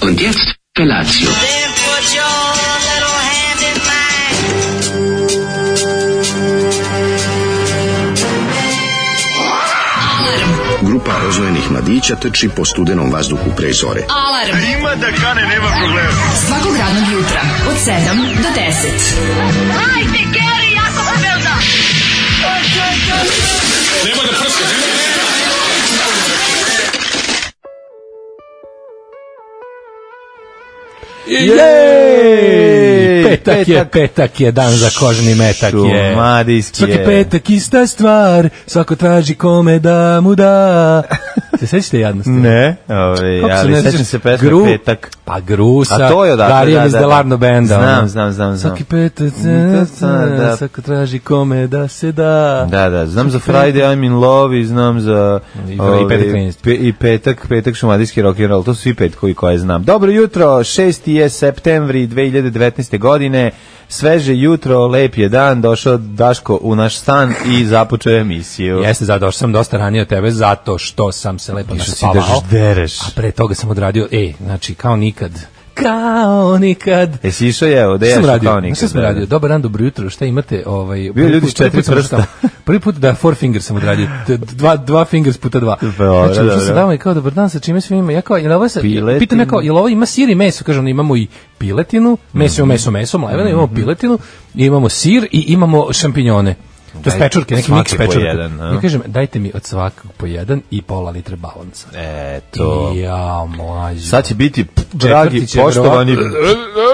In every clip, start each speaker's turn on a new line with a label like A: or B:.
A: Und jetzt Felatio.
B: Then put your little hand in mine.
C: Grupa rozvojenih mladića teči po studenom vazduhu pre zore.
D: Alarm. A ima da kane, nema problema. Svakog radnog jutra, od 7 do 10.
E: Jej!
F: Petak, je,
E: Petak.
F: petak je, dan za kožni metak je.
E: Šumadijski
F: Svaki
E: je.
F: petak ista stvar, svako traži kome da mu da. Se sećate jadnosti?
E: Ne, ovaj,
F: Kako se
E: ali
F: ne
E: sećam
F: sećaš?
E: se pesme
F: Gru-
E: Petak.
F: Pa Grusa,
E: A to je odatle,
F: Darija
E: da,
F: iz
E: da, da.
F: Delarno benda.
E: Znam,
F: ono.
E: znam, znam, znam.
F: Svaki petak,
E: Da.
F: svako traži kome da se da.
E: Da, da, znam za Friday I'm in Love i znam za...
F: I Friday
E: ovaj,
F: Cleansed.
E: pe- I petak, petak šumadijski rock and roll, to su svi pet koji koje znam. Dobro jutro, 6. je septembri 2019. godine, sveže jutro, lep je dan, došao Daško u naš stan i započeo emisiju.
F: Jeste, zato što sam dosta ranije od tebe, zato što sam se lepo
E: Što si
F: naspavao.
E: dereš.
F: A pre toga sam odradio, ej, znači, kao nikad. Kao nikad.
E: Jesi išao je, ovde
F: Šta
E: ja
F: sam
E: što
F: radio?
E: kao
F: Znaš
E: nikad.
F: Šta sam
E: da, da.
F: radio? Dobar dan, dobro jutro. Šta imate? Ovaj,
E: Bio
F: prvi
E: ljudi
F: put-
E: s četiri
F: prvi put sam
E: prsta.
F: ustao- Prvi put da four fingers sam odradio. d- d- Dva, dva fingers puta dva.
E: Dobro,
F: znači, ušao
E: dobro.
F: sam tamo i kao, dobar dan, sa čime svima ima? Ja kao, jel ovo se,
E: da, Piletinu.
F: pitam ja kao, jel ovo ima sir i meso? Kažem, imamo i piletinu,
E: Mhm.
F: meso, meso, meso, mleveno, imamo piletinu, imamo sir i imamo šampinjone. To je
E: Daj,
F: pečurke, neki
E: svaki
F: miks
E: po
F: pečurke.
E: jedan, a?
F: Ja kažem, dajte mi od svakog po jedan i pola litre balonca.
E: Eto.
F: Ja, mlađo.
E: E Sad će biti, p-
F: Četvrti
E: dragi,
F: će
E: poštovani,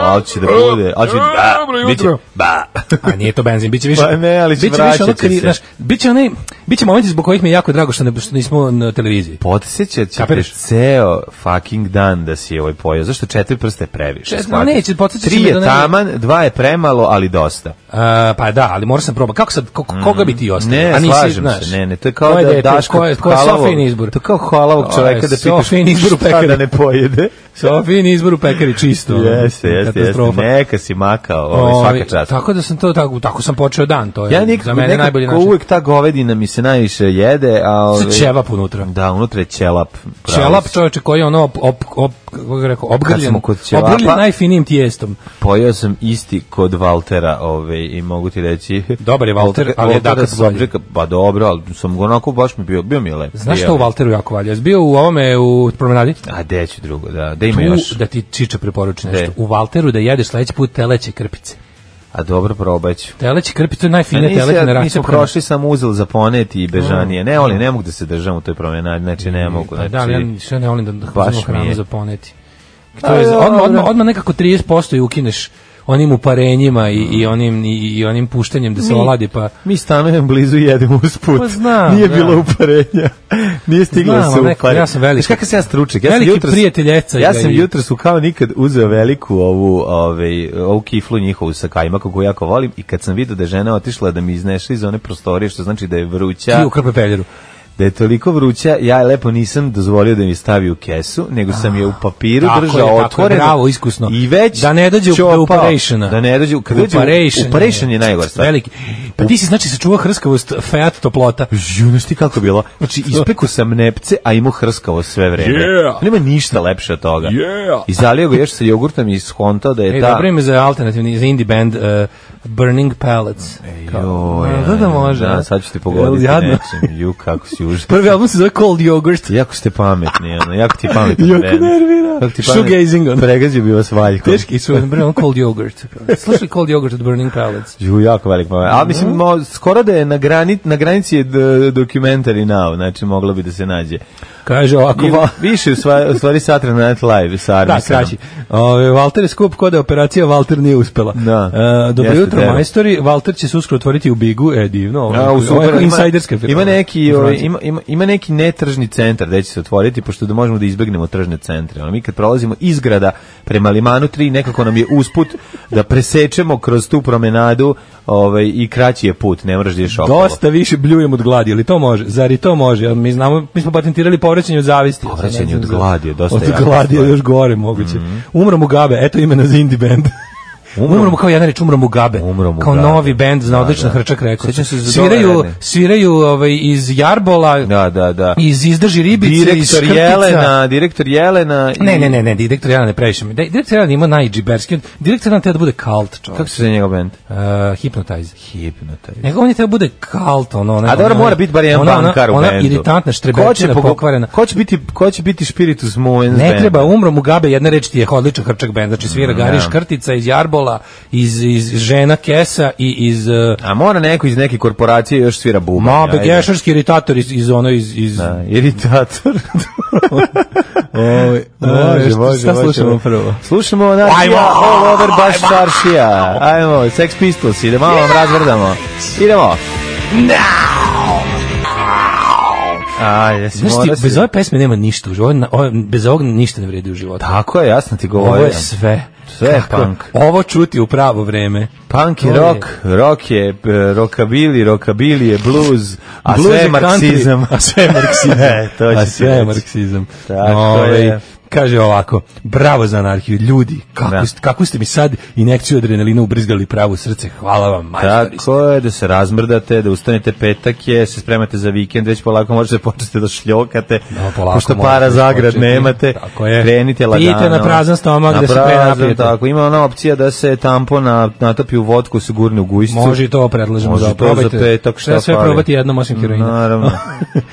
E: ali će da bude, ali će, ba, bit će, ba.
F: A nije to benzin, biće više.
E: Pa ne, ali će
F: biće više ono
E: vraćat će
F: kri-
E: se.
F: znaš, biće onaj biće momenti zbog kojih mi je jako drago što ne što nismo na televiziji.
E: Podsjećat će te
F: Kapiraš?
E: ceo fucking dan da si ovaj pojeo. Zašto četiri prsta je previše?
F: Četiri-
E: shvatiš?
F: neće, podsjećat će
E: Tri
F: me
E: je
F: da ne-
E: taman, dva je premalo, ali dosta.
F: A, pa da, ali moram sam probati. Kako sad ko- koga bi ti ostao?
E: Mm. Ne,
F: A nisi,
E: slažem
F: znaš.
E: se. Ne, ne, to je kao
F: Koje
E: da
F: dete,
E: daš
F: ko je, ko je
E: halavog-
F: Sofijin izbor.
E: To je kao halavog
F: Ko
E: čoveka
F: je
E: da
F: Sofijin
E: pitaš
F: izbor u
E: šta da
F: pekari.
E: ne pojede.
F: Sofijin izbor u pekari čisto. ono,
E: Jeste, jeste, jeste.
F: katastrofa.
E: Neka si makao, ovaj,
F: Ovi,
E: svaka čast.
F: Tako da sam to tako tako sam počeo dan, to je
E: Ja
F: za
E: nikad,
F: mene najbolji
E: nekako
F: način.
E: uvek ta govedina mi se najviše jede, a
F: Sa
E: ove,
F: ćevap unutra.
E: Da, unutra je ćelap. pravo
F: Ćelap
E: si.
F: čoveče koji je ono op, op, op, kako bih rekao, obgrljen,
E: smo kod ćelapa-
F: obgrljen najfinijim tijestom.
E: Pojeo sam isti kod Valtera ove, i mogu ti reći...
F: Dobar je Valter, ali je dakle
E: sam
F: bolji.
E: obrekao, Pa dobro, ali sam ga onako baš mi bio, bio mi je lep.
F: Znaš
E: Bio
F: što u
E: mi je.
F: Valteru jako valja? Jesi bio u ovome u promenadi?
E: A gde ću drugo, da, gde ima
F: Tu
E: još?
F: da ti Čiča preporuči nešto.
E: Gde?
F: U Valteru da jedeš sledeći put teleće krpice.
E: A dobro, probaću.
F: Teleće krpice, to je najfinije
E: Nisam,
F: teleće na
E: Pa ja,
F: raku.
E: nisam prošli, sam uzel za poneti i bežanije. Ne, ali ne mogu da se držam u toj promenadi, znači ne mogu.
F: Mm. Pa
E: Znači,
F: da, ali ja sve ne volim da
E: Baš
F: uzmem
E: mi
F: hranu
E: je.
F: za poneti. To je,
E: A,
F: odmah,
E: dobro.
F: odmah, odmah nekako 30% i ukineš onim uparenjima i, i, onim, i, i onim puštanjem da se
E: Mi-
F: oladi, pa...
E: Mi stanujem blizu i jedemo usput.
F: Pa znam,
E: Nije
F: da.
E: bilo uparenja. Nije stiglo
F: Znam,
E: da se
F: ali nekako,
E: upare.
F: ja sam veliki-
E: Znaš kakav sam ja stručak? Ja sam
F: Veliki
E: jutros,
F: prijatelj Eca
E: Ja
F: ga
E: sam
F: i-
E: jutros su kao nikad uzeo veliku ovu, ovaj, ovu kiflu njihovu sa kajma, kako jako volim, i kad sam vidio da je žena otišla da mi izneša iz one prostorije, što znači da je
F: Ti
E: vruća,
F: u krpepeljeru.
E: da je toliko vruća, ja je lepo nisam dozvolio da mi stavi u kesu, nego sam je u papiru
F: Ah, Tako je,
E: držao
F: tako je,
E: otvoreno.
F: bravo, iskusno.
E: I već
F: Da ne dođe u- do
E: čopao.
F: uparationa.
E: Da ne dođe, u- kad dođe u-
F: Uparation
E: uparation je najgora stvar.
F: Veliki. Pa ti si znači sačuvao hrskavost Fiat toplota.
E: Ju, znaš ti kako je bilo? Znači, ispeku sam nepce, a imao hrskavo sve vreme.
F: Yeah.
E: Nema ništa lepše od toga.
F: Yeah.
E: I zalio ga još sa jogurtom i skontao da je
F: E,
E: ta...
F: dobro ime za alternativni, za indie band uh, Burning Pallets. Kao,
E: E, Joj,
F: a, da, da može. a?
E: Da, sad ću ti pogoditi
F: Jel jadno?
E: nečim. Ju, kako si užas.
F: Prvi album se zove Cold Yogurt.
E: Jako ste pametni, ono, jako ti je pametan
F: Jako
E: band.
F: nervira.
E: Kako ti pamet-
F: Shoegazing, ono.
E: Pregazio bi vas valjkom.
F: Teški su, bre, on Cold Yogurt. Slušaj Cold Yogurt od Burning Pallets.
E: Ju, jako velik moment. A mislim, mo, skoro da je na, grani, na granici je d- documentary now, znači moglo bi da se nađe.
F: Kaže ovako,
E: I,
F: va,
E: više u, sva, u stvari Saturday Night Live sa
F: da,
E: Armisanom.
F: kraći. Ove, Walter je skup, kod da je operacija, Walter nije uspela.
E: Da.
F: E, dobro
E: Jeste,
F: jutro,
E: da.
F: majstori. Walter će se uskoro otvoriti u Bigu. E, divno. Ovo,
E: A, Da, u
F: ovo je da.
E: super,
F: insajderska firma.
E: Ima neki, ovaj,
F: Informacija.
E: ima, ima, ima neki netržni centar gde će se otvoriti, pošto da možemo da izbegnemo tržne centre. Ono, mi kad prolazimo iz grada prema Limanu 3, nekako nam je usput da presečemo kroz tu promenadu ovaj, i kraći je put, ne moraš da ješ okolo.
F: Dosta više bljujem od gladi, ali to može. Zar i to može? Jel Mi znamo, mi smo patentirali povraćanje od zavisti.
E: Povraćanje
F: Ne znam
E: od
F: za-
E: gladi je dosta
F: Od
E: jaka
F: gladi je
E: stvar. Mhm.
F: još gore moguće. Umro mu gabe, eto imena za indie band.
E: Umro.
F: Umro mu kao jedna reč, umro mu gabe.
E: Umro mu
F: kao
E: Gabe.
F: novi bend
E: Da,
F: na odlična
E: da.
F: hrčak rekao.
E: Sećam se za
F: Sviraju,
E: Dolarane.
F: sviraju ovaj, iz Jarbola,
E: Da, da, da.
F: iz Izdrži ribice, iz
E: direktor
F: Škrtica.
E: Jelena, direktor Jelena i...
F: Ne, ne, ne, ne, direktor Jelena ne previše. mi. Daj, Direktor Jelena ima najđiberski. Direktor Jelena treba da bude kalt, čovjek.
E: Kako se zove njegov band?
F: Uh, hypnotize.
E: Hipnotaj.
F: Nego on je treba da bude kalt, ono, ono.
E: A dobro
F: ono-
E: mora biti bar jedan
F: ona- ona-
E: bankar u
F: Ona
E: bendu.
F: iritantna štreberčina,
E: pogo-
F: pokvarena.
E: Ko će biti, ko će biti Spiritus Moens
F: Ne
E: band?
F: treba, umro mu gabe, jedna reč ti je odličan hrčak bend, znači
E: Mm,
F: svira Gariš Krtica iz Jarbola, iz, iz Žena Kesa i iz... Uh,
E: A mora neko iz neke korporacije još svira bubanj.
F: Mabe,
E: ajde.
F: gešarski iritator iz, iz ono, iz... iz
E: Da, iritator. E, Oj,
F: šta- šta slušamo prvo?
E: Slušamo naš
F: Ajmo!
E: ja, All Over Baš Staršija. Ajmo, Sex Pistols, idemo, malo vam razvrdamo. Idemo. Ajde, jesi
F: Znaš ti,
E: mora si-
F: bez ove pesme nema ništa u životu, ovo- ovo- bez ovog ništa ne vredi u životu.
E: Tako je, jasno ti
F: ovo
E: govorim.
F: je sve.
E: Sve je punk.
F: Ovo čuti u pravo vreme.
E: Punk je
F: To je-
E: rock, rock je e, rockabilly, rockabilly je blues, a
F: Blues
E: sve je
F: je country,
E: marksizam.
F: A sve je marksizam.
E: E, to će
F: a
E: ti
F: sve je
E: reći.
F: marksizam.
E: Tako
F: Ovaj,
E: je.
F: Kaže ovako, bravo za anarhiju, ljudi, kako,
E: Da.
F: ste, kako ste mi sad injekciju adrenalina ubrizgali pravo u srce, hvala vam, majstori. ste.
E: Tako je, da se razmrdate, da ustanete petak je, se spremate za vikend, već polako možete početi da šljokate,
F: Da, polako
E: pošto
F: možete
E: para za grad
F: početi.
E: nemate,
F: Tako je.
E: krenite lagano.
F: Pijte na prazan stomak
E: Na
F: da se pre
E: prazan,
F: napijete.
E: Tako, ima ona opcija da se tampon na, natopi u vodku, se gurne u gujscu.
F: Može i to predlažemo
E: Može
F: da
E: i to
F: probajte.
E: za petak, šta
F: Treba sve
E: fali.
F: probati jednom osim heroina.
E: Naravno.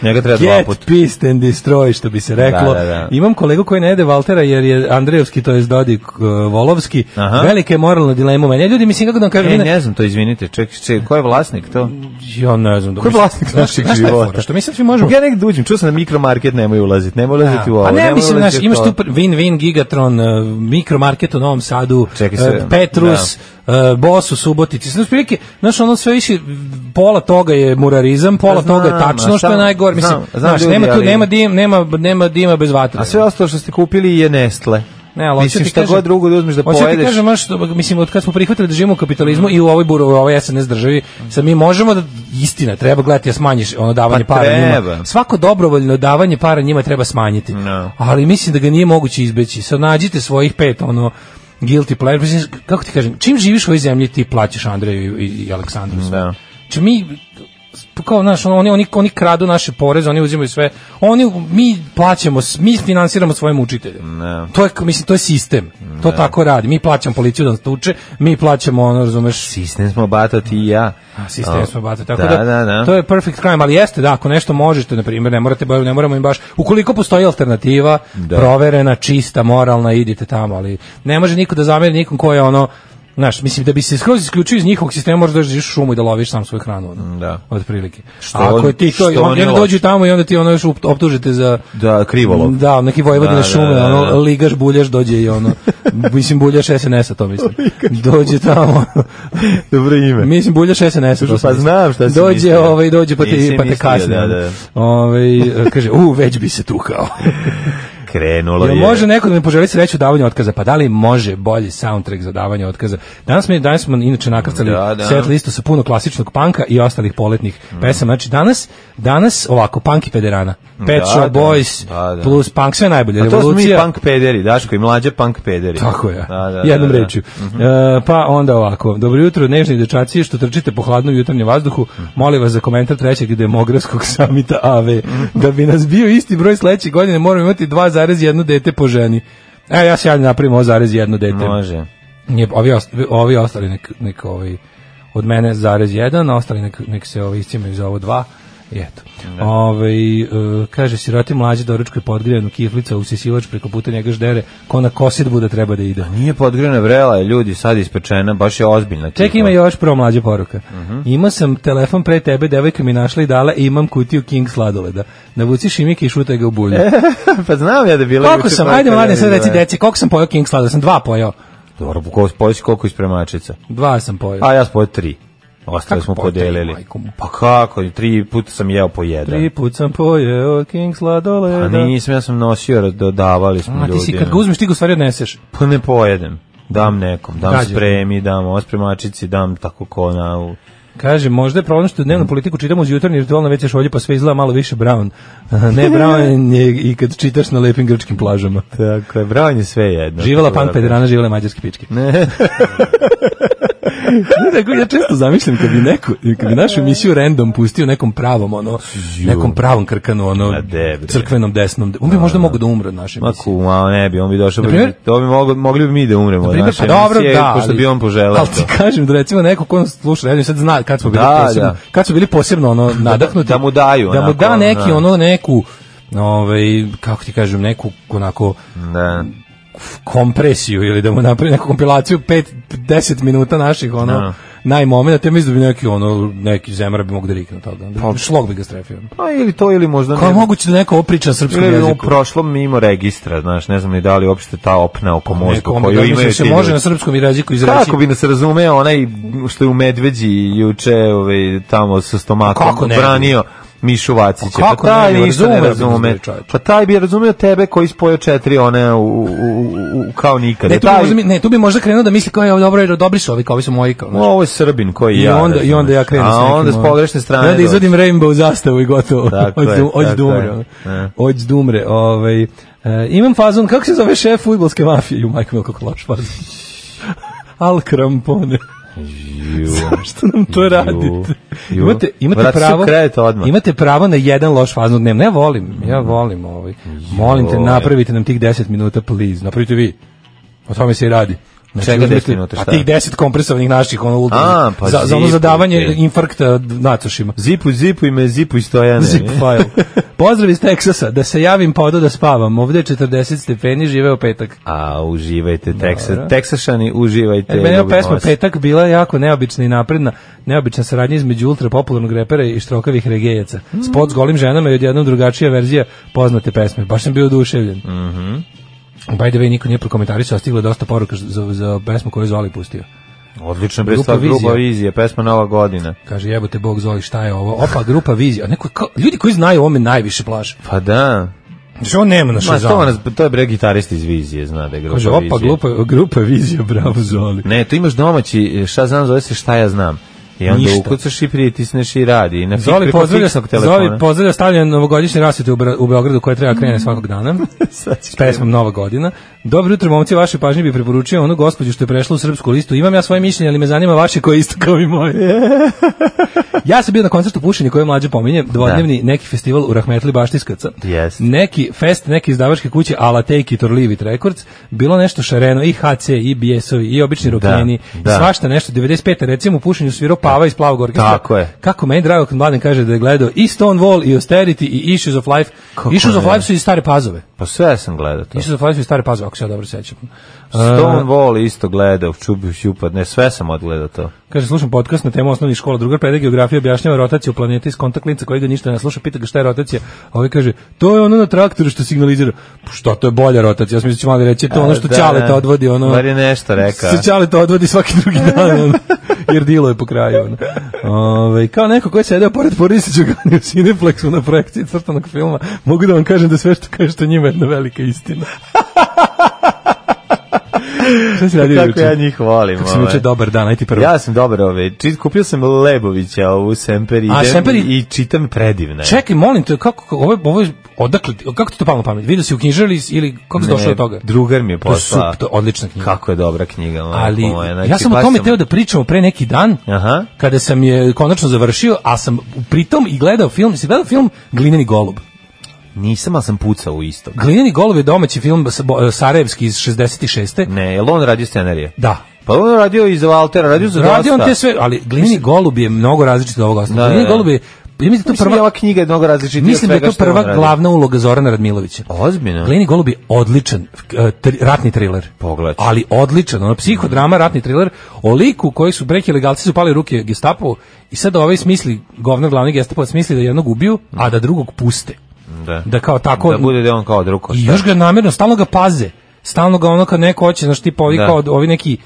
E: Njega treba dva
F: Get
E: puta.
F: pissed and destroy, što bi se reklo.
E: Da, da, da.
F: Imam kolegu koji ne jede Valtera jer je Andrejevski, to je Dodik e, Volovski.
E: Aha.
F: Velika je moralna dilema. Meni, ljudi, mislim, kako da vam kažem,
E: E,
F: vi ne-
E: ne znam to, izvinite, ček, ček, ko je vlasnik to?
F: Ja ne znam. da
E: Ko je vlasnik naših života?
F: Što mi sad svi možemo?
E: Ja nekad uđem, čuo sam da mikromarket nemoj ulaziti, nemoj ulaziti u ovo.
F: Da. A ne,
E: nemoj
F: mislim, znaš,
E: ulaziti u
F: imaš
E: to.
F: tu pr- Win-Win, Gigatron, uh, Mikromarket u Novom Sadu,
E: Čekaj sve, Da.
F: uh, Petrus, uh, Bos u Subotici. Znaš, prilike, znaš, ono sve više, pola toga je murarizam, pola
E: Pa znam,
F: toga je tačno,
E: a
F: što je
E: šta-
F: najgore. Mislim,
E: znam, znam
F: znaš,
E: ljudi,
F: nema tu,
E: ali-
F: nema, dim, nema, nema dima bez vatre.
E: A sve ostalo što ste kupili je Nestle.
F: Ne, ali
E: Mislim,
F: hoću ti
E: šta
F: kažem-
E: god drugo da uzmeš da
F: hoću ti
E: pojedeš.
F: kažem, znaš, što- mislim, od kad smo prihvatili da živimo u kapitalizmu i u ovoj buru, u ovoj SNS državi, sad mi možemo da, istina, treba gledati da smanjiš ono davanje
E: Pa
F: para
E: treba.
F: njima. Svako dobrovoljno davanje para njima treba smanjiti.
E: No.
F: Ali mislim da ga nije moguće izbeći. Sad nađite svojih pet, ono, guilty pleasure. Mislim, kako ti kažem, čim živiš u ovoj zemlji, ti plaćaš Andreju i, i Aleksandru. sve.
E: Da.
F: Znači mi kao naš oni oni oni kradu naše poreze, oni uzimaju sve. Oni mi plaćamo, s- mi finansiramo svoje učitelje.
E: Ne.
F: To je mislim to je sistem. To tako radi. Mi plaćamo policiju da nas tuče, mi plaćamo ono, razumeš,
E: Sistem smo bato ti i ja.
F: a, sistem smo bacili. Tako
E: Da,
F: da,
E: da, da.
F: to je perfect crime, ali jeste da ako nešto možete na primjer, ne morate baš ne moramo im baš. Ukoliko postoji alternativa,
E: Da.
F: proverena, čista, moralna, idite tamo, ali ne može niko da zameri nikom ko je ono Znaš, mislim da bi se skroz isključio iz njihovog sistema, možeš da ideš u šumu i da loviš sam svoju hranu. ono,
E: Da.
F: Otprilike.
E: Što
F: A
E: on-
F: ako je ti to,
E: što
F: on,
E: oni
F: i onda dođu
E: loše?
F: tamo i onda ti ono još op- optužite za
E: Da, krivolov.
F: da, neki Vojvodina
E: Da, da,
F: šume,
E: da, da.
F: ono, ligaš, buljaš, dođe i ono, mislim, buljaš SNS-a, to mislim. Dođe tamo,
E: Dobro ime.
F: Mislim buljaš SNS.
E: Pa znam šta si
F: Dođe,
E: mislio.
F: ovaj dođe pa ti
E: Nisam
F: pa te
E: mislio,
F: kasne.
E: da, da.
F: Ovaj kaže, u, već bi se tukao.
E: Krenulo
F: Jel
E: Pa je.
F: može neko da mi poželi sreću u davanju otkaza? Pa da li može bolji soundtrack za davanje otkaza? Danas, mi, danas smo inače nakrcali
E: Da, Mm. da.
F: set listu sa puno klasičnog panka i ostalih poletnih pesama. Znači danas, danas ovako, punk i pederana. Pet
E: Da,
F: Shop
E: da,
F: Boys
E: da, da.
F: plus punk, sve najbolje.
E: A to smo mi
F: Revolucija.
E: punk pederi, Daško i mlađe punk pederi.
F: Tako je.
E: Da, da,
F: Jednom
E: da, da.
F: rečju. E, pa onda ovako. Dobro jutro, nežni dečaci što trčite po hladnom jutarnjem vazduhu.
E: Mhm.
F: Molim vas za komentar trećeg demografskog samita AV.
E: Mhm.
F: Da bi nas bio isti broj sledeće godine, moramo imati 2,1 dete po ženi. E, ja se ja napravim 0,1 dete.
E: Može.
F: Nije, ovi, ost- ovi ostali nek, nek ovaj, od mene zarez jedan, a ostali nek, nek se ovaj, iscimaju za ovo dva. I eto.
E: Da.
F: Ovaj, e, kaže, siroti mlađe doručkoj podgrijanu kiflica, usisivač preko puta njega ždere, ko na kosidbu da treba da ide.
E: Nije podgrana vrela, je, ljudi, sad ispečena, baš je ozbiljna.
F: Ček, ima još prvo mlađa poruka. Imao sam telefon pre tebe, devojka mi našla i dala i imam kutiju King sladoleda. Navuci šimike i šutaj ga u bulju.
E: pa znam ja da je bila...
F: Koliko
E: juče
F: sam,
E: baka
F: ajde mladen sad
E: da je
F: reci
E: bila.
F: deci, koliko sam pojao King sladoleda? Sam dva pojao.
E: Dobro, ko spojiš koliko ispremačica?
F: Dva sam pojao.
E: A ja spojio tri. Ostale
F: Kako
E: smo
F: po tri,
E: podelili.
F: majko mu?
E: Pa kako, tri puta sam jeo po jedan.
F: Tri put sam pojao King sladoleda.
E: A nisam, ja sam nosio, raz- dodavali smo
F: A
E: ljudi.
F: ti si kad ga
E: no.
F: uzmeš ti ga u stvari odneseš.
E: Pa ne pojedem. Dam nekom, dam
F: Gađa.
E: spremi, dam ospremačici, dam tako ko na... u-
F: Kaže, možda je problem što dnevnu politiku čitamo uz jutarnji ritual na WC šolje, pa sve izgleda malo više brown. ne, brown je i kad čitaš na lepim grčkim plažama.
E: Tako je, brojanje sve jedno.
F: Dakle, Živela pan Pederana, živela mađarske pičke.
E: da, Ne.
F: Ne, tako ja često zamišljam kad bi neko, kad bi našu emisiju random pustio nekom pravom, ono, nekom pravom krkanu, ono,
E: A de, bre.
F: crkvenom desnom. On bi možda mogu da umre od naše
E: Ma
F: emisije.
E: kuma, ne bi, on bi došao,
F: Naprimjer-
E: to bi mogli, mogli bi mi da umremo.
F: Primjer, pa
E: naše
F: dobro,
E: emisije,
F: da,
E: Pošto
F: ali-
E: bi on poželao.
F: Ali ti kažem da recimo neko ko nas sluša, ja sad zna kad smo bili
E: Da,
F: posebno,
E: da.
F: kad su bili posebno ono nadahnuti.
E: da mu daju,
F: Da mu
E: onako,
F: da neki
E: da.
F: ono neku ovaj kako ti kažem neku onako
E: Da.
F: kompresiju ili da mu napravi neku kompilaciju 5 10 minuta naših ono
E: Da.
F: najmomenata, ja mislim da bi neki ono neki zemar bi mogao da rikne tada. Da, šlog bi ga strefio.
E: Pa ili to, ili možda
F: Kako je
E: ne.
F: moguće da neko opriča srpskom
E: Ili je u
F: jeziku?
E: prošlom mimo registra, znaš, ne znam ni da li uopšte ta opna oko mozga
F: Nekom bi-
E: koju
F: da,
E: pa imaju ti
F: mislim,
E: ljudi.
F: se može na srpskom jeziku izreći.
E: Kako bi nas razumeo onaj što je u Medveđi juče ovaj, tamo sa stomakom
F: Kako ne bi?
E: branio Mišu Vacića.
F: Pa kako
E: pa taj
F: ne bi?
E: ništa ne
F: Razume,
E: razume.
F: razume, čoveče.
E: Pa taj bi razumeo tebe koji spojio četiri one u, u, u, u kao nikada.
F: Ne, tu bi,
E: taj,
F: možda, mi- ne, tu bi možda krenuo da misli kao je dobro, jer dobri su ovi, kao ovi su moji. Kao, znaš.
E: Ovo je Srbin koji
F: I,
E: ja.
F: onda, I onda ja
E: razumeš.
F: krenem. s
E: A
F: nekim,
E: onda s
F: ono.
E: pogrešne strane.
F: I onda
E: dođe.
F: izvodim Rainbow zastavu i gotovo.
E: Tako je,
F: Ođ
E: tako je.
F: dumre. ono.
E: E.
F: Ođ dumre. Ovaj, e, imam fazon, kako se zove šef futbolske mafije? Ju, majko, kako loš fazon. Al krampone.
E: Ju.
F: Što nam to radite?
E: ju.
F: Imate, imate
E: Vrati se u
F: pravo.
E: krevet odmah. Mm.
F: Imate pravo na jedan loš fazon dnevno. Ja volim, ja volim ovaj. Molim te,
E: Joj.
F: napravite nam tih 10 minuta, please. Napravite vi. O tome se i radi. Znači,
E: Čega 10
F: uzmite-
E: minuta, šta?
F: A tih 10 kompresovanih naših ono ultra.
E: A, pa
F: za, za ono
E: zipu,
F: zadavanje
E: te.
F: infarkta nacošima.
E: Zipu, zipu i me zipu i stojane.
F: Zip file. Pozdrav iz Teksasa, da se javim pa odo da spavam. Ovde je 40 stepeni, žive u petak.
E: A, uživajte, Teksa,
F: Dobro.
E: Teksašani, uživajte.
F: E, meni je ova
E: ljubimo
F: pesma
E: vas.
F: Petak bila jako neobična i napredna, neobična saradnja između ultra popularnog repera i štrokavih regejaca.
E: Mm.
F: Spot s golim ženama je odjednom drugačija verzija poznate pesme. Baš sam bio oduševljen. Mm
E: Mhm.
F: By the way, niko nije prokomentarisao, a stiglo je dosta poruka za, za pesmu koju je Zoli pustio.
E: Odlično, bre,
F: Grupa
E: stvar grupa
F: Vizija.
E: vizija, pesma Nova godina.
F: Kaže, jebote Bog Zoli, šta je ovo? Opa, grupa vizija. Neko, kao- ljudi koji znaju ovo me najviše plaše.
E: Pa da.
F: Znači, on nema na
E: Ma,
F: šezama.
E: to, nas, to je bre gitarist iz vizije, zna da je grupa
F: Kaže, opa,
E: vizija.
F: grupa, grupa vizija, bravo Zoli.
E: Ne, tu imaš domaći, šta znam, zove se šta ja znam. I onda
F: Ništa.
E: ukucaš i pritisneš i radi. I na fik,
F: Zoli
E: preko
F: pozdravlja,
E: fiksnog telefona.
F: Zoli pozdravlja stavljanje novogodišnje rasvete u, Bra- u Beogradu koje treba da krene svakog dana s pesmom Nova godina. Dobro jutro, momci, vaše pažnje bi preporučio onu gospođu što je prešla u srpsku listu. Imam ja svoje mišljenje, ali me zanima vaše koje je isto kao i moje. ja sam bio na koncertu Pušenje koje mlađe pominje, dvodnevni neki festival u Rahmetli Bašti Skrca.
E: Da. Jest.
F: Neki fest, neki izdavačke kuće, ala Take It or Leave It Records, bilo nešto šareno, i HC, i BS-ovi, i obični rokeni,
E: da.
F: i svašta nešto. 95. recimo u Pušenju svirao Pava iz Plavog orkestra.
E: Tako je.
F: Kako meni drago kad mladen kaže da je gledao i Stonewall i Austerity i Issues of Life.
E: Kako
F: Issues of
E: ne?
F: Life su i stare pazove.
E: Pa sve sam gledao to.
F: Issues of Life su i stare pazove, ako se ja dobro sećam.
E: Stonewall isto gledao, čubi šupad, ne, sve sam odgledao to.
F: Kaže, slušam podcast na temu osnovnih škola. Drugar predaje geografiju, objašnjava rotaciju planeta iz kontakt linca koji ga ništa ne sluša, pita ga šta je rotacija. A ovaj kaže, to je ono na traktoru što signalizira. Pa Šta to je bolja rotacija? Ja sam mislio da će mali reći, to je ono što
E: Da,
F: Ćale te odvodi. Ono,
E: Bar je nešto rekao.
F: Se Ćale te odvodi svaki drugi dan, ono, jer dilo je po kraju. Ono. Ove, kao neko ko je sedeo pored Borisa Đugani u Cineplexu na projekciji crtanog filma, mogu da vam kažem da sve što kažete njima je jedna velika istina. Šta si radio
E: Pa Kako
F: juče?
E: ja njih volim.
F: Kako si mi
E: ovaj.
F: juče dobar dan, aj ti prvo.
E: Ja sam dobar ove. Čit, kupio sam Lebovića ovu Semper idem
F: A, Semper i-
E: i čitam predivne.
F: Čekaj, molim te, kako, kako- ovo, je- ovo je, odakle, ti- kako ti to palo na pamet? Vidio si u knjižari ili kako si
E: Ne,
F: došao do toga?
E: Drugar mi je
F: To je sup,
E: poslao.
F: to je odlična knjiga.
E: Kako je dobra knjiga. majko
F: Ali,
E: moja, znači,
F: ja sam o
E: baš
F: tome teo da pričamo pre neki dan,
E: Aha.
F: kada sam je konačno završio, a sam pritom i gledao film, si gledao film Glineni golub.
E: Nisam, ali sam pucao u istog.
F: Glineni golub je domaći film sa- bo- sarajevski iz 66.
E: Ne, je on radio scenarije?
F: Da.
E: Pa on radio i za Valtera, radio za
F: Radio on
E: dosta.
F: te sve, ali Glineni golub je mnogo različit od ovoga ostalog.
E: Da, da,
F: Glineni
E: da.
F: golub je, ja mislim da je to
E: Mislim da je
F: prva,
E: ova knjiga je mnogo različitija.
F: mislim da je
E: od svega
F: to
E: što je on
F: prva
E: radio.
F: glavna uloga Zorana Radmilovića.
E: Ozbiljno?
F: Gleni golub je odličan eh, tri- ratni thriller.
E: Pogledat ću.
F: Ali odličan, ono psihodrama, ratni thriller o liku koji su breki legalci su pali ruke Gestapu i sad ovaj smisli govnar glavni Gestapo smisli da jednog ubiju, a da drugog puste.
E: Da.
F: Da kao tako
E: Da bude da je on kao drugo.
F: i još ga namjerno stalno ga paze. Stalno ga ono kad neko hoće, znači tipa ovi
E: Da.
F: kao ovi neki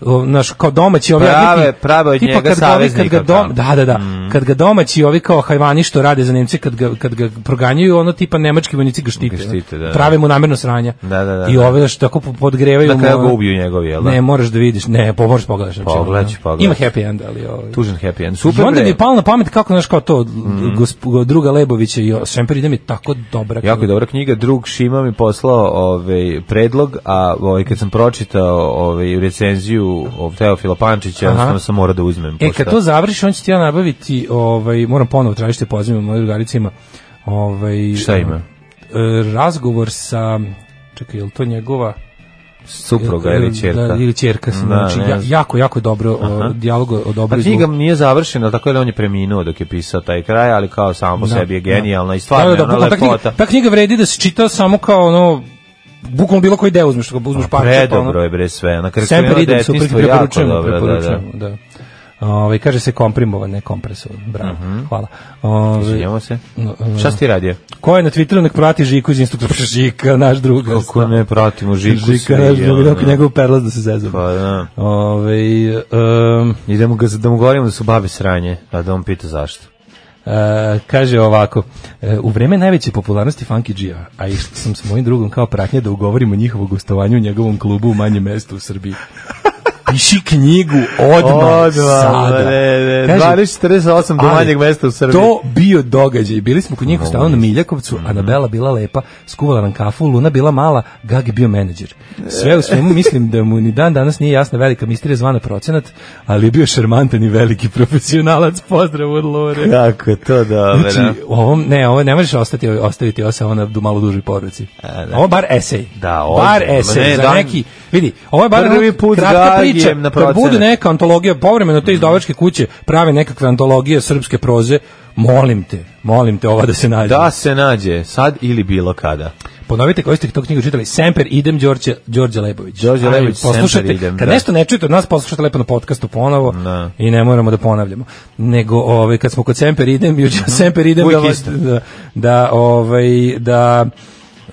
F: o, naš kao domaći ovi
E: Prave-
F: jadniki,
E: prave od
F: tipa
E: njega
F: kad ga ovi- kad
E: saveznika,
F: ga dom,
E: kao.
F: da, da, da,
E: Mhm.
F: kad ga domaći ovi kao hajvani što rade za Nemce kad ga, kad ga proganjaju, ono tipa nemački vojnici ga štite,
E: Ga štite, da, da.
F: prave mu namerno sranja.
E: Da, da, da,
F: I
E: da.
F: ove da što tako po- podgrevaju
E: Na
F: mu,
E: kraju ga
F: ono-
E: ubiju njegovi, jel da?
F: Ne, moraš da vidiš. Ne, po, moraš pogledaš. znači, ono,
E: Pogledat ću,
F: da.
E: pogledat
F: Ima
E: ću.
F: happy end, ali ovaj.
E: Tužan happy end.
F: I
E: Super,
F: onda mi
E: bre. Mhm.
F: je pa- palo na pamet kako, znaš, kao to, gosp- druga Lebovića i Šemper ide mi tako dobra.
E: Jako je dobra knjiga, drug Šima mi poslao ovaj predlog, a ovaj kad sam pročitao ovaj recenziju ovaj Teofila Pančića,
F: Aha.
E: jednostavno sam morao da uzmem.
F: E,
E: pošto-
F: kad to završiš, on će ti ja nabaviti, ovaj, moram ponovo tražiti, pozivim moje drugarice ima. Ovaj,
E: Šta ima?
F: e, razgovor sa, čekaj, je li to njegova?
E: supruga ili ćerka.
F: Da, ili ćerka. sam,
E: Da,
F: znači,
E: ne
F: ja-
E: znam.
F: jako, jako dobro
E: Aha.
F: dijalog o
E: Pa
F: dobroj
E: knjiga nije završena, tako je da on je preminuo dok je pisao taj kraj, ali kao samo po
F: Da,
E: sebi je
F: da.
E: genijalna i
F: Da,
E: stvarno
F: da,
E: je
F: da,
E: ona
F: bukvalno, ta, knjiga,
E: lepota.
F: ta knjiga vredi da se čita samo kao ono, bukvalno bilo koji deo uzmeš, ako uzmeš parče.
E: Pa Predobro je bre sve. Na kraju
F: Semper
E: je
F: pa- idem, super,
E: detinjstvo jako
F: preporučujemo,
E: dobro. Da, da.
F: preporučujemo, da. Ove, kaže se komprimovan, ne kompresor. Bravo,
E: Mhm.
F: hvala. Ovaj, Ove,
E: Sviđamo se. Šta si ti radio?
F: Ko je na Twitteru nek prati Žiku iz instruktora, Pa Žika, naš drug.
E: Kako ne pratimo Žiku
F: Žika, naš drug, dok njegov perlas da se zezam.
E: Pa da.
F: Ove, um,
E: Idemo ga, da mu govorimo da su babe sranje, a da on pita zašto.
F: E, kaže ovako, e, u vreme najveće popularnosti Funky Gia, a išla sam s mojim drugom kao pratnja da ugovorimo njihovo gostovanje u njegovom klubu u manjem mestu u Srbiji. Piši knjigu odmah, sada.
E: ne, ne,
F: Kaže,
E: 12.48 do
F: ali
E: manjeg mesta u Srbiji. Mhm.
F: To bio događaj. Bili smo kod njih u stanu na Miljakovcu, Anabela bila lepa, skuvala nam kafu, Luna bila mala, Gagi bio menadžer. Sve u svemu mislim da mu ni dan danas nije jasna velika misterija zvana procenat, ali je bio šarmantan i veliki profesionalac. Pozdrav od Lore.
E: Kako je to dobro.
F: Znači, ovom, ne, ovo ne možeš ostati, ostaviti ovo samo na du- malo dužoj poruci. Ovo bar esej.
E: E, Da, ovo-
F: bar
E: ne,
F: esej za
E: da-
F: neki. Vidi, ovo je bar
E: Prvi
F: ono
E: put
F: kratka
E: Gagijem
F: priča.
E: na
F: Kad budu
E: procenat.
F: neka antologija, povremeno te izdavačke kuće prave nekakve antologije srpske proze, molim te, molim te ova da se nađe.
E: Da se nađe, sad ili bilo kada.
F: Ponovite koji ste to knjigu čitali. Semper idem Đorđe Đorđe Lebović.
E: Đorđe
F: Aj,
E: Lebović,
F: poslušajte,
E: Semper idem,
F: Kad
E: da.
F: nešto ne čujete od nas poslušajte lepo na podcastu ponovo
E: Da.
F: i ne moramo da ponavljamo. Nego ovaj kad smo kod Semper idem, juče Semper idem da,
E: Mhm. Uvijek
F: vas-
E: isto.
F: da, da ovaj da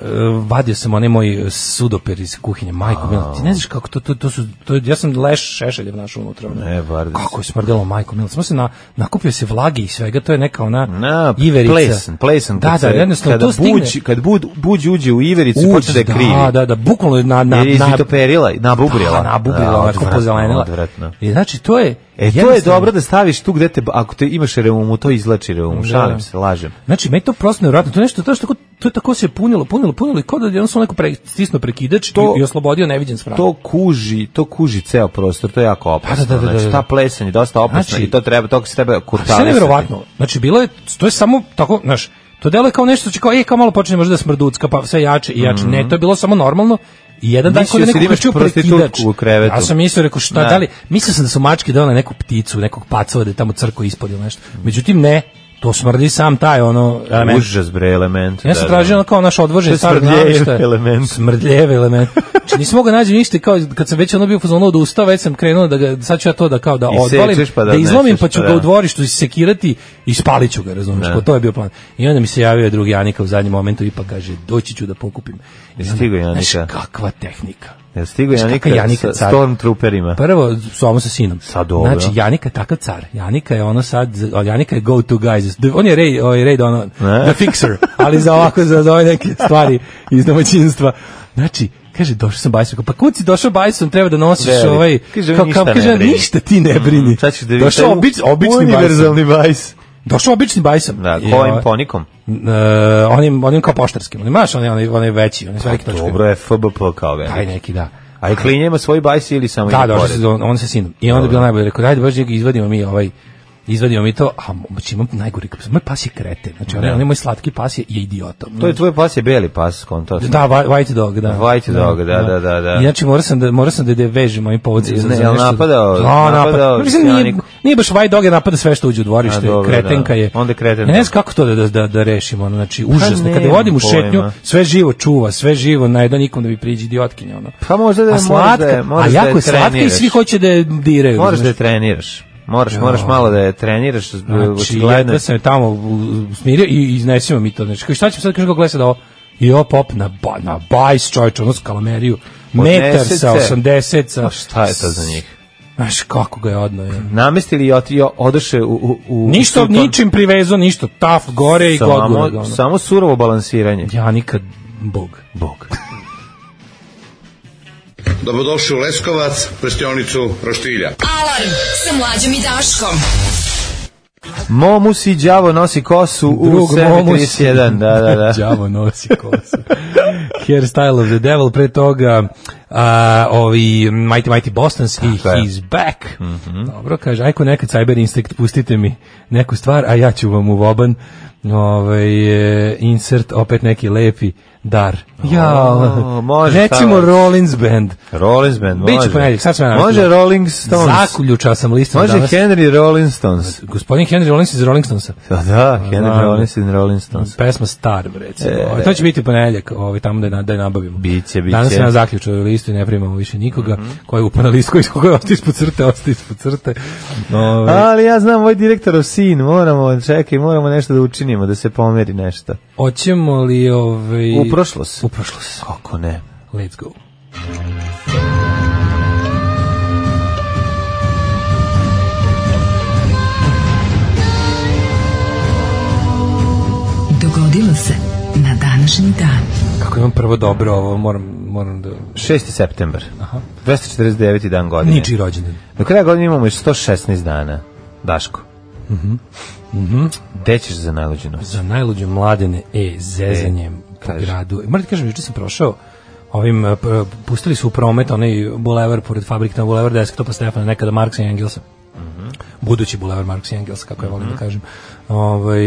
F: e, vadio sam onaj moj sudoper iz kuhinje, majko mila, ti ne znaš kako to, to, to su, to, ja sam leš šešeljev našao unutra. ono.
E: Ne, bar da
F: Kako je smrdelo, majko mila, samo se na, nakupio se vlage i svega, to je neka ona
E: Na,
F: iverica.
E: plesan, plesan.
F: Da,
E: kad
F: da,
E: se-
F: jednostavno,
E: kada
F: to stigne.
E: Buđ, kad bud, buđ uđe u ivericu, počne da je krivi.
F: Da, da, da, bukvalno je na... na
E: Jer je
F: na-
E: izvitoperila, nabubrila.
F: Da, nabubrila,
E: Da,
F: onako
E: odvratno,
F: pozelenila.
E: odvratno.
F: I znači, to je...
E: E, to je
F: jednostavno-
E: dobro da staviš tu gde te, ako te imaš reumu, to izlači
F: Da.
E: reumu, šalim se, lažem.
F: Znači, meni je to prosto nevjerojatno. To je nešto, to, je tako, to je tako se punilo, punilo, punilo i kod da je jednostavno neko pre, stisno prekidač
E: To-
F: i, i oslobodio neviđen sprat.
E: To kuži, to kuži ceo prostor, to je jako opasno.
F: da, da, da,
E: znači,
F: da.
E: ta plesen je dosta opasna
F: Znači-
E: i to treba, to se treba kurtalisati.
F: Sve je nevjerovatno. Znači, bilo je, to je samo tako, znaš, to delo je kao nešto, znači, kao, e, kao malo počinje možda da smrducka, pa sve jače i jače. Ne, to je bilo samo normalno. I jedan dan
E: Mhm. Mislio
F: kod
E: si
F: nekog
E: da imaš
F: uključio
E: prostitutku
F: prekidač.
E: u krevetu.
F: Ja sam mislio, rekao, šta,
E: Da.
F: da li, mislio sam da su mačke dale neku pticu, nekog pacova da je tamo crko ispod ili nešto. Međutim, ne, to smrdi sam taj, ono, element.
E: Užas bre element.
F: Ja sam tražio ono kao naš
E: Da, To
F: odvožen
E: je
F: staro
E: smrdljev
F: namještaj.
E: element.
F: Smrdljev element. Znači nisam mogao naći ništa i kao kad sam već ono bio fuzon od usta, već sam krenuo da ga sad ću ja to da kao da
E: I
F: odvalim,
E: sečeš pa da
F: da izlomim
E: odneseš,
F: pa ću
E: pa
F: ga
E: da.
F: u dvorištu isekirati i spalit ću ga, razumeš?
E: Da.
F: Kao, To je bio plan. I onda mi se javio drugi Anika u zadnjem momentu i pa kaže doći ću da pokupim. I onda,
E: stigao Janika?
F: Znaš kakva tehnika.
E: Jel stigo
F: Znaš
E: Janika,
F: kakva Janika
E: sa
F: car? Pa,
E: stormtrooperima?
F: Prvo, samo sa sinom.
E: Sad Da. dobro.
F: Znači, Janika je takav car. Janika je ono sad, Janika je go to guys. On je Ray, ovaj Ray ono,
E: Ne?
F: the fixer, ali za ovako, za, za ove neke stvari iz domaćinstva. Znači, kaže, došao sam Bajson. Kao, Pa kud si došao Bajson, treba da nosiš
E: Veli.
F: ovaj...
E: Kaže,
F: kao-
E: ništa
F: kao-
E: ne
F: kaže,
E: brini.
F: ništa ti ne brini.
E: Sad ćeš da vidiš.
F: došao obič, obični Bajson.
E: univerzalni bajs.
F: Došao obični Bajson.
E: Da,
F: I,
E: kojim
F: ovaj,
E: ponikom?
F: e, onim, onim kao poštarskim. Onim, maš, onaj, onaj, onaj veći, onaj s velike točke.
E: Pa Dobro je FBP kao ga.
F: Taj neki, da.
E: A i klinje ima svoj bajs ili samo
F: Da,
E: ima
F: došao
E: pored?
F: se on, on sa sinom. I onda je bilo najbolje, rekao, dajde baš njega izvadimo mi ovaj, izvadimo mi to, a znači imam najgori, kapus. moj pas je kreten, znači onaj, onaj moj slatki pas je, je idiota.
E: Da. To je tvoj pas je beli pas, konto.
F: Da, whi- white dog, da.
E: White dog, da, da, da, da.
F: I znači morao sam da morao sam da da vežem ovim povodcima.
E: Ne, jel napadao?
F: Da, napadao.
E: Napadao
F: Mislim, nije,
E: Janiku?
F: nije baš white dog je napada sve što uđe u
E: A,
F: dvorište,
E: dobro,
F: kretenka
E: da.
F: je.
E: Onda je kretenka.
F: Ja Ne znam kako to da da da, da rešim, ono znači užasno. Kada
E: nemam
F: vodim u
E: pojma.
F: šetnju, sve živo čuva, sve živo, na jedan nikom da mi priđe idiotkinja ono.
E: Pa možda da je-
F: a slatka,
E: možda je- možda
F: a
E: da je
F: jako je slatka i
E: treniraš.
F: svi hoće da je diraju.
E: Moraš da je
F: znaš.
E: treniraš. Moraš, moraš malo da je treniraš.
F: Znači, jedva sam je tamo u- u- smirio i iznesimo mi to. Znači, kao, šta ćemo sad, kažem, kako gleda sad ovo? I ovo pop na, ba, na bajs, čovječ, ono skalameriju. Metar
E: Odnese
F: sa
E: se.
F: 80, sa...
E: A šta je to za njih?
F: Znaš kako ga je odno. Je.
E: Namestili i otrio, odoše u, u, u
F: Ništa,
E: sultan-
F: ničim privezo, ništa. Taf, gore i god gore. ga,
E: samo,
F: ono.
E: samo surovo balansiranje.
F: Ja nikad, Bog.
E: Bog.
A: Dobrodošli u Leskovac, prštionicu Roštilja.
D: Alarm sa mlađom i Daškom.
E: Momu si đavo nosi kosu u
F: Drug
E: sebi
F: Momus.
E: 31. Da, da, da.
F: Đavo nosi kosu. Hairstyle of the Devil, pre toga uh, ovi Mighty Mighty Bostons i
E: Tako je. Mhm.
F: He's Back. Dobro, kaže, ajko nekad Cyber Instinct, pustite mi neku stvar, a ja ću vam u voban ovaj, e, insert opet neki lepi dar. Ja,
E: može,
F: Recimo
E: stvarno.
F: Rollins Band.
E: Rollins band, može.
F: Biće ponedjeljak, sad sam ja
E: Može
F: našao.
E: Rolling Stones.
F: Zaključao sam listom
E: Može
F: Pa danas.
E: Henry Rolling Stones.
F: Gospodin Henry Rollins iz Rolling Stonesa.
E: Da, da, Henry
F: Da.
E: Rollins in Rolling Stones.
F: Pesma Star, recimo. Ovaj, to će biti u ponedeljak, ovaj, tamo da, je na- da je nabavimo.
E: E, Biće, biće. Mhm.
F: Danas se na zaključu u listu i ne primamo više nikoga. Koji je upao na listu, koji koji je ostao ispod crte, ostao ispod crte. Ovaj,
E: Ali ja znam, ovaj direktorov sin, moramo, čekaj, moramo nešto da učinimo, da se pomeri nešto.
F: Hoćemo li... Ovaj,
E: U prošlost.
F: U prošlost.
E: Kako ne?
F: Let's go.
D: Dogodilo se na današnji dan.
F: Kako imam prvo dobro ovo, moram, moram da...
E: 6. septembar. 249. dan godine.
F: Niči rođendan.
E: Do kraja godine imamo još 116 dana. Daško. Mhm. Mhm. Gde ćeš za najluđu noć?
F: Za najluđe mladene, e, zezanjem po
E: kaži.
F: gradu. E, Moram ti kažem, juče sam prošao ovim, e, p- pustili su u promet onaj bulevar pored fabrike na bulevar desktopa Stefana, nekada Marksa i Engelsa.
E: Mhm.
F: budući bulevar Marks i Engels, kako ja volim da kažem. Ovaj,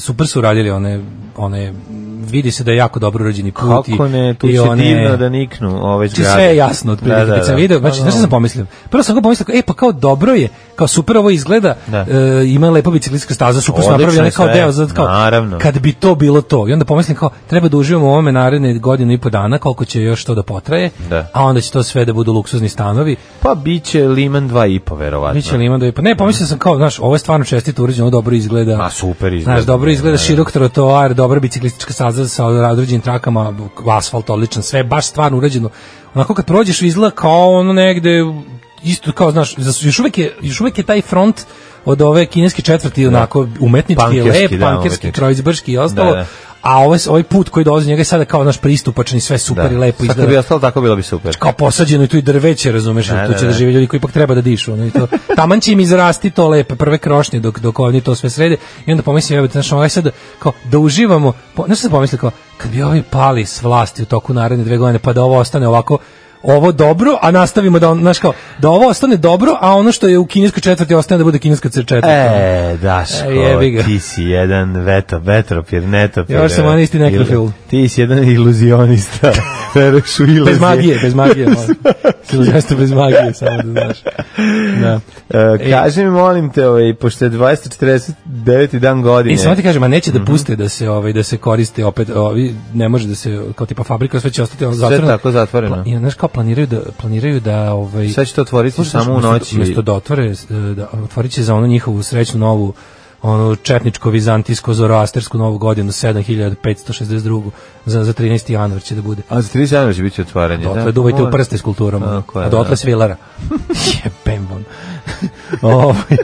F: super su radili one, one, vidi se da je jako dobro urađeni put. i-
E: Kako ne, tu
F: i
E: će
F: one-
E: divno da niknu ove
F: Znači,
E: zgrade.
F: sve je jasno otprilike da, sam video, znači
E: Pa,
F: znaš šta
E: da.
F: sam pomislio. Prvo sam ga pomislio, kao, e pa kao dobro je, kao super ovo izgleda,
E: Da.
F: e, ima lepa bicikliska staza, super su
E: Odlično
F: napravljene
E: je
F: kao
E: sve,
F: deo, za kao
E: naravno.
F: kad bi to bilo to. I onda pomislim kao treba da uživamo u ovome naredne godinu i po dana, koliko će još to da potraje,
E: Da.
F: a onda će to sve da budu luksuzni stanovi.
E: Pa biće Liman 2,5, verovatno.
F: Biće li ima da je pa ne pomislio sam kao znaš ovo je stvarno čestito urađeno dobro izgleda.
E: Ma, super izgleda.
F: Znaš dobro izgleda
E: Da, da.
F: širok trotoar, dobra biciklistička staza sa određenim trakama, asfalt odličan, sve je baš stvarno urađeno. Onako kad prođeš izgleda kao ono negde isto kao znaš za- još uvek je još uvek je taj front od ove kineske četvrti onako umetnički
E: Pankirski,
F: lep,
E: da,
F: pankirski,
E: umetnički.
F: kreuzberški i ostalo.
E: Da, da.
F: A ovaj, ovaj put koji dolazi njega je sada kao naš pristupačan i sve super i lepo
E: Sad Da. kad
F: izgleda
E: bi ostalo tako bilo bi super.
F: kao posađeno i tu i drveće, razumeš,
E: Da,
F: tu
E: da,
F: će da
E: da.
F: žive ljudi koji ipak treba da dišu, ono i to. Taman će im izrasti to lepe prve krošnje dok dok oni to sve srede i onda pomislim, evo, znaš, ovaj sad kao da uživamo, po, znaš šta sam pomislio kao kad bi ovi pali s vlasti u toku naredne dve godine pa da ovo ostane ovako ovo dobro, a nastavimo da on, znaš kao, da ovo ostane dobro, a ono što je u kineskoj četvrti ostane da bude kineska četvrti.
E: E, Daško,
F: E, jebi ga.
E: ti si jedan veto, vetropir, netopir.
F: Još sam
E: evo.
F: onaj isti nekrofil.
E: Ti si jedan iluzionista. Veruješ u iluzije.
F: Bez magije, bez magije. Jeste bez magije, samo da znaš. Da.
E: E, kaži mi, molim te, ovaj, pošto je 249. dan godine.
F: I samo ti kažem, a neće
E: Mhm.
F: da puste da se ovaj da se koriste opet ovi ne može da se kao tipa fabrika sve će ostati ono zatvoreno.
E: tako zatvoreno.
F: Pla- I znaš kao planiraju da planiraju da ovaj
E: Sad će to otvoriti samo u
F: umesto-
E: noći.
F: Umesto da otvore e, da otvorit će za onu njihovu srećnu novu ono četničko vizantijsko zoroastersku novu godinu 7562 za za 13. januar će da bude.
E: A za 30 januara će biti otvaranje.
F: Dotle
E: da?
F: duvajte u
E: Moram.
F: prste s kulturom.
E: Tako je,
F: A dotle
E: da.
F: svilara. Jebem vam. Ovaj,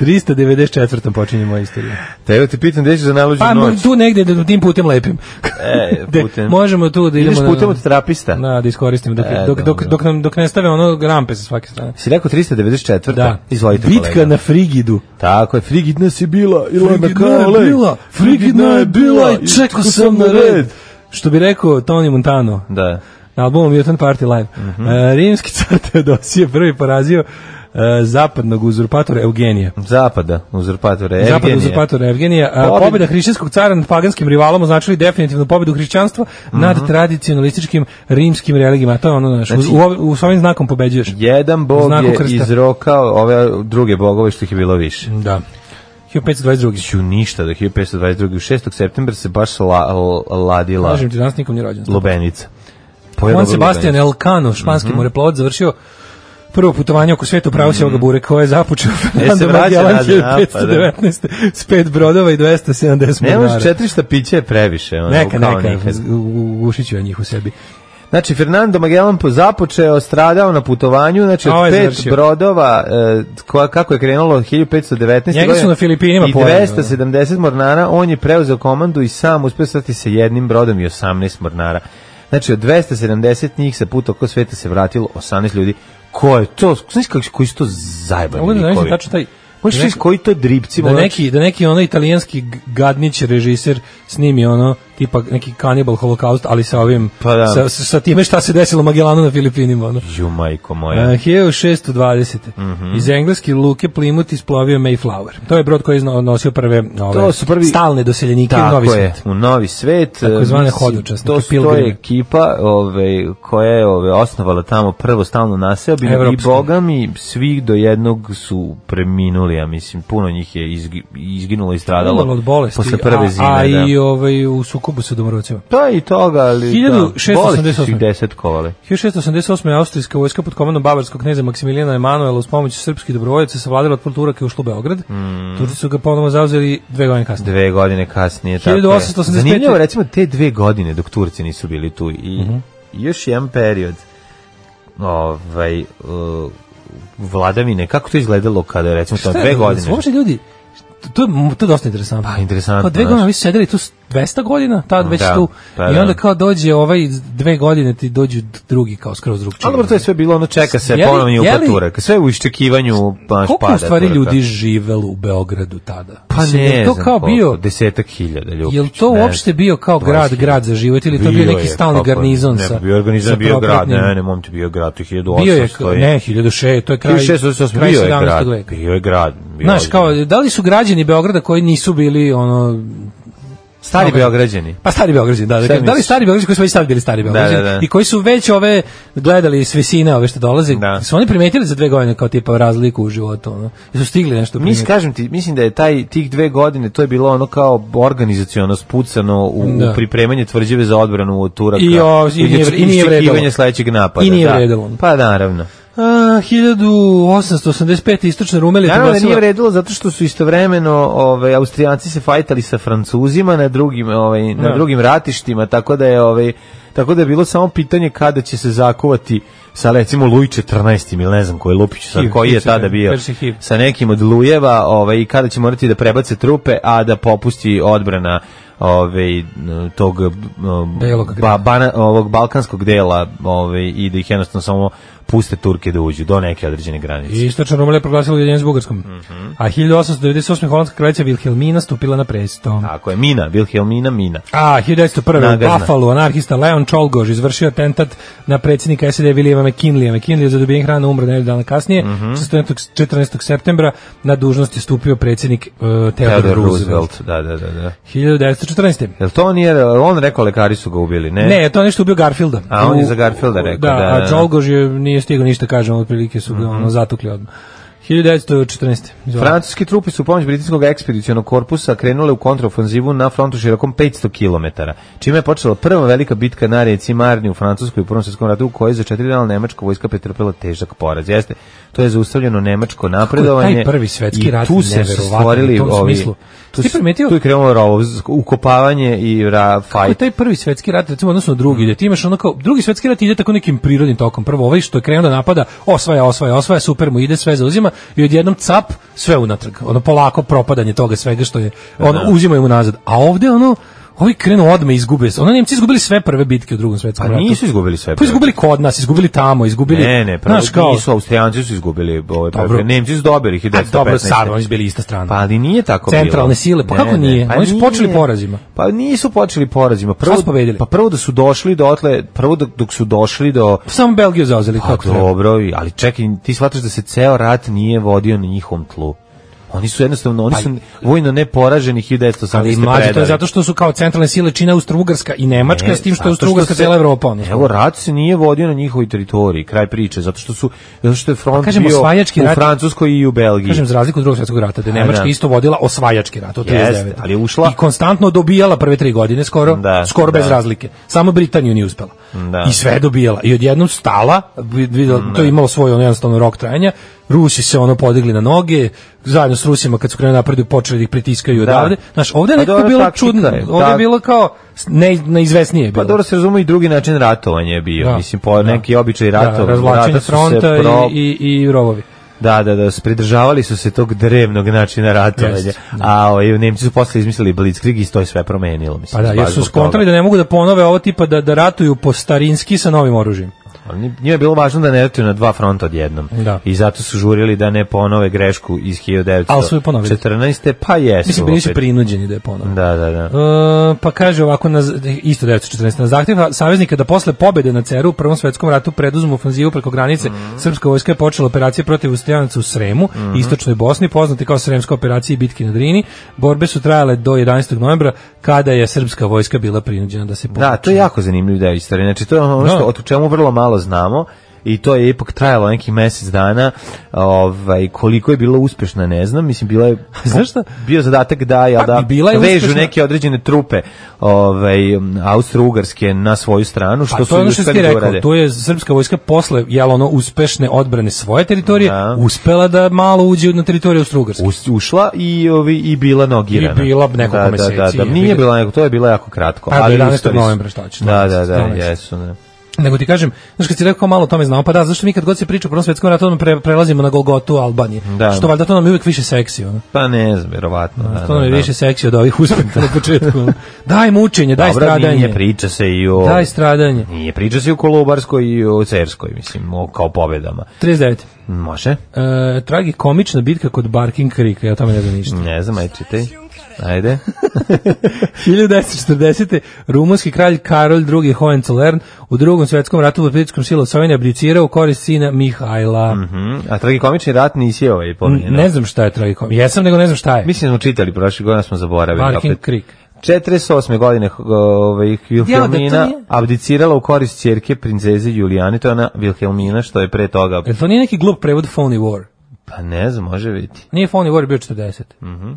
F: 394. počinje moja istorija.
E: Te evo ti pitam gde ćeš za najluđu
F: Pa
E: noć.
F: tu negde da tim putem lepim.
E: E,
F: De-
E: putem.
F: možemo tu da idemo.
E: Ideš
F: na-
E: putem od terapista.
F: Na, da iskoristimo dok,
E: E,
F: dok, dok,
E: dobro.
F: dok, nam, dok ne stave ono rampe sa svake strane.
E: Si rekao 394.
F: Da.
E: Izvolite
F: Bitka
E: kolega.
F: na Frigidu.
E: Tako je, frigidna si bila. Ilona
F: Frigidna je
E: Kale.
F: bila, Frigidna je bila i čekao sam na red. Što bi rekao Tony Montano.
E: Da. Mhm.
F: Na albumu Mutant Party Live. E, rimski car Teodosije je prvi porazio e, zapadnog uzurpatora Eugenija.
E: Zapada, uzurpatora Evgenija.
F: Zapadnog uzurpatora Evgenija. A,
E: Pobjed-
F: Pobjeda hrišćanskog cara nad paganskim rivalom označili definitivnu pobjedu hrišćanstva nad tradicionalističkim rimskim religijama. A To je ono, znaš,
E: Mhm. Znači-
F: u, u, u svojim znakom pobeđuješ.
E: Jedan
F: U
E: bog
F: znaku
E: je
F: krsta.
E: izrokao ove druge bogove što ih je bilo više.
F: Da. 1522.
E: Ću ništa, do 1522. 6. septembra se baš la, l- ladila
F: Kažem ti, danas nikom nije rođen.
E: Lubenica. Pojela
F: Juan
E: ga
F: Sebastian
E: lubenica.
F: Elcano, španski
E: Mhm.
F: moreplovat, završio prvo putovanje oko sveta u pravu mm. bure koje je započeo Fernando
E: E, vraća
F: Magellan
E: nazad, a, pa da.
F: 1519 s pet brodova i 270
E: Ne
F: mornara.
E: može 400 pića je previše. Ono,
F: Neka,
E: kao
F: neka,
E: nikad.
F: u- u- ugušit ću ja njih u sebi.
E: Znači, Fernando Magellan po- započeo, stradao na putovanju, znači,
F: A, ovo
E: od
F: je
E: pet
F: završio.
E: brodova, e, koja, kako je krenulo 1519.
F: Njega su
E: godine
F: na Filipinima
E: I
F: pojeli,
E: 270 mornara, on je preuzeo komandu i sam uspio stati sa jednim brodom i 18 mornara. Znači, od 270 njih sa puta oko sveta se vratilo 18 ljudi. Ko je to? Znaš kako, koji su to zajebani
F: Mogu da zamislim
E: likovi?
F: tačno taj...
E: Možeš
F: da
E: reći koji to dripci?
F: da
E: ono,
F: neki, da neki ono italijanski g- gadnić režiser snimi ono tipa neki kanibal holokaust ali sa ovim
E: Pa da.
F: sa, sa, sa time šta se desilo Magellanu na Filipinima ono.
E: Ju, majko
F: Uh,
E: moja.
F: 1620.
E: Mhm.
F: Iz engleske luke Plymouth isplovio Mayflower. To je brod koji je zna- nosio prve ove,
E: To su prvi-
F: stalne doseljenike u
E: Tako
F: Novi
E: je,
F: Svet.
E: u Novi svet. eh,
F: Tako zvane
E: mislim,
F: hodočasnike,
E: To su to je
F: pilgrime.
E: ekipa ove, koja je ove, osnovala tamo prvo stalno naseobinu i
F: Evropski.
E: bogami svi do jednog su preminuli, ja mislim, puno njih je izgi, izginulo i stradalo.
F: Umrlo od bolesti.
E: Posle prve zime,
F: a, a
E: da.
F: i ovaj, u sukobu sa domorodcima.
E: To je i toga, ali da,
F: 1688.
E: bolesti su ih desetkovale.
F: 1688. je austrijska vojska pod komandom bavarskog kneza Maksimilijana Emanuela uz pomoć srpskih dobrovoljaca savladala otpor Turaka i ušla u Beograd.
E: Mm.
F: Turci su ga ponovo zauzeli dve godine kasnije.
E: Dve godine kasnije. tako je.
F: 1885.
E: Zanimljivo, recimo, te dve godine dok Turci nisu bili tu i
F: Mhm.
E: još jedan period ovaj, uh, vladavine, kako to izgledalo kada je, recimo, tamo
F: Šta je,
E: dve
F: da-
E: godine?
F: da su Uopšte ljudi, to je, to je dosta interesantno.
E: Pa, interesantno,
F: Kao dve
E: znaš.
F: godine, vi su sedeli tu s- 200 godina, tad već
E: Da,
F: tu,
E: pa
F: i
E: da.
F: onda kao dođe ovaj dve godine ti dođu d- drugi, kao skroz drug
E: Ali dobro, to je sve bilo ono čeka se
F: Je li-
E: ponovni
F: je
E: upad
F: li-
E: Turaka, sve u iščekivanju baš
F: Koliko
E: pada
F: u stvari
E: Turaka.
F: ljudi živelo u Beogradu tada?
E: pa
F: Mislim,
E: ne
F: je to
E: znam
F: kao
E: koliko,
F: bio,
E: desetak hiljada ljudi.
F: Je li to uopšte bio kao grad, grad za život ili je to bio neki stalni garnizon
E: pa, ne,
F: sa
E: bio je
F: sa
E: organizam, bio je grad,
F: propratnim-
E: ne, ne, momče, bio je grad, to je 1800.
F: Bio je,
E: i-
F: ne, 1000, to je kraj,
E: 1688
F: kraj
E: bio je
F: 17.
E: grad.
F: veka.
E: Bio je grad. Bio
F: Znaš,
E: je-
F: kao, da li su građani Beograda koji nisu bili, ono,
E: Stari Beograđani.
F: pa stari Beograđani, da, da,
E: Šta
F: kažem, da li
E: misliš?
F: stari Beograđani koji su već tad bili stari Beograđani
E: da, da.
F: i koji su već ove gledali s visine ove što dolaze,
E: Da.
F: su oni primetili za dve godine kao tipa razliku u životu, ono, i su stigli nešto
E: Mislim,
F: primetiti.
E: kažem ti, mislim da je taj, tih dve godine, to je bilo ono kao organizacijono spucano u,
F: Da.
E: u pripremanje tvrđave za odbranu od Turaka.
F: I o- i nije- i nije
E: iščekivanje
F: vredalo.
E: sledećeg napada.
F: I nije
E: da.
F: vredalo.
E: Pa naravno.
F: A, 1885. istočna Rumelija
E: Naravno da
F: proglasila-
E: nije vredilo zato što su istovremeno ovaj Austrijanci se fajtali sa Francuzima na drugim ovaj na
F: Da.
E: drugim ratištima tako da je ovaj tako da je bilo samo pitanje kada će se zakuvati sa recimo Luj 14 ili ne znam koji Lupić sa
F: Hiv,
E: koji
F: Hiv
E: je
F: se
E: tada
F: zove,
E: bio
F: Persi Hiv.
E: sa nekim od Lujeva ovaj i kada će morati da prebace trupe a da popusti odbrana ovaj n- tog um,
F: Belog
E: ba, bana, ovog balkanskog dela ovaj i da ih jednostavno samo puste Turke da uđu do neke određene granice.
F: I Istočna Rumelija proglasila ujedinjenje s Bugarskom.
E: Mhm.
F: A 1898. holandska kraljica Wilhelmina stupila na presto.
E: Tako je, Mina, Wilhelmina Mina.
F: A, 1901. u
E: Nagazna.
F: Buffalo anarhista Leon Čolgož izvršio atentat na predsjednika SED Vilijeva McKinleya. McKinley je za dobijenih rana umro nedelju dana kasnije.
E: Mhm.
F: 14. 14. septembra na dužnost je stupio predsjednik uh, Theodore
E: Theodore
F: Roosevelt.
E: Roosevelt. Da, da, da, da.
F: 1914.
E: Jel to on je, on rekao lekari su ga ubili, ne?
F: Ne, to je nešto ubio Garfielda.
E: E. A, on je
F: U-
E: za Garfielda rekao,
F: Da,
E: da, Mhm. da.
F: a Čolgož je nije stigao ništa, kažem, otprilike su ga ono, zatukli odmah. 1914. izvoli.
E: Francuski trupi su u pomoć britanskog ekspedicijonog korpusa krenule u kontraofanzivu na frontu širokom 500 km, čime je počela prva velika bitka na reci Marni u Francuskoj u Prvom svjetskom ratu, u kojoj je za četiri dana nemačka vojska pretrpela težak poraz. Jeste, to je zaustavljeno nemačko napredovanje.
F: taj prvi svetski
E: i
F: rat
E: tu se
F: neverovatan
E: stvorili
F: u tom
E: ovi,
F: smislu.
E: Tu,
F: Ti
E: s-
F: primetio-
E: tu je krenulo rovovsko- ukopavanje i ra,
F: Kako je
E: fajt.
F: taj prvi svetski rat, recimo, odnosno
E: Mm.
F: drugi, gde ti imaš ono kao, drugi svetski rat ide tako nekim prirodnim tokom. Prvo ovaj što je krenuo da napada, osvaja, osvaja, osvaja, super mu ide, sve zauzima i odjednom cap, sve unatrag. Ono polako propadanje toga svega što je, ono,
E: Da.
F: uzimaju mu nazad. A ovde ono, ovi krenu odme i izgube se. Ono, Nemci izgubili sve prve bitke u drugom svetskom
E: Pa
F: ratu.
E: nisu izgubili sve.
F: Pa izgubili kod nas, izgubili tamo, izgubili...
E: Ne, ne, pravo,
F: znaš, kao,
E: nisu, Austrijanci su izgubili ove
F: Dobro.
E: pregovore. Nemci su dobili ih
F: A, dobro, sad, oni su bili ista strana.
E: Pa ali nije tako
F: Centralne
E: bilo.
F: sile, pa kako nije? Oni su počeli porazima.
E: Pa nisu počeli porazima. Prvo,
F: Šta su pobedili?
E: Pa prvo da su došli dotle, prvo da- dok, dok su došli do...
F: Samo Belgiju zauzeli,
E: Pa
F: kako treba.
E: dobro, i- ali čekaj, ti shvataš da se ceo rat nije vodio na njihovom tlu. Oni su jednostavno, oni su vojno neporaženi 1918.
F: Pa Ali mlađe, to je
E: predali.
F: zato što su kao centralne sile čine Austro-Ugarska i Nemačka,
E: Ne,
F: s tim što
E: zato
F: je Austro-Ugarska
E: se-
F: cijela Evropa. Ono.
E: Evo, rat se nije vodio na njihovoj teritoriji, kraj priče, zato što su, zato što je front
F: Pa kažem,
E: bio
F: osvajački
E: u
F: rat-
E: Francuskoj i u Belgiji.
F: Kažem, za razliku od drugog svjetskog rata, da je
E: A,
F: Nemačka
E: da.
F: isto vodila osvajački rat od 39.
E: Jeste, ali je ušla-
F: I konstantno dobijala prve tri godine, skoro,
E: Da,
F: skoro bez
E: da.
F: razlike. Samo Britaniju nije uspela.
E: Da.
F: I sve je dobijala. I odjednom stala, da, vid- videla, to je imalo svoj ono jednostavno rok trajanja, Rusi se ono podigli na noge, zajedno s s Rusima kad su krenuli napredu počeli da ih pritiskaju
E: Da.
F: odavde. Znaš, ovde
E: Pa
F: je nekako
E: dobro,
F: bilo
E: taktika
F: čudno.
E: je,
F: Ovde je
E: tak-
F: bilo kao s- ne, neizvesnije je bilo.
E: Pa dobro se razume i drugi način ratovanja je bio.
F: Da.
E: Mislim, po
F: Da.
E: neki običaj ratova.
F: Da, razvlačenje
E: rata su se
F: fronta
E: pro-
F: i, i, i rovovi.
E: Da, da, da, s- pridržavali su se tog drevnog načina ratovanja.
F: Jest,
E: A ovaj, Nemci su posle izmislili Blitzkrieg i to je sve promenilo. Mislim,
F: Pa da, jer
E: baš
F: su
E: zbog toga.
F: skontali da ne mogu da ponove ovo tipa da, da ratuju po starinski sa novim oružjem.
E: Ali Njima je bilo važno da ne ratuju na dva fronta odjednom.
F: Da.
E: I zato su žurili da ne ponove grešku iz
F: Ali su je ponovili.
E: 1914. Pa jesu.
F: Mislim, bili su
E: opet.
F: prinuđeni da je ponove.
E: Da, da, da.
F: E, pa kaže ovako na, z- isto 914 na zahtjev saveznika da posle pobede na Ceru u Prvom svetskom ratu preduzmu ofanzivu preko granice srpska vojska je počela operacije protiv Austrijanaca u Sremu i istočnoj Bosni poznate kao Sremska operacija i bitke na Drini borbe su trajale do 11. novembra kada je srpska vojska bila prinuđena da se povuče
E: Da, to je jako zanimljiv deo istorije. Znači, to je ono
F: Da.
E: što, o čemu vrlo malo znamo i to je ipak trajalo neki mesec dana. Ovaj, koliko je bilo uspešna, ne znam. Mislim, bila je,
F: Znaš šta?
E: bio zadatak da, jel
F: Pa,
E: da
F: i bila je
E: vežu
F: uspešna.
E: neke određene trupe ovaj, Austro-Ugarske na svoju stranu, što
F: Pa
E: su
F: to je ono
E: i
F: što si
E: uspeli
F: ti
E: da
F: rekao,
E: urade.
F: to je srpska vojska posle jel ono uspešne odbrane svoje teritorije
E: Da.
F: uspela da malo uđe na teritoriju Austrougarske.
E: Us- ušla i ovi i bila nogirana.
F: I bila nekoliko
E: da,
F: meseci,
E: Da, da, da.
F: jebi ga.
E: Nije bila nego, to je bila jako kratko.
F: Pa do 11.
E: uspeli su.
F: novembra, šta hoćeš,
E: Da, da, da,
F: 12.
E: jesu. Da.
F: Nego ti kažem, znaš kad si rekao kao malo o tome znamo, pa da, zašto mi kad god se priča o Prvom svetskom ratu, onda pre, prelazimo na Golgotu Albanije.
E: Da.
F: Što valjda to nam je uvijek više seksi, ono.
E: Pa ne znam, verovatno. Da,
F: To nam
E: da,
F: je
E: da.
F: više seksi od ovih uspeha na početku. ono. Daj mučenje, daj
E: Dobro,
F: stradanje.
E: nije, priča se i o...
F: Daj stradanje.
E: Nije, priča se i o Kolubarskoj i o Cerskoj, mislim, o, kao pobedama.
F: 39.
E: Može?
F: E, tragikomična bitka kod Barking Krika, ja o tome ne znam ništa.
E: Ne znam, aj čitaj. Ajde.
F: 1940. rumunski kralj Karol II. Hohenzollern u drugom svetskom ratu pod pritiskom sila Sovjene abdicirao u korist sina Mihajla.
E: Mhm. A tragikomični rat nisi ovaj
F: N-
E: pominjen.
F: Ne znam šta je tragikomična. Jesam, nego ne znam šta je.
E: Mislim, da smo čitali, prošle godine smo zaboravili.
F: Barking
E: opet.
F: Krik.
E: 48. godine ovaj,
F: Ja, da to
E: Vilhelmina
F: nije-
E: abdicirala u korist ćerke princeze Julijane, to je ona Vilhelmina što je pre toga,
F: Jel to nije neki glup prevod Phony War?
E: pa ne znam, može biti.
F: Nije Phony War, bio 40. Mm
E: Mhm.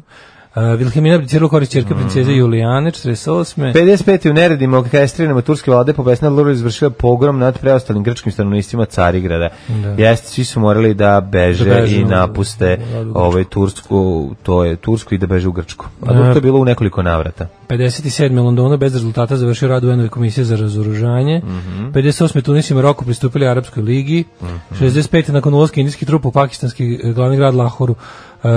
F: Vilhelmina abdicirala korist čerke princeze Julijane, 48.
E: 55. u neredima orkestrinama turske vlade pobesna Lura izvršila pogrom nad preostalim grčkim stanovnicima Carigrada. Jeste, svi su morali da beže,
F: Da beže,
E: i
F: ono,
E: napuste
F: da, da, da.
E: ovaj Tursku, to je Tursku i da beže u Grčku. A dok to je bilo u nekoliko navrata.
F: 57. Londonu bez rezultata završio rad UN-ove komisije za razoružanje.
E: Mhm.
F: 58. Tunis i Maroko pristupili Arapskoj ligi. 65. nakon ulazka indijskih trupa u pakistanski eh, glavni grad Lahoru eh,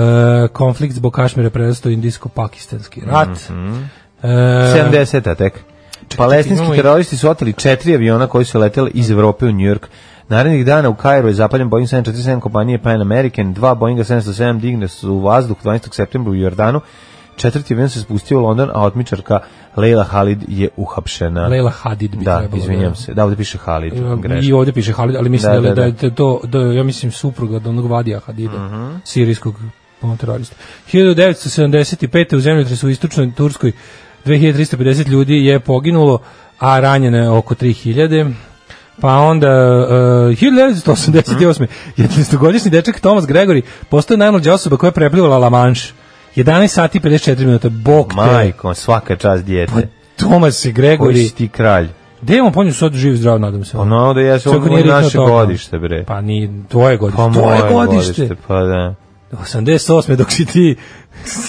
F: konflikt zbog Kašmira prerastao u indijsko-pakistanski rat.
E: Mhm.
F: Eh,
E: 70. tek. Palestinski
F: imamo i-
E: teroristi su oteli četiri aviona koji su leteli iz Evrope u Njujork. Narednih dana u Kairu je zapaljen Boeing 747 kompanije Pan American, dva Boeinga 707 digne su u vazduh 12. septembra u Jordanu, četvrti avion se spustio u London, a otmičarka Leila Halid je uhapšena.
F: Leila Hadid bi
E: da,
F: trebalo
E: izvinjam se, da ovde piše Halid,
F: I
E: greška.
F: ovdje piše Halid, ali mislim
E: Da,
F: da, li- da,
E: da, da.
F: je te to, da, je, ja mislim, supruga od onog Vadija Hadida,
E: Mhm.
F: sirijskog ono, terorista. 1975. u zemljotresu u istočnoj Turskoj 2350 ljudi je poginulo, a ranjeno je oko 3000. Pa onda, uh, 1988.
E: Mhm.
F: 11-godišnji dečak Thomas Gregory postoje najmlađa osoba koja je preplivala La Manche. 11 sati i 54 minuta, bok te.
E: Majko, svaka čast
F: Pa,
E: djete.
F: Thomas
E: Koji
F: Gregory.
E: si ti kralj?
F: Gde je on ponju sad živ i zdrav, nadam se.
E: Ono da ja
F: Čak
E: sam
F: nije
E: naše
F: riknuo toga.
E: godište, bre.
F: Pa ni tvoje godište.
E: E. Pa
F: tvoje
E: moje
F: godište.
E: Pa da.
F: 88. dok si ti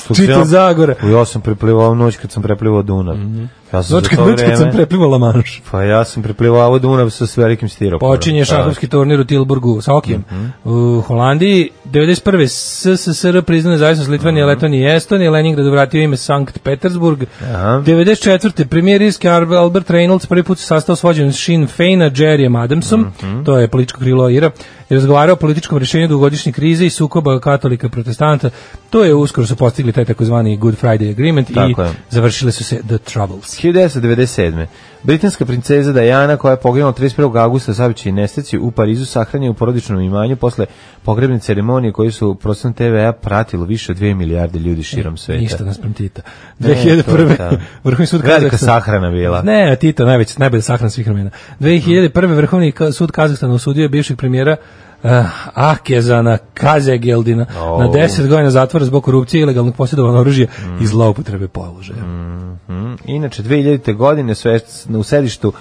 E: Dok sam
F: čito
E: ja-
F: Zagora.
E: Ja sam preplivao noć kad sam preplivao Dunav. Ja sam
F: Mhm. Noć
E: za
F: Znači, kad
E: to
F: noć kad sam
E: vreme...
F: preplivala manš.
E: Pa ja sam preplivao Dunav sa s velikim Pa- stiroporom.
F: Počinje šahovski turnir u Tilburgu sa Okijem.
E: Mhm.
F: U Holandiji 91. SSSR priznane zavisnost
E: Mhm.
F: Litvanije, Letonije i Estonije, Leningrad vratio ime Sankt Petersburg.
E: Aha.
F: 94. premijer Irske Ar- Albert Reynolds prvi put se sastao s vođenom Sinn Feina, Jerryjem Adamsom,
E: Mhm.
F: to je političko krilo Ira, i razgovarao o političkom rješenju dugogodišnje krize i sukoba katolika i protestanta. To je uskoro su postigli taj takozvani Good Friday Agreement
E: Tako
F: i
E: je.
F: završile su se The Troubles.
E: 1997. Britanska princeza Diana, koja je poginula 31. augusta sabići i nesteci u Parizu, sahranjena je u porodičnom imanju posle pogrebne ceremonije koju su prostom TV-a pratilo više od 2 milijarde ljudi širom sveta.
F: E, Ništa da- nas prem Tita.
E: to je
F: 2001.
E: ta-
F: Vrhovni sud da
E: Velika
F: Kazahstana.
E: sahrana bila.
F: Ne, Tito, najveća, najbolja sahrana svih vremena. 2001. Vrhovni ka- sud Kazahstana osudio je bivšeg premijera uh, Akezana Kazegeldina
E: O.
F: na 10 godina zatvora zbog korupcije, ilegalnog posjedovanja oružja
E: Mm.
F: i zloupotrebe položaja.
E: Mhm. Inače, 2000. godine ovaj, sve, u sedištu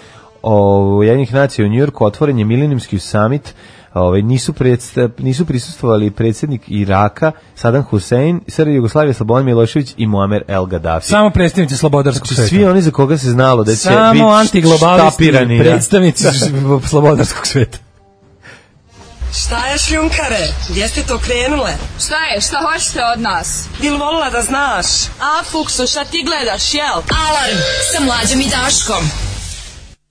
E: o, Jedinih nacija u Njujorku otvoren je milenijski summit ovaj, nisu, predstav, nisu prisustovali predsjednik Iraka, Saddam Hussein, Srbija Jugoslavija, Slobodan Milošević i Muamer El Gaddafi.
F: Samo predstavnici slobodarskog
E: Znači,
F: sveta.
E: svi oni za koga se znalo da će
F: Samo
E: biti
F: antiglobalisti,
E: štapirani, da.
F: predstavnici slobodarskog sveta.
G: Šta je šljunkare? Gdje ste to krenule?
H: Šta je? Šta hoćete od nas?
G: Bil volila da znaš? A, Fuksu, šta ti gledaš, jel?
D: Alarm sa mlađom i Daškom.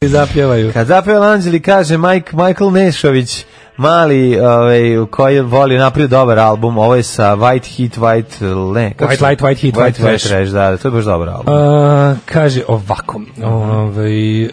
F: I zapjevaju.
E: Kad zapeo Anđeli kaže Mike, Michael Nešović, mali ovaj, koji voli napravio dobar album, ovo je sa White Heat, White... Ne, kako
F: White
E: se-
F: Light, White Heat, White Trash. Uh,
E: da, to je baš dobar album.
F: A, kaže ovako, ovaj,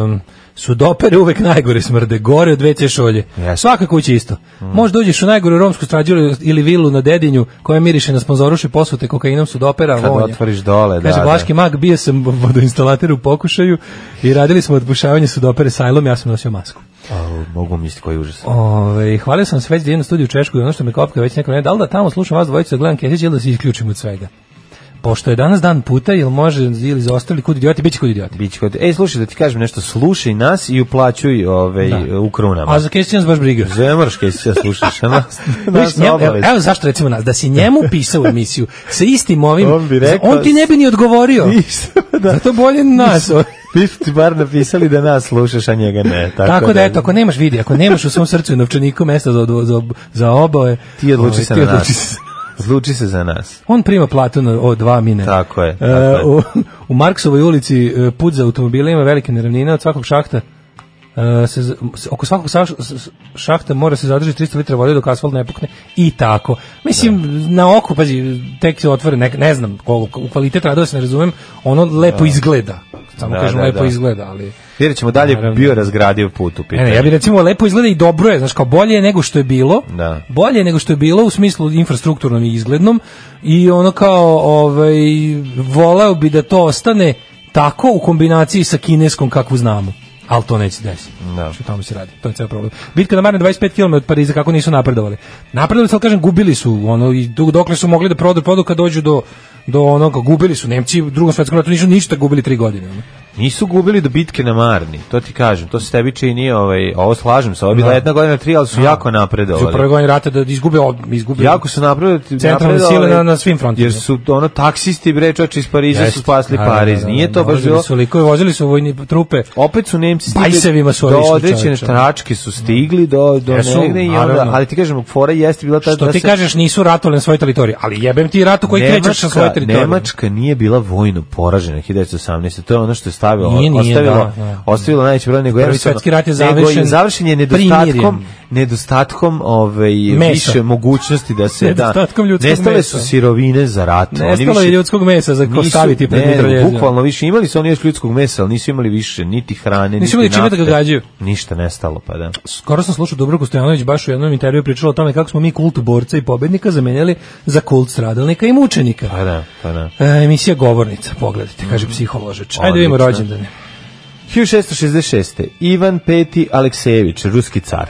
F: um, sudopere uvek najgore smrde, gore od WC šolje.
E: Jeste.
F: Svaka kuća isto. Možda uđeš u najgoru romsku strađu ili vilu na Dedinju koja miriše na sponzoruše posute kokainom sudopera,
E: Kad
F: vonja.
E: otvoriš dole, da,
F: Kaže,
E: da.
F: Blaški mag, bio sam vodoinstalater u pokušaju i radili smo odbušavanje sudopere sajlom, ja sam nosio masku.
E: Au, mogu misliti koji užas.
F: Ove, hvalio sam se već da idem na studiju u Češku i ono što me kopka već neko ne, da li da tamo slušam vas dvojicu da gledam Kesić ili da se isključim od svega? Pošto je danas dan puta, jel može ili zaostali kud idioti, bit će kud idioti.
E: Bić kod... Ej, slušaj, da ti kažem nešto, slušaj nas i uplaćuj ovaj,
F: Da.
E: u krunama.
F: A za Kesić nas baš briga.
E: Zemrške si ja slušaš, a nas,
F: Viš,
E: nas
F: njemu- evo,
E: obavez.
F: evo zašto recimo nas, da si njemu pisao emisiju sa istim ovim,
E: On bi rekao-
F: on ti ne bi ni odgovorio.
E: Ništa, da.
F: Zato bolje nas.
E: Vi ste bar napisali da nas slušaš, a njega ne. Tako,
F: Tako da eto, ako nemaš vidi, ako nemaš u svom srcu i novčaniku mesta za, odvo- za, ob- za oboje,
E: Ti odluči
F: ovaj,
E: se
F: ti
E: na
F: odluči se.
E: nas. Zluči se za nas.
F: On prima platu na- od dva mine.
E: Tako je,
F: E,
E: tako je.
F: u, u Marksovoj ulici e, put za automobile ima velike neravnine od svakog šahta. e, se, z- s- oko svakog saš- s- s- šahta mora se zadržati 300 litra vode dok asfalt ne pukne i tako. Mislim,
E: Da.
F: na oku, pazi, tek se otvore, ne, ne znam, koliko, u kvalitet radova se ne razumem, ono lepo izgleda. Samo
E: Da,
F: kažem,
E: da,
F: lepo
E: da.
F: izgleda, ali...
E: Vjerit ćemo dalje,
F: Naravno. E,
E: bio je razgradio put u pitanju.
F: Ne, ne, ja bih recimo lepo izgleda i dobro je, znaš, kao bolje je nego što je bilo.
E: Da.
F: Bolje je nego što je bilo u smislu infrastrukturnom i izglednom i ono kao ovaj voleo bi da to ostane tako u kombinaciji sa kineskom kakvu znamo. Ali to neće desiti.
E: Da.
F: Što tamo se radi. To je ceo problem. Bitka na Marne 25 km od Pariza kako nisu napredovali. Napredovali su, ali kažem, gubili su ono i dok- dokle su mogli da produ produ kad dođu do do onoga gubili su Nemci u drugom svetskom ratu nisu ništa gubili tri godine. ono. Znači,
E: Nisu gubili do bitke na Marni, to ti kažem, to se tebi čini, ovaj, ovo slažem se, ovo je bila
F: Da.
E: jedna godina tri, ali su jako
F: Su u
E: napredovali.
F: prvoj godini rata da izgube ob- izgubili
E: Jako su napredovali.
F: Centralne
E: napredovali,
F: sile na- na svim frontovima.
E: ovaj- Jer su ono taksisti bre čoveče iz Pariza
F: Jeste.
E: su spasli
F: Da, da,
E: Pariz.
F: da, da,
E: Nije
F: da,
E: to baš
F: vozili
E: bilo.
F: su likove, vozili su vojni trupe.
E: Opet su Nemci stigli
F: Bajsevima su
E: do
F: otišli,
E: određene
F: čoveče.
E: tačke su stigli do do
F: Jesu,
E: negde i onda,
F: naravno.
E: ali ti kažem fora jeste bila ta
F: Što
E: da
F: ti
E: se-
F: kažeš nisu ratovali na svojoj teritoriji, ali jebem ti ratu koji krećeš na svojoj teritoriji.
E: Nemačka nije bila vojno poražena 1918. To je ono što je stavilo,
F: Nije, nije,
E: ostavilo,
F: da, da.
E: ostavilo najveći broj nego
F: Prvi
E: jednostavno-
F: svetski rat je
E: nego
F: završen
E: završen je nedostatkom,
F: primirjem.
E: nedostatkom ovaj,
F: Mesa.
E: više mogućnosti da se... da,
F: Nedostatkom ljudskog
E: Nestale
F: mesa.
E: su sirovine za rat. Oni
F: Nestalo
E: više
F: je ljudskog mesa za ko
E: nisu-
F: staviti pred
E: ne,
F: mitraljezom.
E: Bukvalno više. Imali su oni još ljudskog mesa, ali nisu imali više niti hrane, niti
F: imali čime da ga
E: nafte.
F: gađaju.
E: Ništa nestalo, pa da.
F: Skoro sam slušao Dubroku Stojanović baš u jednom intervju pričala o tome kako smo mi kult borca i pobednika zamenjali za kult stradalnika i mučenika.
E: Pa da, pa da.
F: E, emisija Govornica, pogledajte, kaže psiholožač. Ajde vidimo
E: Odlično.
F: rođendane.
E: 1666. Ivan V. Aleksejević, ruski car.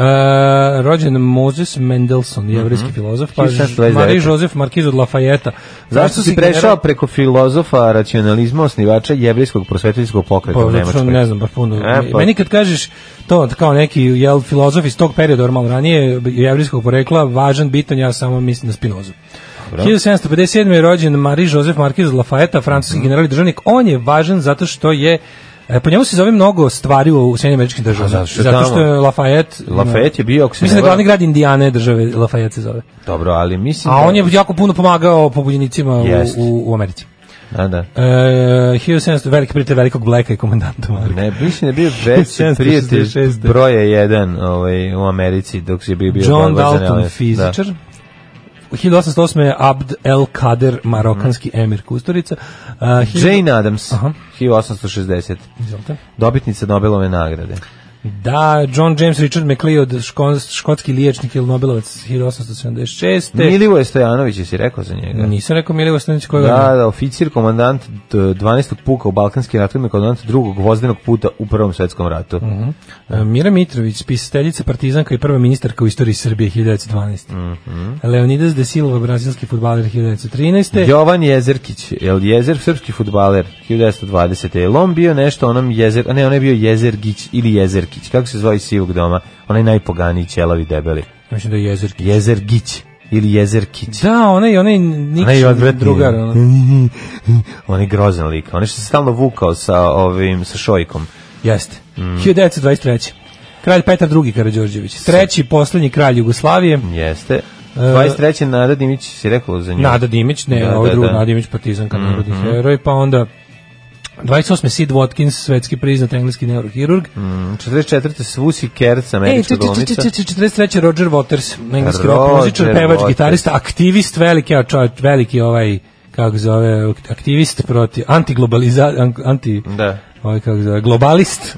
F: E, rođen Moses Mendelssohn, jevrijski
E: Mhm.
F: filozof, pa
E: 1729.
F: Marie Joseph Markiz od Lafayette.
E: Zašto si prešao preko filozofa racionalizma osnivača jevrijskog prosvetiteljskog pokreta u
F: Pa, zato što
E: Nemačkoj?
F: ne znam, baš puno.
E: E, pa-
F: Meni kad kažeš to kao neki jel, filozof iz tog perioda, jer malo ranije, jevrijskog porekla, važan, bitan, ja samo mislim na Spinozu. 1757. je rođen Marie-Joseph Marquis de Lafayette,
E: Mhm.
F: francuski general i državnik. On je važan zato što je e, Po njemu se zove mnogo stvari u Sjedinim američkim državama.
E: zato što je
F: Zato što
E: tamo-
F: je Lafayette... e,
E: Lafayette je bio, ako se
F: Mislim da
E: ne
F: je glavni
E: varam-
F: grad Indijane države Lafayette se zove.
E: Dobro, ali mislim
F: A
E: da-
F: on je jako puno pomagao pobunjenicima u,
E: Jeste.
F: u, u Americi.
E: Da, da.
F: E, 1700, veliki prijatelj velikog Bleka i komandanta Marka.
E: Ne, mislim da je bio veći
F: 1766.
E: prijatelj broja jedan ovaj, u Americi dok si je bio bio
F: John
E: Balvazan, ali-
F: Dalton, fizičar.
E: Da.
F: U 1808. je Abd el Kader, marokanski emir Kusturica. Uh,
E: Mhm. Jane Adams,
F: Aha.
E: 1860.
F: Izvolite.
E: Dobitnica Nobelove nagrade.
F: Da, John James Richard MacLeod, škon, škotski liječnik ili Nobelovac 1876.
E: Milivoje Stojanović, jesi rekao za njega?
F: Nisam rekao Milivo Stanić koga
E: Da, da, oficir, komandant d- 12. puka u Balkanskim ratovima, komandant drugog vozdenog puta u Prvom svetskom ratu.
F: E, Mira Mitrović, pisateljica, partizanka i prva ministarka u istoriji Srbije 1912.
E: Mhm.
F: Leonidas de Silva, brazilski futbaler 1913.
E: Jovan Jezerkić, je li Jezer srpski futbaler 1920. Je li on bio nešto onom Jezer, a ne, on je bio Jezergić ili Jezerkić. Jezerkić. Kako se zove iz Sivog doma? Onaj najpoganiji ćelavi debeli.
F: Mislim da je jezer.
E: Jezergić ili Jezerkić.
F: Da, onaj, onaj Nikšić,
E: Onaj odvratni.
F: drugar. ono.
E: Onaj grozan lik. Onaj što se stalno vukao sa, ovim, sa šojkom.
F: Jeste.
E: Mm.
F: 1923. Kralj Petar II. Karadžorđević. Treći, poslednji kralj Jugoslavije.
E: Jeste. 23. Nada Dimić si rekao za nju.
F: Nada Dimić, ne,
E: Da,
F: ovo je
E: da,
F: drugo,
E: da.
F: Nada Dimić, partizanka, narodni heroj, pa onda 28. Sid Watkins, svetski priznat engleski neurohirurg. E,
E: Mm, 44. Svusi Kerc,
F: Ej, če- če-
E: američka
F: če-
E: glumica.
F: če- če- 43. Roger Waters, engleski
E: Roger
F: rock muzičar, pevač,
E: Waters.
F: gitarista, aktivist, veliki, a čovječ, veliki ovaj, kako se zove, aktivist protiv, antiglobaliza, an- anti,
E: Da. Mhm.
F: ovaj, kako se zove, globalist.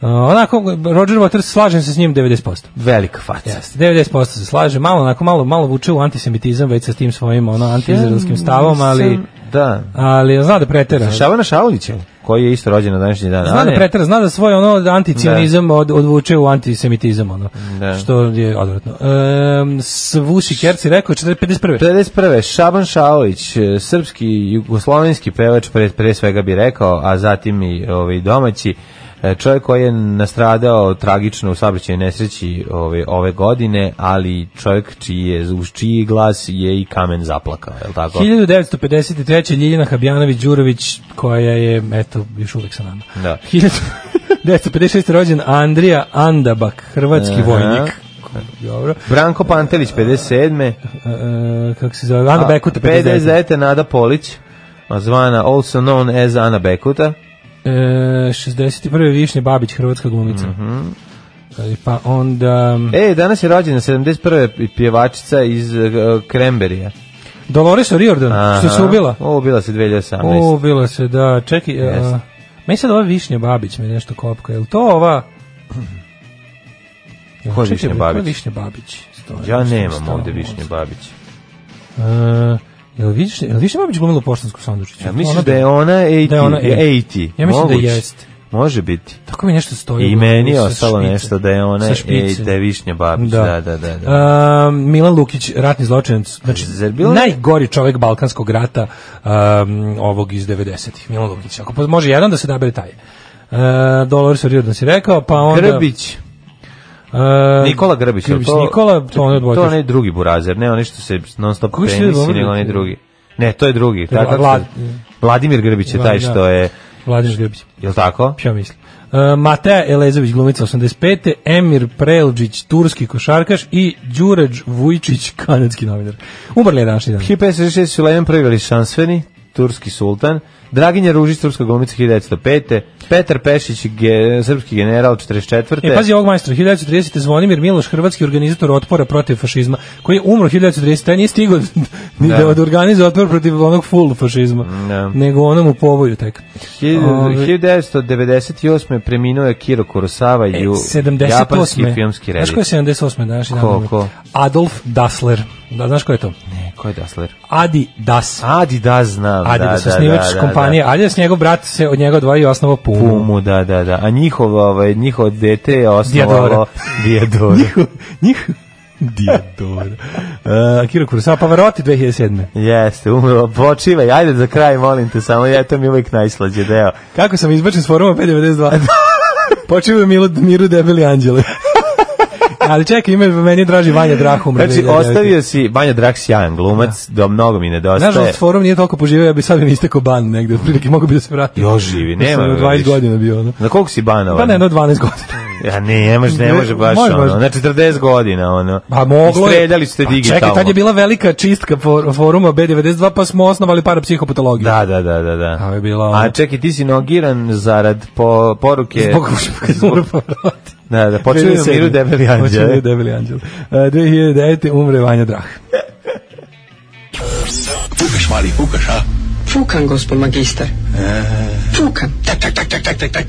F: A, onako, Roger Waters, slažem se s njim 90%.
E: Velika faca.
F: Jeste, 90% se slaže, malo onako malo malo vuče u antisemitizam već sa tim svojim ono antiizraelskim stavom, ali
E: Nisam- Da.
F: ali zna da pretera.
E: Šavana Šaulića, koji je isto rođen na današnji dan.
F: Zna
E: A
F: da
E: ne,
F: pretera, zna da svoj ono anticionizam od, odvuče u antisemitizam ono.
E: Da.
F: Što je odvratno. Ehm Svuši Kerci rekao 451.
E: 51. Šaban Šaović, e, srpski jugoslovenski pevač, pre, pre svega bi rekao, a zatim i ovaj, domaći, e, čovjek koji je nastradao tragično u saobraćajnoj nesreći ove, ove godine, ali čovjek čiji je, uz čiji glas je i kamen zaplakao, je li tako?
F: 1953. Ljiljana Habjanović Đurović koja je eto još uvek sa nama.
E: Da.
F: 1956. rođen Andrija Andabak, hrvatski
E: Aha.
F: vojnik. Dobro.
E: Branko Pantelić, 57.
F: E, kako se zove, Ana
E: A,
F: Bekuta 59.
E: 59. Nada Polić, a zvana also known as Ana Bekuta.
F: E, 61. Višnje Babić, hrvatska glumica.
E: Mhm.
F: E, Pa onda...
E: E, danas je rođena 71. pjevačica iz e, Kremberija.
F: Dolores O'Riordan, što se ubila.
E: Ovo bila se 2018.
F: O, ubila se, da, čekaj. e,
E: Jeste.
F: Meni sad ova Višnja Babić me nešto kopka. Je li to ova...
E: Ko je
F: Čekaj,
E: Višnja
F: bre, Ko
E: Babić?
F: je Višnja Babić? Stoji,
E: ja
F: nešto mi
E: nemam
F: stalo
E: ovde
F: u
E: Višnje
F: mozgu.
E: Babić.
F: E, Jel Višnja, jel Višnja Babić glumila u Poštansku sandučiću?
E: Ja misliš da je ona 80?
F: Da je ona 80.
E: 80.
F: Ja mislim da
E: Moguće.
F: jeste.
E: Može biti.
F: Tako mi nešto stoji.
E: I
F: u-
E: meni je
F: sa
E: ostalo
F: špice.
E: nešto da je ona
F: Sa
E: ej,
F: špice.
E: da je Višnja Babić. Da, da, da. da,
F: Um, Milan Lukić, ratni zločinac, znači
E: Zar bilo-
F: najgori čovjek balkanskog rata um, ovog iz 90-ih, Milan Lukić. Ako pa- može jedan da se dabere taj. Uh, Dolores O'Riordan si rekao, pa onda...
E: Grbić,
F: e,
E: Nikola Grbić, jel
F: Grbić Nikola, to on je
E: To
F: odvojkaš.
E: onaj drugi burazer, ne onaj što se non stop
F: Kako se
E: penisi,
F: zove?
E: nego onaj drugi. Ne, to je drugi.
F: Vla-
E: Tako,
F: Vlad-
E: Vladimir Grbić je taj
F: Da.
E: što je,
F: Vladimir Grbić,
E: jel tako?
F: ja mislim. Uh, Mateja Elezović, glumica 85. Emir Prelđić, turski košarkaš i Đuređ Vujčić, kanadski novinar. Umrli je današnji dan.
E: 1566 Sulejman prvi veličanstveni, turski sultan, Draginja Ružić, turska glumica 1905. Petar Pešić, ge, srpski general 44.
F: E, pazi ovog majstora, 1930. Zvonimir Miloš, hrvatski organizator otpora protiv fašizma, koji je umro 1930. Taj nije stigao ni da,
E: Da.
F: da organizuje otpor protiv onog full fašizma,
E: Da.
F: nego onom u povoju tek. Ove,
E: 1998. preminuo je Kiro Kurosawa,
F: e,
E: ju, japanski filmski
F: Znaš ko je
E: reditelj.
F: 78. današnji dan?
E: Ko,
F: umro?
E: ko?
F: Adolf Dassler. Da, znaš ko je to?
E: Ne, E, ko je Dassler?
F: Adi Das.
E: Adi da znam,
F: Adi pa
E: da,
F: Das,
E: da,
F: osnivač
E: da, da,
F: kompanije. Da, Adidas, njegov brat se od njega odvojio i osnovao Pumu.
E: Da. Pumu, da, da, da. A njihovo, ovaj, njihovo dete je osnovalo Dijadora.
F: Njihov, njih, Diodor. Uh, Kiro Kurosawa, Pavarotti 2007.
E: Jeste, umro, počivaj, ajde za kraj, molim te, samo ja, to mi je uvijek najslađe deo.
F: Kako sam izbačen s foruma 592? Počeo Milu, Miru Debeli Anđele. Ali čekaj, ime meni je draži Vanja Drahum.
E: Znači,
F: 2009.
E: ostavio si Banja Drak sjajan glumac, da. mnogo mi nedostaje.
F: Nažalost, forum nije toliko poživio, ja bi sad im istekao ban negde, otprilike mogu bi da se vratim.
E: Još živi, nema
F: Da sam
E: ga
F: u 20
E: više.
F: godina bio, ono.
E: Na koliko si banova?
F: Pa ne, no 12 godina.
E: Ja ne, ne može, ne može baš
F: Može,
E: ono.
F: može.
E: Na 40 godina ono.
F: Pa moglo je.
E: Streljali ste
F: Pa
E: digitalno.
F: Čekaj, tad je bila velika čistka for, foruma B92, pa smo osnovali parapsihopatologiju.
E: Da, da, da, da, da.
F: A je bila ono-
E: A čekaj, ti si nogiran zarad po, poruke.
F: Zbog umre Pavarotti.
E: Da, da, počeo je u
F: 2007.
E: miru debeli
F: Počeo je
E: anđele.
F: debeli anđel. E, 2009. umre Vanja Drah.
I: Fukaš, mali, fukaš, a?
G: Fukan, gospod magistar. Fukan.
I: Tak, tak, tak, tak, tak, tak, tak.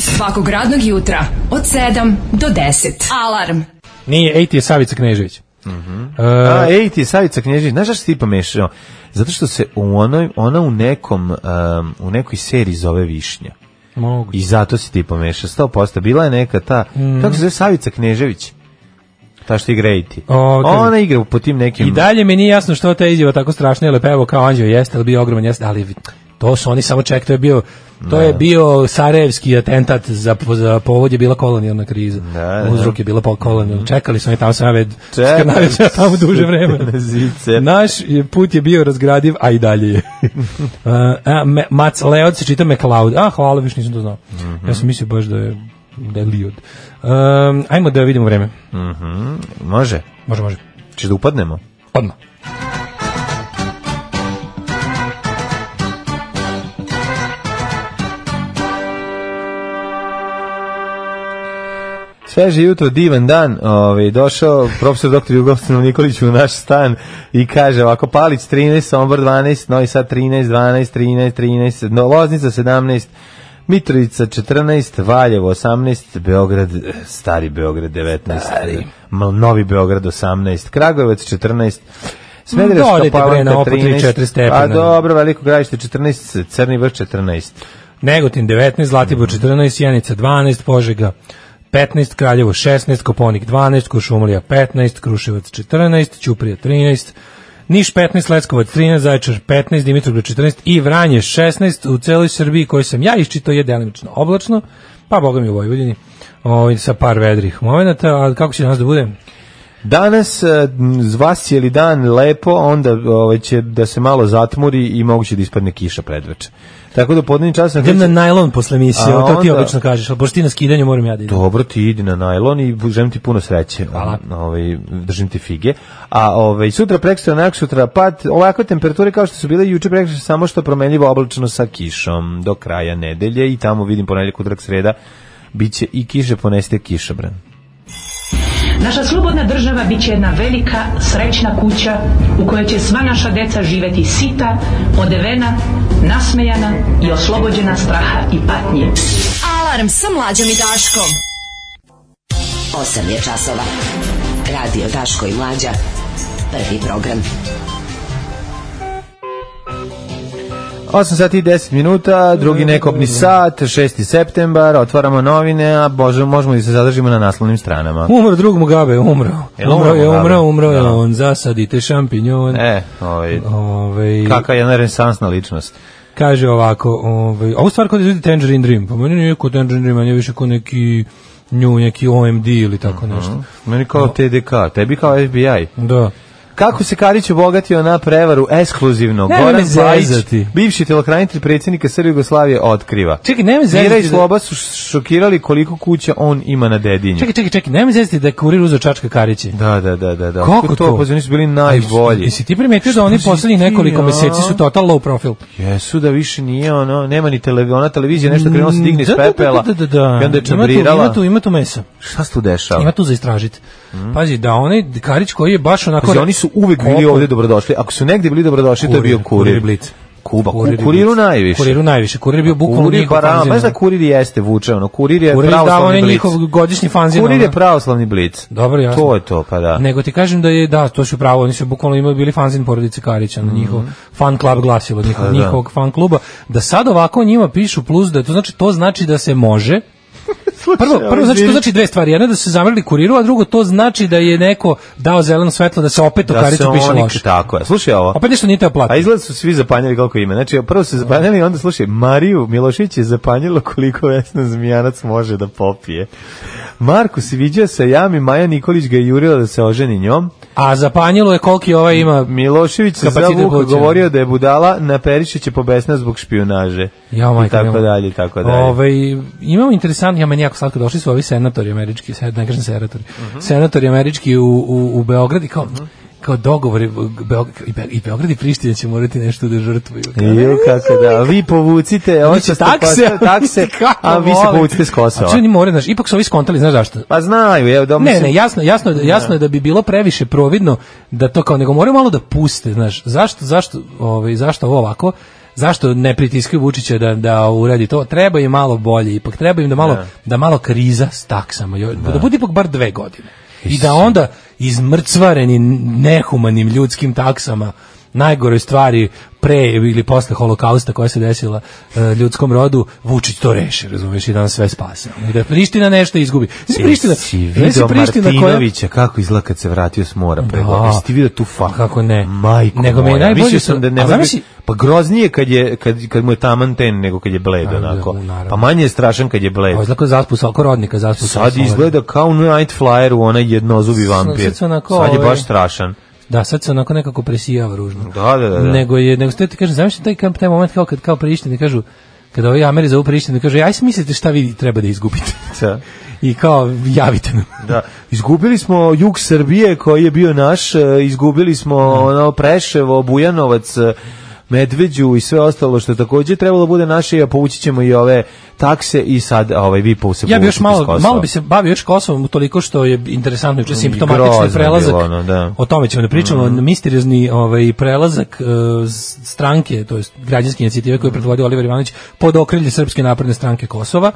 D: Svakog radnog jutra od 7 do 10. Alarm.
F: Nije, 80 je Savica Knežević.
E: Mhm.
F: E,
E: A, ej ti, Savica Knježić, znaš šta si ti pomešao? Zato što se u onoj, ona u nekom, um, u nekoj seriji zove Višnja.
F: Moguće.
E: I zato si ti pomešao, 100%. Bila je neka ta, kako se zove Savica Knežević? Ta što igra Ejti.
F: O, da- kažem-
E: Ona igra po tim nekim...
F: I dalje mi nije jasno što ta izjava tako strašna, jer je pevao kao anđeo jeste, ali bio ogroman jeste, ali To su oni samo ček, to je bio To
E: Da.
F: je bio Sarajevski atentat za, za povod je bila kolonijalna kriza.
E: Da, da.
F: Uzrok je bila pol kolonijalna. Čekali su oni tamo sam ja već
E: Čekali
F: skrnavio sam ja tamo duže vreme.
E: Na zice.
F: Naš je put je bio razgradiv, a i dalje je. uh, a, me, Mac Leod se čita McLeod. A, hvala, više nisam to znao.
E: Mhm.
F: Ja sam mislio baš da je, da je Leod. Um, ajmo da vidimo vreme.
E: Može?
F: Može, može.
E: Češ da upadnemo?
F: Odmah.
E: Sveže jutro, divan dan, ovaj, došao profesor dr. Jugoslav Nikolić u naš stan i kaže ovako, Palić 13, Sombor 12, Novi Sad 13, 12, 13, 13, no, Loznica 17, Mitrovica 14, Valjevo 18, Beograd, eh, Stari Beograd 19, stari. Novi Beograd 18, Kragujevac 14, Smederevska
F: Dodajte, bre, na
E: Palanka
F: oko tri,
E: 13,
F: četiri stepena.
E: a dobro, Veliko Gradište 14, Crni vrh 14.
F: Negotin 19, Zlatibor 14, Sjenica 12, Požega 15, Kraljevo 16, Koponik 12, Košumlija 15, Kruševac 14, Ćuprija 13, Niš 15, Leskovac 13, Zaječar 15, Dimitrovgrad 14 i Vranje 16. U celoj Srbiji koju sam ja iščitao je delimično oblačno, pa boga mi u Vojvodini ovaj, sa par vedrih momenata, a kako će danas da bude?
E: Danas eh, m, z vas je li dan lepo, onda ovaj, će da se malo zatmuri i moguće da ispadne kiša predveče. Tako da u podnevni čas...
F: Idem na najlon posle emisije,
E: A
F: to ti
E: onda-
F: obično kažeš, ali pošto ti na skidanju moram ja da idem.
E: Dobro, ti idi na najlon i želim ti puno sreće.
F: Hvala.
E: Ovaj, držim ti fige. A ovaj, sutra, prekstra, nakon sutra, pad, ovakve temperature kao što su bile juče prekstra, samo što promenljivo oblačeno sa kišom do kraja nedelje i tamo vidim ponedjeljak utrak sreda, bit će i kiše, poneste kišobran.
J: Naša slobodna država bit će jedna velika, srećna kuća u kojoj će sva naša deca živeti sita, odevena, nasmejana i oslobođena straha i patnje.
D: Alarm sa mlađom i Daškom.
B: 8 je časova. Radio Daško i Mlađa. Prvi program.
E: 8 sati i 10 minuta, drugi nekobni sat, 6. septembar, otvaramo novine, a bože, možemo i se zadržimo na naslovnim stranama.
F: Umro drug Mugabe, umro.
E: Jel
F: umro
E: umro
F: je,
E: Mugabe?
F: umro, umro je
E: Da.
F: on. Zasadite šampinjon.
E: E, ovaj,
F: Ovaj,
E: kaka je jedna renesansna ličnost.
F: Kaže ovako, ovaj, ovu stvar kod izvedi Tangerine Dream, pa meni nije kod Tangerine Dream, meni je više kod neki nju, neki OMD ili tako
E: Mhm.
F: nešto.
E: Meni kao TDK, tebi kao FBI.
F: Da.
E: Kako se Karić obogatio na prevaru ekskluzivno?
F: Nemoj me
E: Goran Bajić,
F: zezati.
E: bivši telokranitelj predsjednika Srbije Jugoslavije, otkriva.
F: Čekaj, nemoj
E: Mira i
F: zezati. Da,
E: Sloba su š- šokirali koliko kuća on ima na dedinju.
F: čekaj, čekaj, čekaj, nemoj zezati da je kurir uzeo čačka Karići.
E: Da, da, da, da. da.
F: Kako
E: Otkud
F: to?
E: Pa oni su bili najbolji.
F: I si ti primetio da oni
E: Šta si
F: poslednjih
E: ti,
F: nekoliko
E: a?
F: meseci su total low profil?
E: Jesu da više nije ono, nema ni televi, ona televizija nešto krenuo se digne iz
F: Da, da, da,
E: pepela.
F: Da, da, da.
E: I onda je
F: Ima tu-
E: čabrirala.
F: Ima tu, ima tu mesa.
E: Šta se tu dešava?
F: Ima tu za istražiti. Pazi, da onaj Karić koji je baš onako...
E: Pazi, oni su uvek bili ovdje dobrodošli. Ako su negdje bili dobrodošli, to je bio kurir.
F: Blitz.
E: Kuba, ku-
F: Kurir i
E: kuriru
F: Blitz.
E: najviše.
F: Kuriru najviše. Kurir je bio bukvalno
E: Kurir
F: njihov
E: para,
F: fanzin.
E: baš da kurir jeste vuče, ono, kurir je
F: Kurir je dao
E: pravoslavni
F: onaj
E: blic.
F: njihov godišnji fanzin.
E: Kurir
F: ono.
E: je pravoslavni blic.
F: Dobro, jasno.
E: To je to, pa da.
F: Nego ti kažem da je, da, to su pravo, oni su bukvalno imali bili fanzin porodice Karića, mm njihov fan klub glasilo, njihov,
E: Pa Mhm. da.
F: njihovog fan kluba, da sad ovako o njima pišu plus, da to znači, to znači da se može, Prvo, prvo znači to znači dve stvari. Jedna da su se zamrli kuriru, a drugo to znači da je neko dao zeleno svetlo da se opet o
E: da
F: Kariću
E: se
F: piše
E: oni,
F: loše.
E: tako je. Slušaj ovo.
F: Opet nešto nije teo
E: A
F: platiti.
E: izgled su svi zapanjali koliko ima. Znači, prvo su zapanjali i onda slušaj, Mariju Milošić je zapanjilo koliko Vesna Zmijanac može da popije. Marko se viđao sa jami, Maja Nikolić ga je jurila da se oženi njom.
F: A zapanjilo je koliki ovaj ima...
E: Milošević se za
F: Kapacitet
E: Vuka
F: pluća.
E: govorio da je budala, na Perišića će pobesna zbog špionaže.
F: Ja, majka,
E: I tako
F: mila.
E: dalje, i tako dalje.
F: Ovaj, imamo interesant, ja meni jako slatko, došli su ovi senatori američki, sen, ne kažem senatori,
E: Mhm.
F: senatori američki u, u, u Beograd i kao, kao dogovori Beograd, i, Be, i Beograd i Priština će morati nešto da žrtvuju. Kao,
E: Ju, kako da, vi povucite,
F: oni
E: ovo
F: će
E: će
F: takse,
E: takse, takse
F: kako
E: a vi se
F: volim.
E: povucite s
F: A
E: Kosova.
F: čini more, znaš, ipak su ovi skontali, znaš zašto?
E: Pa znaju, evo, da
F: Ne,
E: mislim-
F: ne, jasno, jasno, jasno je da bi bilo previše providno da to kao nego moraju malo da puste, znaš. Zašto zašto ovaj zašto ovo ovako? Zašto ne pritiskaju Vučića da da uradi to? Treba im malo bolje, ipak treba im da malo da malo kriza s taksama, jo- da, bude ipak bar dve godine. I da onda izmrcvareni nehumanim ljudskim taksama najgoroj stvari pre ili posle holokausta koja se desila e, ljudskom rodu, Vučić to reši, razumeš, i da nas sve spase. I da Priština nešto izgubi. Znači, Priština,
E: Jesi
F: znači,
E: video Martinovića kako izgleda kad se vratio s mora prego.
F: Da.
E: Jesi ti video tu faku?
F: Kako ne?
E: Majko
F: Nego mi je
E: moja,
F: najbolje
E: mislio
F: što-
E: sam da
F: a
E: ne
F: zamisli-
E: Pa groznije kad, je, kad, kad mu je taman ten nego kad je bled
F: Naravno,
E: onako.
F: Da, naravno. Pa
E: Pa manje je strašan kad je bled.
F: Ovo izgleda zaspus, oko rodnika zaspus.
E: Sad izgleda kao Night Flyer u onaj jednozubi vampir.
F: da- sad su onako,
E: Sad je
F: ovaj-
E: baš strašan.
F: Da, sad se onako nekako presijava ružno.
E: Da, da, da, da.
F: Nego je, nego ste ti kažem, zamišljam taj, kamp- taj moment kao kad kao prištini kažu, kada ovi Ameri zovu prištini, kažu, aj si mislite šta vi treba da izgubite.
E: Da.
F: I kao, javite nam.
E: Da, izgubili smo jug Srbije koji je bio naš, e, izgubili smo
F: Da.
E: ono Preševo, Bujanovac, e, Medveđu i sve ostalo što je takođe trebalo da bude naše, a povući ćemo i ove takse i sad ovaj vi po se
F: Ja bi još
E: povučete
F: malo,
E: iz Kosova.
F: malo bi se bavio još Kosovom toliko što je interesantno juče simptomatični
E: grozno
F: prelazak.
E: bilo ono, da.
F: O tome ćemo da pričamo,
E: Mhm.
F: misteriozni ovaj prelazak e, s- stranke, to jest građanske inicijative koju je predvodio Oliver Ivanović pod okrilje Srpske napredne stranke Kosova.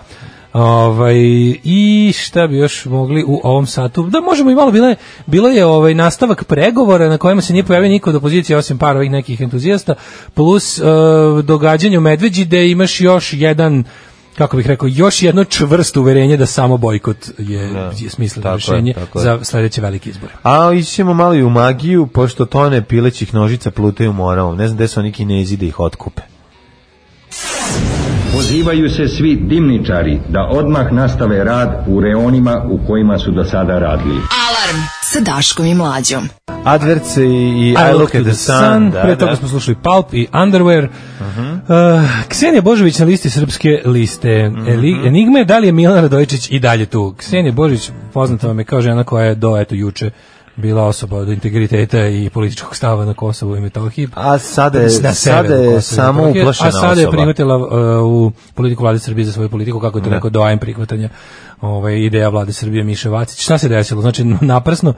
F: Ovaj i šta bi još mogli u ovom satu? Da možemo i malo bile bilo je ovaj nastavak pregovora na kojima se nije pojavio niko od opozicije osim par ovih nekih entuzijasta plus e, događanje u Medveđi gde imaš još jedan kako bih rekao, još jedno čvrsto uverenje da samo bojkot je, je smisleno
E: Da. tako je,
F: rješenje
E: tako je.
F: za sledeće velike izbore.
E: A ići ćemo malo i u magiju, pošto tone pilećih nožica plutaju moravom. Ne znam gde su oni kinezi da ih otkupe.
K: Pozivaju se svi dimničari da odmah nastave rad u reonima u kojima su do sada radili.
D: Alarm sa Daškom i Mlađom.
E: Adverce i, i I, Look at the Sun. da,
F: pre toga
E: da. Mhm.
F: smo slušali Pulp i Underwear. Uh, Ksenija Božović na listi srpske liste.
E: Mhm.
F: Eli- Enigma je da li je Milan Radojičić i dalje tu. Ksenija Božović
E: Mhm.
F: poznata vam je kao žena koja je do eto juče bila osoba od integriteta i političkog stava na Kosovu i Metohiji.
E: A sada je,
F: Na
E: sada
F: severu Kosova
E: je
F: i
E: samo
F: Metohije,
E: uplašena
F: A sada je
E: osoba.
F: prihvatila uh, u politiku vlade Srbije za svoju politiku, kako je
E: Da.
F: to rekao, doajem prihvatanja ovaj, ideja vlade Srbije Miše Vacić. Šta se desilo? Znači, naprsno,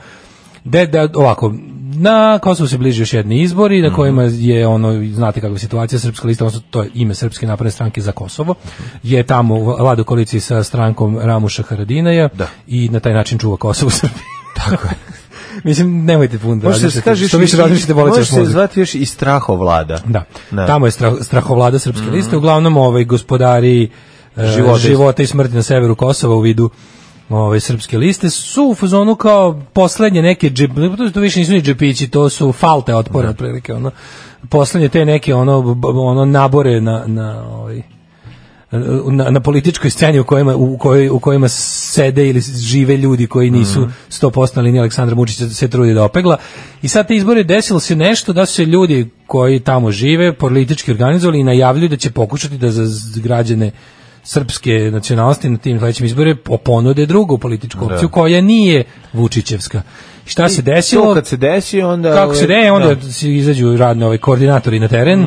F: de, de, ovako, na Kosovu se bliži još jedni izbori
E: Mhm.
F: na kojima je ono, znate kakva je situacija Srpska lista, odnosno to je ime Srpske napredne stranke za Kosovo,
E: Mhm.
F: je tamo u vladu koaliciji sa strankom Ramuša Haradinaja
E: Da.
F: i na taj način čuva Kosovo u Srbiji. Tako je. Mislim, nemojte puno da
E: Može se
F: razmišljate.
E: skažeš
F: Što više razmišljate, bolite
E: može
F: još
E: se
F: mozak.
E: zvati još i strahovlada.
F: Da.
E: Da. Mm.
F: Tamo je strah- strahovlada srpske liste, uglavnom ovaj gospodari e,
E: Života
F: života,
E: i-
F: i smrti na severu Kosova u vidu ove srpske liste su u fazonu kao poslednje neke džep, to, to više nisu ni džepići, to su falte
E: Da.
F: otpora otprilike ono. Poslednje te neke ono b- b- ono nabore na na ovaj na, na političkoj sceni u kojima, u, kojoj, u kojima sede ili žive ljudi koji
E: Mhm.
F: nisu 100% na liniji Aleksandra Vučića se trudi da opegla. I sad te izbore desilo se nešto da su se ljudi koji tamo žive politički organizovali i najavljuju da će pokušati da za z- građane srpske nacionalnosti na tim sledećim izbore ponude drugu političku
E: Da.
F: opciju koja nije Vučićevska. Šta se
E: To
F: desilo?
E: kad se desi, onda...
F: kako se ne, onda
E: Da. Mhm.
F: si- izađu radni ovaj koordinatori na teren.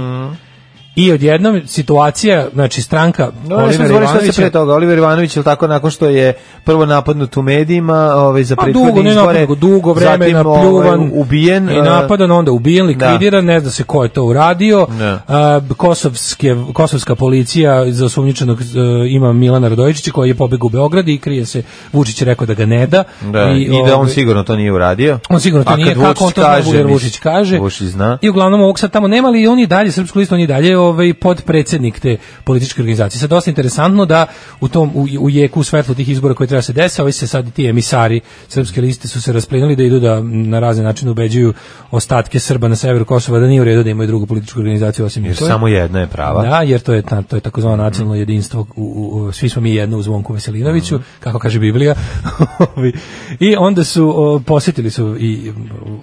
F: I odjednom situacija, znači stranka
E: No,
F: Olivera
E: Oliver Ivanović, šta
F: Ivanovića-
E: se pre toga? Oliver Ivanović je tako nakon što je prvo napadnut u medijima, ovaj za
F: Pa
E: prethodne
F: dugo, ne
E: izbore,
F: napadno, dugo vremena,
E: zatim, ovaj,
F: pljuvan,
E: ubijen
F: i
E: eh,
F: napadan, onda ubijen,
E: da.
F: likvidiran, ne zna se ko je to uradio.
E: Ne.
F: A, kosovske, kosovska policija za osumnjičenog eh, ima Milana Radojičića koji je pobegao u Beograd i krije se, Vučić je rekao da ga ne da.
E: Da, i, da on
F: ovaj,
E: sigurno to nije uradio.
F: On sigurno
E: A
F: to nije,
E: kad
F: kako on
E: Vučić
F: to zna, Bugar
E: mislim,
F: Vučić kaže.
E: Vučić zna.
F: I uglavnom ovog sad tamo nema, ali on i dalje, Srpsku listu, on i dalje ovaj, podpredsednik te političke organizacije. Sad dosta interesantno da u tom, u, u jeku, u svetlu tih izbora koji treba se desa, ovi se sad i ti emisari Srpske liste su se rasplinuli da idu da na razne načine ubeđuju ostatke Srba na severu Kosova da nije u redu da imaju drugu političku organizaciju osim
E: Jer
F: njihove.
E: samo jedna je prava.
F: Da, jer to je ta, to je takozvano nacionalno jedinstvo. U, u, u- svi smo mi jedno u Zvonku Veselinoviću,
E: Da.
F: kako kaže Biblija. I onda su o, posetili su i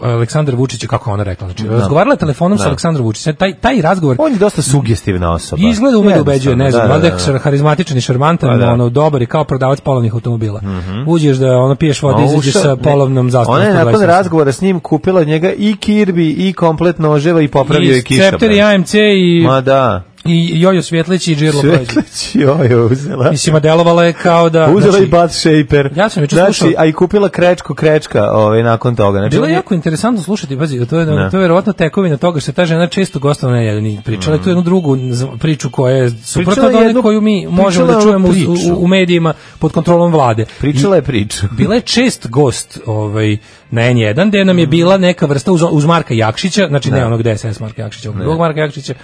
F: Aleksandar Vučić, kako je ona rekla, znači razgovarala je telefonom sa Aleksandrom Vučićem. Taj taj razgovor
E: Da. On je dosta sugestivna osoba.
F: Izgleda ume da ubeđuje, ne znam,
E: Jednostavno,
F: valjda je ksar- harizmatičan i šarmantan,
E: da. Pa da.
F: ono dobar i kao prodavac polovnih automobila. Uđeš da ono piješ vodu,
E: A
F: izađeš
E: Pa ušao-
F: sa polovnom zastavom.
E: Ona je
F: 128.
E: nakon razgovora s njim kupila od njega i kirbi i komplet noževa i popravio je
F: I
E: kišobran.
F: Scepter i AMC i
E: Ma da.
F: i Jojo Svjetlić i Džirlo Prođe.
E: Svetlić jojo uzela.
F: Mislim, a delovala je kao da...
E: Uzela
F: znači,
E: i bat shaper.
F: Ja sam juče
E: znači,
F: slušao-
E: a i kupila krečko krečka ovaj, nakon toga. Znači,
F: Bilo
E: on
F: je
E: je-
F: jako interesantno slušati, pazi, to je,
E: Ne.
F: to je verovatno tekovina toga što je ta žena često gostovala na jedan i pričala je tu jednu drugu z- priču koja je suprotna
E: Pričala
F: od
E: je
F: one
E: jednu-
F: koju mi možemo
E: pričala
F: da
E: je
F: čujemo u,
E: jednu
F: u,
E: priču.
F: u medijima pod kontrolom vlade.
E: Pričala je priču.
F: bila je čest gost ovaj, na N1, gde
E: Mm.
F: nam je bila neka vrsta uz, uz Marka Jakšića, znači
E: Da.
F: ne, onog DSS Marka Jakšića, ovog drugog Marka Jakšića,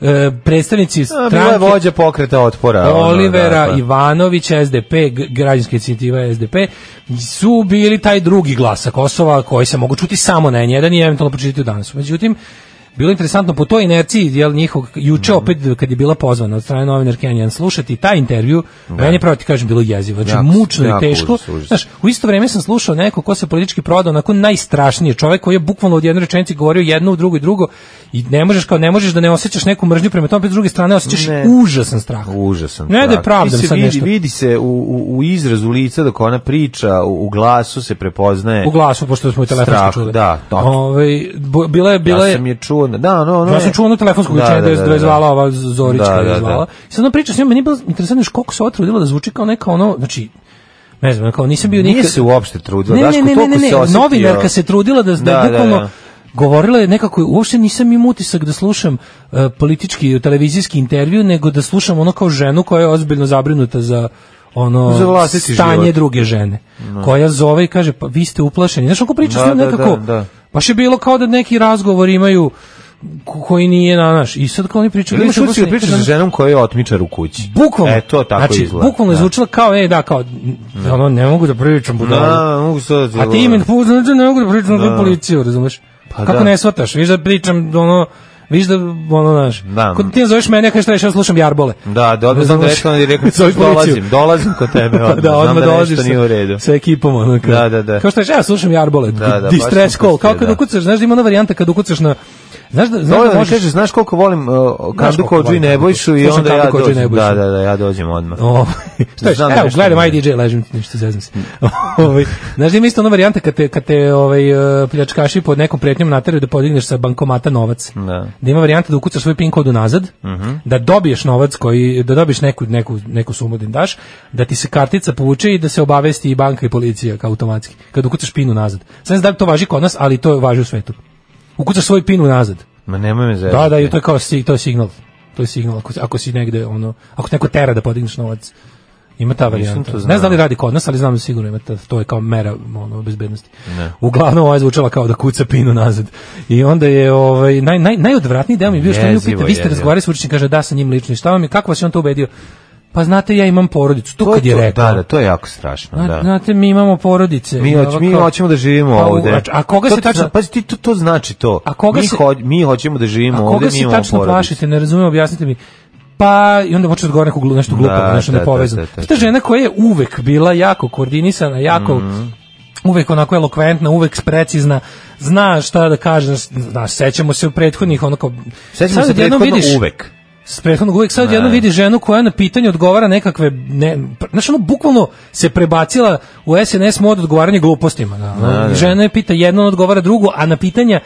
F: e, predstavnici
E: A, bila je
F: stranke
E: vođa pokreta otpora. ono,
F: Olivera
E: da, pa.
F: Ivanovića, SDP, g- građanska inicijativa SDP, su bili taj drugi glas sa Kosova koji se mogu čuti samo na N1 i eventualno pročitati u danas. Međutim, bilo je interesantno po toj inerciji, jel njihov, juče
E: Mhm.
F: opet kad je bila pozvana od strane novinarke N1 slušati taj intervju, meni je pravo ti kažem bilo jezivo, znači
E: Da. Jako,
F: mučno i
E: jako
F: teško.
E: užas, užas.
F: Znaš, u isto vrijeme sam slušao neko ko se politički prodao onako najstrašnije, čovjek koji je bukvalno od jedne rečenice govorio jedno u drugo i drugo i ne možeš kao ne možeš da ne osjećaš neku mržnju prema tome, opet s druge strane osjećaš
E: Ne.
F: užasan strah.
E: Pa Užasan.
F: Ne da je
E: strah.
F: pravdam
E: Ti se
F: sad
E: vidi,
F: nešto.
E: Vidi se u, u, u izrazu lica dok ona priča, u, u glasu se prepoznaje.
F: U glasu, pošto smo i telefon
E: Strah,
F: čuli.
E: da, to.
F: Ovaj, bu- bila je, bila
E: ja
F: je,
E: sam je čuo, da, no, no.
F: ja sam čuo onu telefonsku da, da, da, je zvala ova Zorićka
E: Da,
F: da,
E: da,
F: je
E: da.
F: zvala. I sad ona priča s njom, meni je bilo interesantno još koliko se otrudila da zvuči kao neka ono, znači, ne znam, kao nisam bio
E: Nije
F: nikad...
E: se uopšte trudila,
F: Ne,
E: Daško,
F: ne, ne, ne,
E: toliko
F: ne,
E: se osjetio.
F: novinarka se trudila da, da,
E: Da, da,
F: bukvalno
E: da.
F: govorila je nekako, uopšte nisam im utisak da slušam e, politički televizijski intervju, nego da slušam ono kao ženu koja je ozbiljno zabrinuta za ono
E: Za vlastiti
F: stanje
E: život.
F: druge žene, koja zove i kaže, pa vi ste uplašeni. Znaš, ako priča s
E: Da,
F: njom
E: da,
F: nekako,
E: da, da.
F: baš je bilo kao da neki razgovor imaju ko- koji nije na naš. I sad kao oni pričaju...
E: Ili
F: vi
E: imaš
F: ste
E: uciju da
F: uplašeni.
E: pričaš sa ženom koja je otmičar u kući.
F: Bukvalno.
E: E, to tako
F: znači,
E: izgleda.
F: Bukvalno je
E: da.
F: zvučila kao, ej, da, kao, ono, ne mogu da pričam budalu.
E: Da, mogu sad...
F: A ti imen poznaš, ne mogu da pričam da.
E: Da.
F: policiju, razumeš?
E: Pa
F: Kako
E: da.
F: ne shvataš? Viš da pričam, ono, viš da, ono, znaš,
E: Da.
F: kod ti ne zoveš mene, ja kažeš, "Šta, ja slušam jarbole.
E: Da, da odmah sam
F: Razumeš?
E: rekao, i rekao,
F: Zoveš policiju.
E: dolazim, dolazim kod tebe, odmah,
F: da,
E: znam
F: odmah
E: da
F: dolaziš
E: nešto
F: sa-
E: nije u redu.
F: Sa ekipom, ono, kao,
E: Da, da, da.
F: Kao što kažeš, ja slušam jarbole, da,
E: Da, da, baš
F: distress
E: sam
F: call, kao kad
E: pustio, da.
F: ukucaš, znaš da ima ona varijanta kad ukucaš na, znaš da, znaš
E: Dovoljno
F: da
E: mi
F: možeš,
E: kaže, znaš koliko volim uh, Kandu
F: koliko
E: Kođu i
F: volim Kandu
E: Nebojšu i
F: Slušam
E: onda
F: Kandu
E: ja
F: Kođu i
E: dođem.
F: Nebojšu.
E: Da, da, da, ja dođem odmah.
F: O, šta ješ,
E: Znam
F: Ovaj,
E: da
F: evo,
E: nešto
F: gledam,
E: nije.
F: ajde DJ, ležim, nešto zezam se. Ovaj, Znaš da ima isto ona varijanta kad te, kad te ovaj, e, pljačkaši pod nekom pretnjom nateraju da podigneš sa bankomata novac.
E: Da.
F: da ima varijanta da ukucaš svoj pin kod unazad, da dobiješ novac koji, da dobiješ neku, neku, neku sumu da im daš, da ti se kartica povuče i da se obavesti i banka i policija kao automatski, kad ukucaš pin unazad. Sad ne znam da li to važi kod nas, ali to važi u svetu. Ukucaš svoj pin unazad.
E: Ma nemoj me zajebati.
F: Da, da, i to je kao si- to je signal. To je signal ako, ako si negde ono, ako te neko tera da podigneš novac. Ima ta varijanta.
E: to znao.
F: Ne znam da li radi kod nas, ali znam da sigurno ima ta, to je kao mera ono, bezbednosti. Uglavnom ova je zvučala kao da kuca pinu nazad. I onda je ovaj, naj, naj, najodvratniji deo mi je bio što on nju
E: Jezivo,
F: pita, vi ste
E: jezivo.
F: razgovarali s učnikom, kaže da sa njim lično i šta vam je, kako vas je on to ubedio? Pa znate, ja imam porodicu. To,
E: To
F: kad je
E: to-
F: rekao.
E: Da, da, to je jako strašno,
F: "Zna-
E: da.
F: Znate, mi imamo porodice.
E: Mi,
F: I
E: hoć,
F: ovako-
E: mi hoćemo da živimo
F: Pa, u-
E: ovde.
F: a- a koga
E: To
F: se
E: ti zna-
F: tačno-
E: Pazi, ti to, to znači to.
F: A koga
E: mi,
F: se-
E: ho- mi hoćemo da živimo
F: A
E: ovde,
F: koga
E: mi
F: se
E: imamo
F: tačno
E: porodicu.
F: plašite, ne razumijem, objasnite mi. Pa, i onda počne odgovor neko glu- nešto glupo,
E: Da,
F: nešto
E: da,
F: nepovezano.
E: da, da, da.
F: Ta žena koja je uvek bila jako koordinisana, jako
E: Mhm.
F: uvek onako elokventna, uvek precizna, zna šta da kaže, znaš, sećamo se u prethodnih, ono kao...
E: Sećamo
F: sad
E: se
F: odjednom
E: prethodno
F: da vidiš-
E: uvek.
F: s prethodnog uvek sad jedno vidi ženu koja na pitanje odgovara nekakve ne pr- znaš ono bukvalno se prebacila u SNS mod odgovaranja glupostima da, ono. žena je pita jedno ona odgovara drugu a na pitanja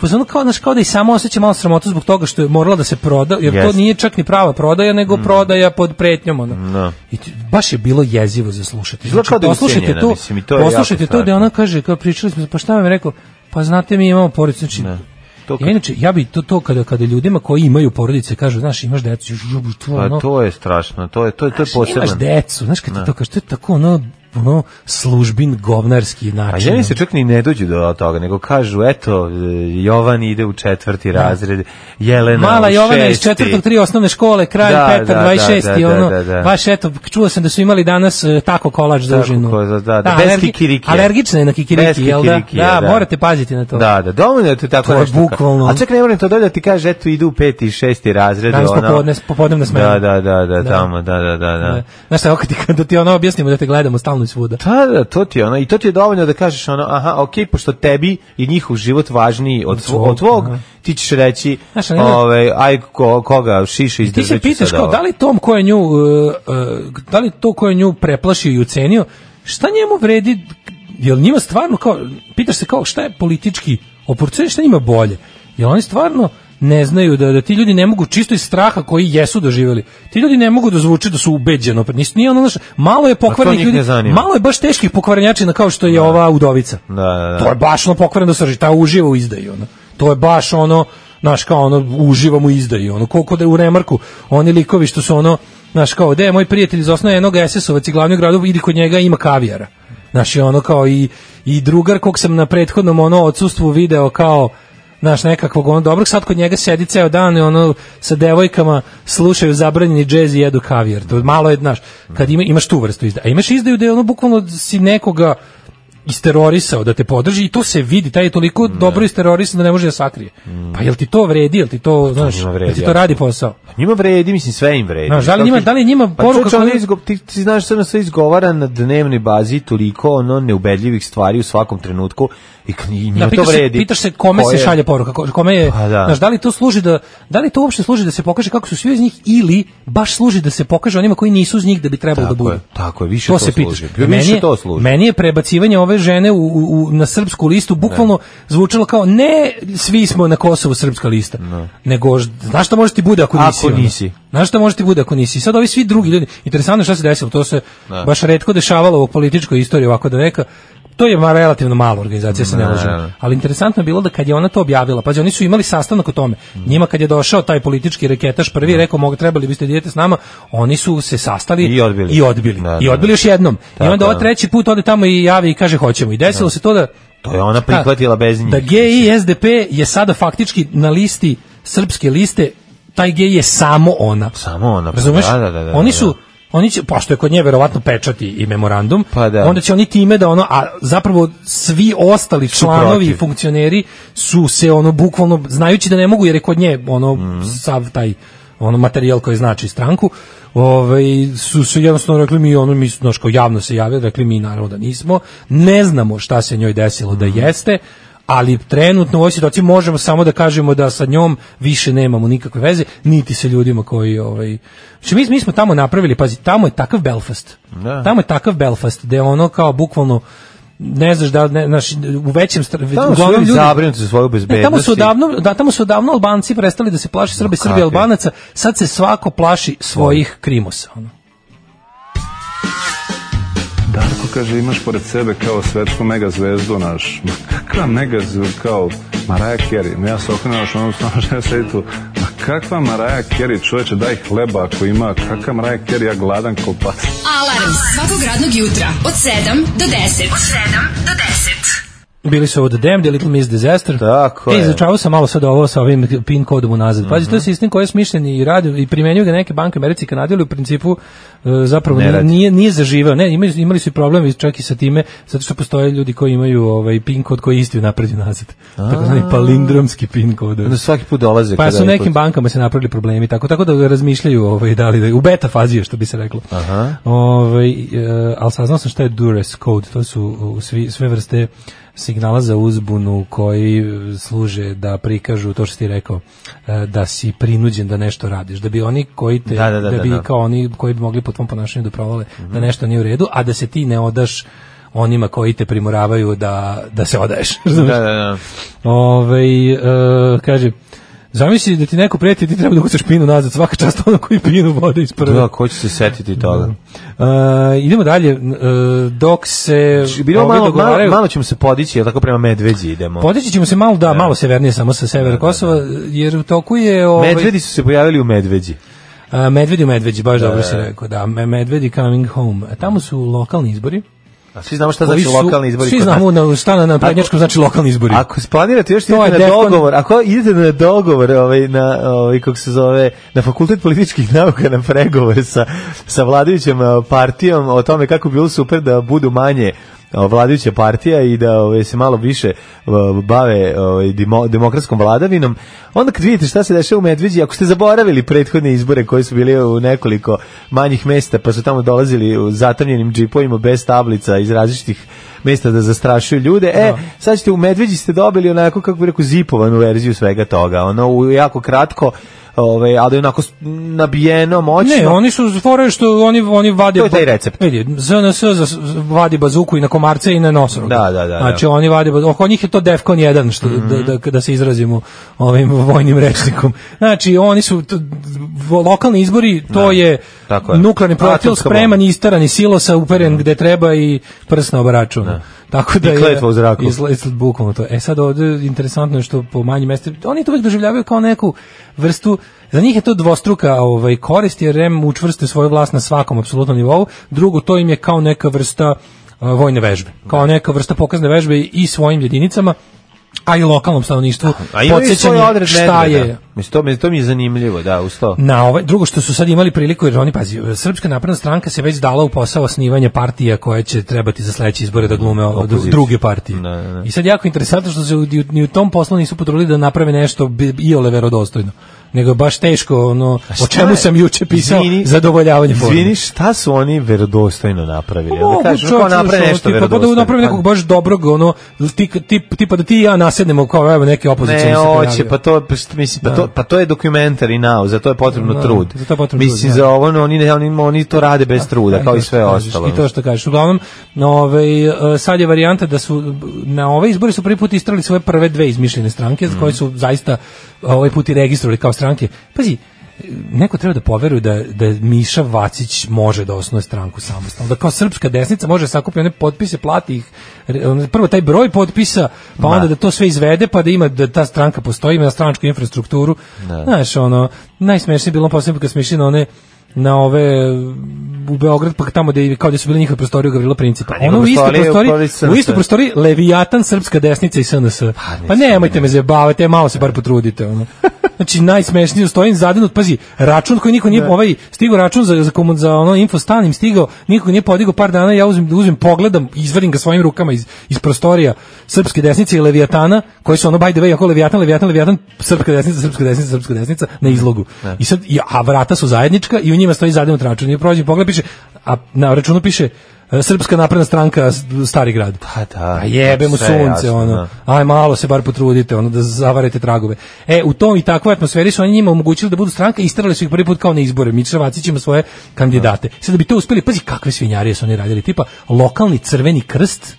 F: Pozvano kao, znaš, kao da i samo osjeća malo sramotu zbog toga što je morala da se proda, jer to
E: Jeste.
F: nije čak ni prava prodaja, nego
E: Mm.
F: prodaja pod pretnjom. Ono.
E: Da.
F: I ti- baš je bilo jezivo za slušati. Znači,
E: Izgleda kao da je
F: poslušajte
E: ucenjena,
F: to,
E: mislim, i to je jako
F: poslušajte to da
E: strašno.
F: ona kaže, kao pričali smo, pa šta vam je rekao, pa znate mi imamo porodicu, znači,
E: To
F: ja inače, ja bi to, to kada, kada ljudima koji imaju porodice kažu, znaš, imaš decu, još žubu, to ono,
E: Pa to Da. je strašno, to je, to je, to je
F: imaš
E: poseban.
F: decu, znaš, kada to kaže, to je tako ono, ono, službin govnarski
E: A da
F: način.
E: ženi se čak ni ne dođu do toga, nego kažu, eto, e, Jovan ide u četvrti razred, Jelena
F: Da. Mala
E: u
F: Jovana iz
E: šesti.
F: četvrtog tri osnovne škole, kraj
E: Da,
F: Petar
E: da, da,
F: 26 i
E: da,
F: ono,
E: da, da.
F: baš eto, čuo sam da su imali danas e, tako kolač za
E: Tako
F: užinu.
E: ko- da, da, bez kikirikija.
F: Alergična je na kikiriki,
E: Bez
F: jel da?
E: kikirikija,
F: Da,
E: da.
F: morate paziti na to.
E: Da, da, dovoljno je to tako
F: To je
E: nešto.
F: bukvalno-
E: A čak ne moram to dođe da ti kaže, eto, idu u peti i šesti razred.
F: Danas
E: ono.
F: popodne- popodnevna smena.
E: Da, da, da, da,
F: Da.
E: tamo, da, da, da, da.
F: Da. Znaš šta, kako ti, da ti ono objasnimo da te gledamo stalno i svuda.
E: Pa da, to ti je ono, i to ti je dovoljno da kažeš ono, aha, okej, pošto tebi je njihov život važniji od, svo, od tvog,
F: Aha.
E: ti ćeš reći,
F: da. Znaš, ali ima-
E: ovaj, aj ko, koga, šiša
F: Ti
E: izdržat
F: se
E: ću
F: pitaš
E: sad
F: kao
E: ovo.
F: da li tom ko je nju uh, uh, da li to ko je nju preplašio i ucenio, šta njemu vredi jel njima stvarno kao pitaš se kao šta je politički oportunitet šta je njima bolje? Jel oni stvarno ne znaju da da ti ljudi ne mogu čisto iz straha koji jesu doživjeli. Ti ljudi ne mogu da zvuče da su ubeđeno, pa nisu nije ono znaš, malo je pokvarenih
E: njih ne
F: ljudi,
E: zanima.
F: malo je baš teških pokvarenjačina kao što je ova udovica.
E: Da, da, da.
F: To je baš ono pokvareno do srži, ta uživa u izdaji. Ono. To je baš ono, znaš, kao ono, uživam u izdaji. Ono, koliko da je u remarku, oni likovi što su ono, znaš, kao, de, moj prijatelj iz osnovne jednog SS-ovac i glavnog gradu, idi kod njega, ima kavijara. Znaš, i ono kao i, i drugar kog sam na prethodnom ono odsustvu video kao, znaš, nekakvog ono dobrog, sad kod njega sedi ceo dan i ono sa devojkama slušaju zabranjeni džez i jedu kavijar. To malo je, znaš, kad ima, imaš tu vrstu izdaju. A imaš izdaju da je ono bukvalno si nekoga isterorisao da te podrži i to se vidi, taj je toliko dobro isterorisan da ne može da sakrije. Pa jel ti to vredi, jel ti to, znaš,
E: Mm. Pa njima vredi,
F: jel ti to radi posao?
E: Njima vredi, mislim sve im vredi.
F: Znaš, da li njima- da li njima
E: pa
F: poruka
E: čovječe, ono
F: koju-
E: izgo- ti, ti znaš samo sve izgovara na dnevnoj bazi toliko ono neubedljivih stvari u svakom trenutku i, k- i njima
F: Da,
E: to
F: pitaš, se,
E: vredi.
F: pitaš se kome
E: Ko je-
F: se šalje poruka, ko- kome je,
E: Pa da.
F: znaš, da li to služi da, da li to uopšte služi da se pokaže kako su svi iz njih ili baš služi da se pokaže onima koji nisu iz njih da bi trebalo
E: Tako
F: da budu.
E: je, tako je, više to
F: se
E: služi.
F: pitaš.
E: Više
F: meni je,
E: to služi.
F: Meni je prebacivanje ove žene u, u, u- na srpsku listu bukvalno
E: Da.
F: zvučalo kao ne svi smo na Kosovu srpska lista, nego ž- znaš šta može ti bude ako
E: Da. Ako
F: nisi. ono?
E: nisi.
F: Znaš šta može ti bude ako nisi? Sad ovi svi drugi ljudi, interesantno je šta se desilo, to se
E: Da.
F: baš retko dešavalo u političkoj istoriji ovako da neka, to je ma relativno mala organizacija, se ne
E: Da,
F: lažemo.
E: da, da.
F: Ali interesantno je bilo da kad je ona to objavila, pazi, oni su imali sastanak o tome. Njima kad je došao taj politički reketaš prvi, i rekao, mogu, trebali biste da idete s nama, oni su se sastali
E: I odbili.
F: I odbili,
E: Da,
F: I
E: da,
F: odbili još jednom. I
E: Tako
F: onda ova
E: je.
F: treći put ode tamo i javi i kaže hoćemo. I desilo se to da...
E: To je ona
F: Šta?
E: prihvatila bez njih.
F: Da GI i SDP je sada faktički na listi srpske liste, taj GI je samo ona.
E: Samo ona, pa
F: Razumeš?
E: da, da, da, da,
F: oni
E: da.
F: su oni će pošto je kod nje verovatno pečati i memorandum,
E: Pa da.
F: onda će oni time da ono a zapravo svi ostali članovi i
E: protiv.
F: funkcioneri su se ono bukvalno znajući da ne mogu jer je kod nje ono sav taj ono materijal koji znači stranku, ovaj su su jednostavno rekli mi ono mi znaš, kao javno se javili, rekli mi naravno da nismo, ne znamo šta se njoj desilo da jeste ali trenutno u ovoj situaciji možemo samo da kažemo da sa njom više nemamo nikakve veze, niti sa ljudima koji ovaj znači mi, mi smo tamo napravili, pazi, tamo je takav Belfast.
E: Da.
F: Tamo je takav Belfast, da je ono kao bukvalno ne znaš da ne, znaš, u većem stra-
E: Pa Tamo su
F: uglavnom
E: ljudi
F: ljudi-
E: zabrinuti za svoju
F: Ne,
E: bezbednost.
F: tamo su
E: i-
F: odavno, da, tamo su odavno Albanci prestali da se plaše Srbe, Srbi
E: kakvi?
F: Albanaca, sad se svako plaši svojih krimosa. Ono.
L: Darko kaže imaš pored sebe kao svetsku megazvezdu naš. Ma kakva megazvezdu kao Maraja Kerry. Ma ja se okrenem naš onom stanu što ja sedi tu. Ma kakva Maraja Kerry čoveče daj hleba ako ima. Kakva Maraja Kerry ja gladan ko pas.
D: Alarm svakog radnog jutra od 7 do 10. Od 7 do 10.
F: Bili su od Damned, Little Miss Disaster.
E: Tako
F: E,
E: je. Mhm.
F: izučavao sam malo sad ovo sa ovim pin kodom unazad. Pazi, to je sistem koji je smišljen i radi i primenjuju ga neke banke u Americi i Kanadi, ali u principu e, zapravo
E: Ne
F: nije-
E: radi.
F: nije, nije zaživao. Ne, imali, imali su i problemi čak i sa time, zato što postoje ljudi koji imaju ovaj pin kod koji je isti u napred i nazad. Tako zvani palindromski pin kod.
E: Onda svaki put dolaze.
F: Pa
E: kada
F: su
E: da je
F: nekim
E: kod-
F: bankama se napravili problemi tako tako da razmišljaju ovaj da li da u beta fazi je, što bi se reklo.
E: Aha.
F: Ovaj e, al saznao sam šta je duress code, to su u, svi sve vrste signala za uzbunu koji e, služe da prikažu to što si ti rekao e, da si prinuđen da nešto radiš da bi oni koji te
E: Da, da, da, da,
F: bi
E: da. Mhm.
F: kao oni koji bi mogli po tvom ponašanju da provale da nešto nije u redu a da se ti ne odaš onima koji te primoravaju da, da se odaješ. razumeš?
E: Da, da, da.
F: Ove, Ovaj, e, kaže, zamisli da ti neko prijeti, ti treba da ukucaš pinu nazad, svaka čast ono koji pinu vode iz prve.
E: Da, ko će se setiti toga?
F: Da. E, idemo dalje, e, dok se...
E: Znači, Bilo
F: ovi
E: malo, malo,
F: dogovaraju-
E: malo ćemo se podići, jel tako prema Medveđi idemo.
F: Podići ćemo se malo, da, malo severnije samo sa
E: Da,
F: severa Kosova, jer u toku je... Ovaj,
E: Medvedi su se pojavili u Medveđi.
F: A, medvedi u Medveđi, baš dobro se rekao, da, me- Medvedi coming home. E, Tamo su lokalni izbori.
E: A svi znamo šta
F: koji
E: znači
F: su-
E: lokalni izbori.
F: Svi
E: kod nas.
F: znamo na, šta na, na prednjačkom znači lokalni izbori.
E: Ako planirate još
F: To
E: idete
F: je
E: na
F: defon-
E: dogovor, ako idete na dogovor, ovaj na ovaj kako se zove, na Fakultet političkih nauka na pregovore sa sa vladajućom eh, partijom o tome kako bi bilo super da budu manje eh, vladajuća partija i da ovaj, se malo više eh, bave ovaj, demo- demokratskom vladavinom. Onda kad vidite šta se dešava u Medveđi, ako ste zaboravili prethodne izbore koji su bili u nekoliko manjih mesta, pa su tamo dolazili u zatamljenim džipovima bez tablica iz različitih mesta da zastrašuju ljude. E,
F: Da.
E: sad ste u Medveđi ste dobili onako, kako bi rekao, zipovanu verziju svega toga. Ono, u jako kratko, ovaj, ali onako s- nabijeno, moćno.
F: Ne, oni su foraju što oni oni vade
E: To je taj recept.
F: Vidi, ZNS za, vadi bazuku i na komarce i na nosoroga.
E: Da, da, da,
F: Znači
E: da. Mhm.
F: oni vade bazuku. Oko njih je to Defcon 1 što da, da, da se izrazimo ovim vojnim rečnikom. Znači oni su t- vo- lokalni izbori, to je,
E: Da, tako je.
F: nuklearni projektil
E: Atomska
F: spreman
E: bomba.
F: i istaran iz silosa uperen gde treba i prst na obaraču. Tako da
E: Da. I
F: je
E: kletva u zraku.
F: iz- Izgled bukvalno to. E sad ovde interesantno je što po manjim mestima, oni to uvek doživljavaju kao neku vrstu, za njih je to dvostruka ovaj, korist jer REM učvrste svoju vlast na svakom apsolutnom nivou, drugo to im je kao neka vrsta a, vojne vežbe, kao
E: Da.
F: neka vrsta pokazne vežbe i svojim jedinicama, a i lokalnom stanovništvu,
E: A imaju i svoj
F: podsjećanje
E: odred
F: šta
E: medveda.
F: je
E: Mislim, to, mi, to mi je zanimljivo, da, uz to.
F: na ovaj drugo što su sad imali priliku jer oni pazi Srpska napredna stranka se već dala u posao osnivanja partija koje će trebati za sledeće izbore da glume o-
E: Opoziciju.
F: druge partije.
E: Da, da, da.
F: I sad jako interesantno što se u- ni u- ni u tom poslu nisu potrudili da naprave nešto bi- iole verodostojno. Nego je baš teško ono o
E: šta
F: čemu
E: je?
F: sam juče pisao
E: Izvini,
F: zadovoljavanje forme. Pa
E: Izvini, šta su oni verodostojno napravili?
F: Mogu,
E: Da kažu,
F: čovječe,
E: kao naprave
F: znaš, tipa,
E: nešto
F: pa da
E: verodostojno.
F: naprave nekog baš dobrog ono tip, tip, tipa da ti i ja nasednemo kao evo neki opozicioni
E: Ne,
F: se
E: hoće,
F: pojavio.
E: pa to, pa, šta, mislim,
F: Da.
E: pa, to, pa to je dokumentari now, za to je potrebno
F: Da,
E: trud.
F: za to je potrebno
E: mislim,
F: trud, da.
E: za ovo, no, oni, ne- oni, oni to rade bez truda, kao i
F: to
E: sve
F: što kažeš,
E: ostalo.
F: da, I to što kažeš. Uglavnom, no, ovaj, e, sad je varijanta da su na ove izbore su prvi put istrali svoje prve dve izmišljene stranke, koje su zaista ovaj put i registrovali kao stranke. Pazi, neko treba da poveruje da, da Miša Vacić može da osnuje stranku samostalno. Da kao srpska desnica može sakupi one potpise, plati ih, re- ono, prvo taj broj potpisa, pa onda da to sve izvede, pa da ima da ta stranka postoji, ima stranačku infrastrukturu.
E: Da.
F: Znaš, ono, najsmešnije je bilo posebno kad smo išli na one na ove u Beograd pa tamo gde kao gde su bile njihove prostorije u Gavrila Principa.
E: Pa njihove
F: Ono u istoj
E: prostorije u da.
F: prostoriji,
E: prostoriji SNS.
F: u istoj prostoriji Leviatan srpska desnica i SNS. Pa nemojte me zajebavati, e, malo se bar potrudite ono. Znači najsmešnije stojim zadenut, pazi, račun koji niko nije ovaj stigao račun za za komun za ono info stanim stigao, niko nije podigao par dana, ja uzmem uzmem pogledam, izvadim ga svojim rukama iz iz prostorija srpske desnice i Leviatana, koji su ono by the way, ako Leviatan, Leviatan, Leviatan, srpska desnica, srpska desnica, srpska desnica na izlogu. I sad i- a vrata su zajednička i u njima stoji zadenut račun. I prođe pogled piše, a na računu piše e, Srpska napredna stranka S- Stari grad.
E: Pa da,
F: A jebe mu
E: sve je
F: sunce,
E: jasno,
F: ono.
E: da.
F: Aj malo se bar potrudite, ono da zavarete tragove. E, u tom i takvoj atmosferi su oni njima omogućili da budu stranka i istrali su ih prvi put kao na izbore. Miča Vacić ima svoje kandidate. Sad da bi to uspeli, pazi kakve svinjarije su oni radili, tipa lokalni crveni krst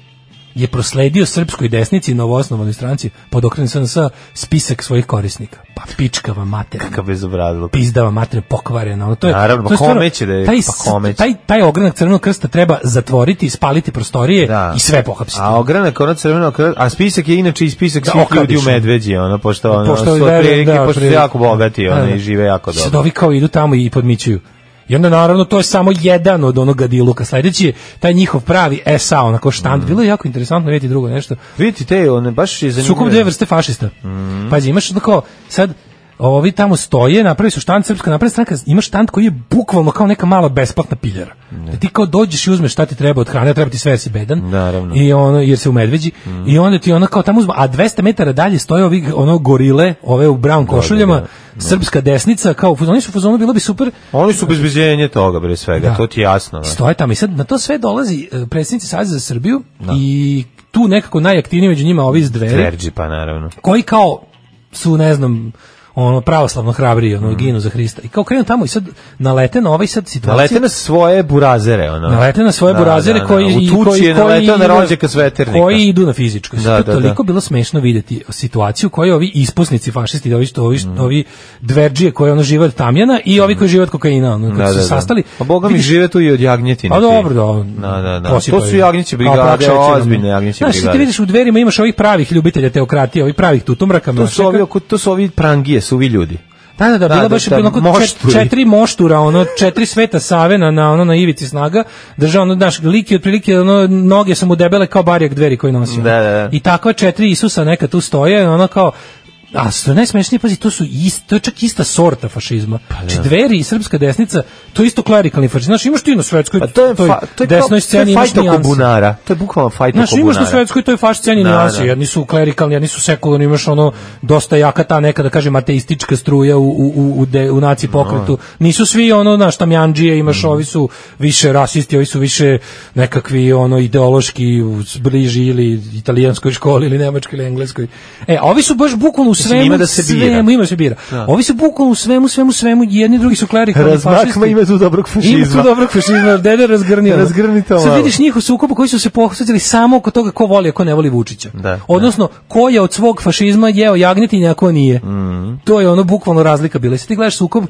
F: je prosledio srpskoj desnici i novoosnovanoj stranci pod okrenim SNS spisak svojih korisnika. Pa pička vam mater.
E: Kakav bezobrazluk.
F: Pizdava mater pokvarena. Ono, to je,
E: Naravno,
F: to je stvarno-
E: kome će da je-
F: taj,
E: pa
F: s-
E: kome će?
F: taj, taj ogranak crvenog krsta treba zatvoriti, spaliti prostorije
E: Da.
F: i sve pohapsiti.
E: A ogranak, ono crveno, a spisak je inače i spisak
F: Da,
E: svih ljudi u
F: okadišno.
E: Medveđi, ono, pošto, ono,
F: Pošto
E: su
F: verujem,
E: otprilike,
F: da,
E: pošto su
F: otprilike.
E: jako bogati,
F: Da,
E: ono,
F: da.
E: i žive jako
F: I sad
E: dobro.
F: ovi kao idu tamo i podmićuju. I onda naravno to je samo jedan od onoga diluka. Sledeći je taj njihov pravi SA, onako štand. Bilo je jako interesantno vidjeti drugo nešto.
E: Vidite, te, one, baš je Mhm. zanimljivo.
F: Sukob dve vrste fašista. Pazi, imaš ono kao, sad, ovi tamo stoje, napravi su štand, srpska napredna stranka, ima štand koji je bukvalno kao neka mala besplatna piljara. Da ti kao dođeš i uzmeš šta ti treba od hrane, treba ti sve jer si bedan.
E: Naravno. Mhm.
F: I ono, jer se u medveđi. I onda ti ona kao tamo uzme, a 200 metara dalje stoje ovi ono gorile, ove u
E: Da,
F: brown košuljama,
E: Mhm.
F: srpska desnica, kao, u fazonu- oni su u fazonu, bilo bi super,
E: Oni su bezbeđenje toga, bre svega,
F: Da.
E: to ti je jasno. da.
F: Stoje tamo i sad na to sve dolazi e, predsjednici Saveza za Srbiju
E: Da.
F: i tu nekako najaktivniji među njima ovi iz dveri,
E: Verđi, pa naravno.
F: koji kao su ne znam ono pravoslavno hrabri
E: Mhm.
F: ono ginu za Hrista i kao krenu tamo i sad nalete na ovaj sad situaciju
E: Nalete na svoje burazere, ono.
F: nalete na svoje
E: Da,
F: burazere
E: da, da.
F: koji
E: U tuči
F: koji,
E: je naleteo na
F: idu
E: rođaka s veternika.
F: koji idu na fizičko.
E: Da,
F: Da,
E: da, da.
F: toliko bilo smešno videti situaciju koju ovi isposnici fašisti, ovi što ovi
E: Mhm.
F: ovi dverđije koji ono žive od tamjana i ovi koji žive od kokaina, ono kad
E: Da,
F: su
E: da,
F: se
E: da.
F: sastali.
E: A boga mi
F: vidiš-
E: žive tu i od jagnjetine.
F: A
E: ti.
F: dobro, da.
E: Da, da, da.
F: posipaju.
E: To su jagnjeće
F: A, prak
E: brigade,
F: šećerom.
E: ozbiljne jagnjeće
F: Znaš, sad ti
E: brigade.
F: vidiš u dverima imaš ovih pravih ljubitelja teokratije, ovih pravih tutumraka.
E: To su
F: mračnjaka.
E: ovi, oko- to su ovi prangije, suvi ljudi.
F: Da, da, da,
E: Da,
F: bilo
E: da,
F: baš
E: da,
F: onako čet-
E: mošturi.
F: četiri moštura, ono četiri sveta save na, na ono na ivici snaga, držao ono naš lik i otprilike ono noge su mu debele kao barijak dveri koji nosi. ono.
E: Da, da, da.
F: I takva četiri Isusa neka tu stoje, ono kao A što je najsmešnije, pazi, to su isto, to je čak ista sorta fašizma. Pa,
E: da.
F: dveri i srpska desnica, to je isto klerikalni fašizam. Znaš, imaš ti na svetskoj,
E: Pa to je, fa, to je, kao,
F: desnoj
E: to je
F: sceni imaš
E: fajt oko
F: nijanse.
E: bunara. To je bukvalno fajt oko
F: Znaš, imaš na
E: bunara.
F: svetskoj toj faš sceni
E: Da,
F: nijanse,
E: da.
F: jedni su klerikalni, jedni su sekularni, imaš ono dosta jaka ta neka, da kažem, ateistička struja u, u, u, u de, u
E: Da.
F: naci pokretu. Nisu svi ono, znaš, tamjanđije, imaš,
E: Mm.
F: ovi su više rasisti, ovi su više nekakvi ono ideološki uz- bliži ili italijanskoj školi ili nemačkoj ili engleskoj. E, a ovi su baš bukvalno u svemu,
E: ima da se bira.
F: svemu, ima da se bira.
E: Da.
F: Ovi su bukvalno u svemu, svemu, svemu, jedni i drugi su klerikalni fašisti.
E: Razmakma ima tu dobrog fašizma.
F: Ima tu dobrog fašizma, dede razgrnio.
E: Razgrnite ovo
F: Sad
E: malo.
F: vidiš njih u sukobu koji su se posveđali samo oko toga ko voli, a ko ne voli Vučića.
E: Da,
F: Odnosno, ko je od svog fašizma jeo jagnjetinja, a ko nije.
E: Mhm.
F: To je ono bukvalno razlika bila. I Sad ti gledaš sukob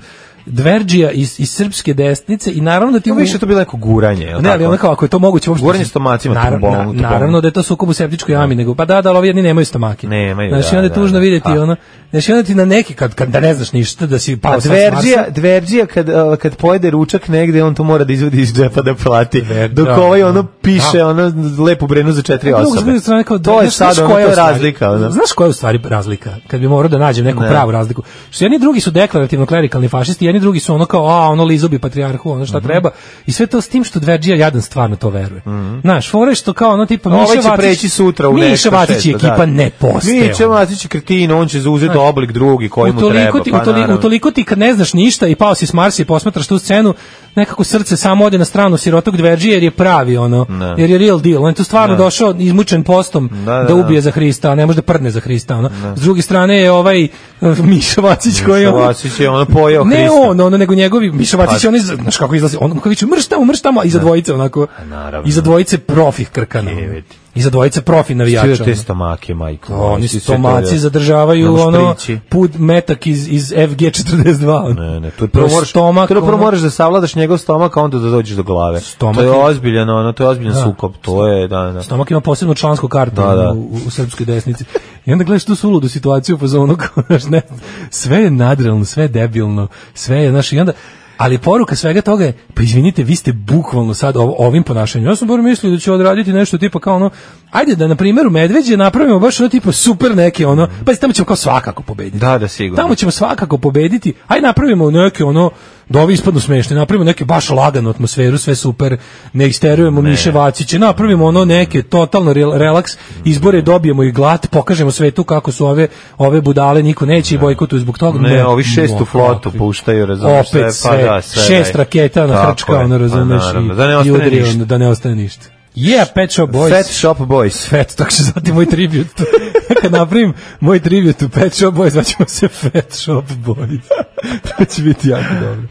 F: Dverđija iz, iz srpske desnice i naravno da ti...
E: Ima
F: u-
E: više to bilo neko guranje. je li
F: ne, ali
E: tako? Pa
F: ono kao, ako je to moguće uopšte... da
E: Guranje stomacima,
F: Naravno,
E: tu bom- tu
F: na- naravno
E: bom.
F: da je to sukob u septičkoj jami, nego, pa da, da, ali ovi jedni nemaju stomake.
E: Nemaju,
F: znači,
E: da,
F: onda je
E: da,
F: tužno
E: da.
F: vidjeti
E: Pa.
F: ono... Znači, onda ti na neki, kad, kad da ne znaš ništa, da si pao
E: A
F: sad s Marsa.
E: Dverđija, Dverđija kad, a, kad pojede ručak negde, on to mora da izvodi iz džepa da plati.
F: Dver-
E: Dok
F: da,
E: ovaj ono
F: da.
E: piše
F: Da.
E: ono lepu brenu za četiri
F: A drugo, s
E: osobe.
F: druge strane, kao, da,
E: to je
F: znaš- znaš
E: sad ono, to
F: koja je
E: je
F: u stvari-
E: razlika. ono.
F: Znaš koja je u stvari razlika? Kad bi morao da nađem neku
E: Ne.
F: pravu razliku. Što jedni i drugi su deklarativno klerikalni fašisti, jedni i drugi su ono kao, a, ono lizobi patrijarhu, ono
E: Mhm.
F: šta treba. I sve to s tim što Dverđija jadan stvarno to veruje. Znaš, fora je što kao ono tipa Miša
E: Mhm. Ovaj će
F: Vacić-
E: preći sutra u
F: Miša
E: nešto.
F: Vacić i
E: šesto, da.
F: ekipa ne postoje.
E: Miša Vacić je kretin, on će zauzeti
F: Znaš,
E: oblik drugi koji mu
F: utoliko
E: treba.
F: Ti,
E: pa
F: utoliko,
E: naravno.
F: utoliko ti kad ne znaš ništa i pao si s Marsa i posmatraš tu scenu, nekako srce samo ode na stranu sirotog dverđije jer je pravi ono,
E: Ne.
F: jer je real deal. On je tu stvarno
E: Ne.
F: došao izmučen postom
E: Da,
F: da,
E: da, da.
F: ubije za Hrista, a ne može da prdne za Hrista. Ono. S druge strane je ovaj eh, Miša Vacić koji je...
E: Miša
F: ono-
E: Vacić je ono pojeo
F: ne
E: Hrista.
F: on, ono, nego njegovi Miša Vacić
E: Pa- Da.
F: je on, znaš kako izlazi, on kako viče, mrš tamo, mrš tamo, a iza dvojice onako,
E: Pa naravno.
F: iza dvojice profih krkana. ono.
E: Jeviti.
F: Iza dvojice profi navijača.
E: Svi da te
F: ono.
E: stomake, majko.
F: Oni
E: Svi
F: su
E: sve to
F: stomaci
E: da-
F: zadržavaju
E: Ne možeš
F: ono
E: prići.
F: put metak iz, iz FG42.
E: Ne, ne, to je prvo moraš,
F: stomak,
E: to je prvo
F: ono-
E: moraš da savladaš njegov stomak, a onda da dođeš do glave.
F: Stomak
E: to je
F: je-
E: ozbiljan, ono, to je ozbiljan
F: Da.
E: sukob, to je, da, da.
F: Stomak ima posebnu člansku kartu
E: Da, da.
F: U, u, u srpskoj desnici. I onda gledaš tu suludu situaciju po zonu kao, znaš, ne, sve je nadrealno, sve je debilno, sve je, znaš, i onda Ali poruka svega toga je, pa izvinite, vi ste bukvalno sad ovo- ovim ponašanjem. Ja sam bar mislio da će odraditi nešto tipa kao ono, ajde da na primjeru Medveđe napravimo baš ono tipa super neke ono, pa tamo ćemo kao svakako pobediti.
E: Da, da, sigurno.
F: Tamo ćemo svakako pobediti. Aj napravimo neke ono da ovi ispadnu smešni, napravimo neke baš laganu atmosferu, sve super, ne isterujemo Miše Vaciće, napravimo ono neke totalno rel- relaks, izbore dobijemo i glat, pokažemo svetu kako su ove ove budale, niko neće i bojkotuju zbog toga.
E: Ne, ovi šestu
F: no,
E: flotu
F: kakvi.
E: puštaju, razumeš, sve,
F: Opet
E: pa
F: sve,
E: da, sve,
F: šest
E: da.
F: raketa na
E: Tako
F: hrčka,
E: je,
F: ono
E: pa
F: razumeš,
E: naravno,
F: i,
E: da ne
F: i
E: ostane
F: udri,
E: ništa.
F: ono, da ne ostane ništa. Yeah, Pet Shop Boys.
E: Fat Shop Boys.
F: Fat, tako se zvati moj tribut. Kad napravim moj tribut u Pet Shop Boys, zvaćemo se Fat Shop Boys. to će biti jako dobro.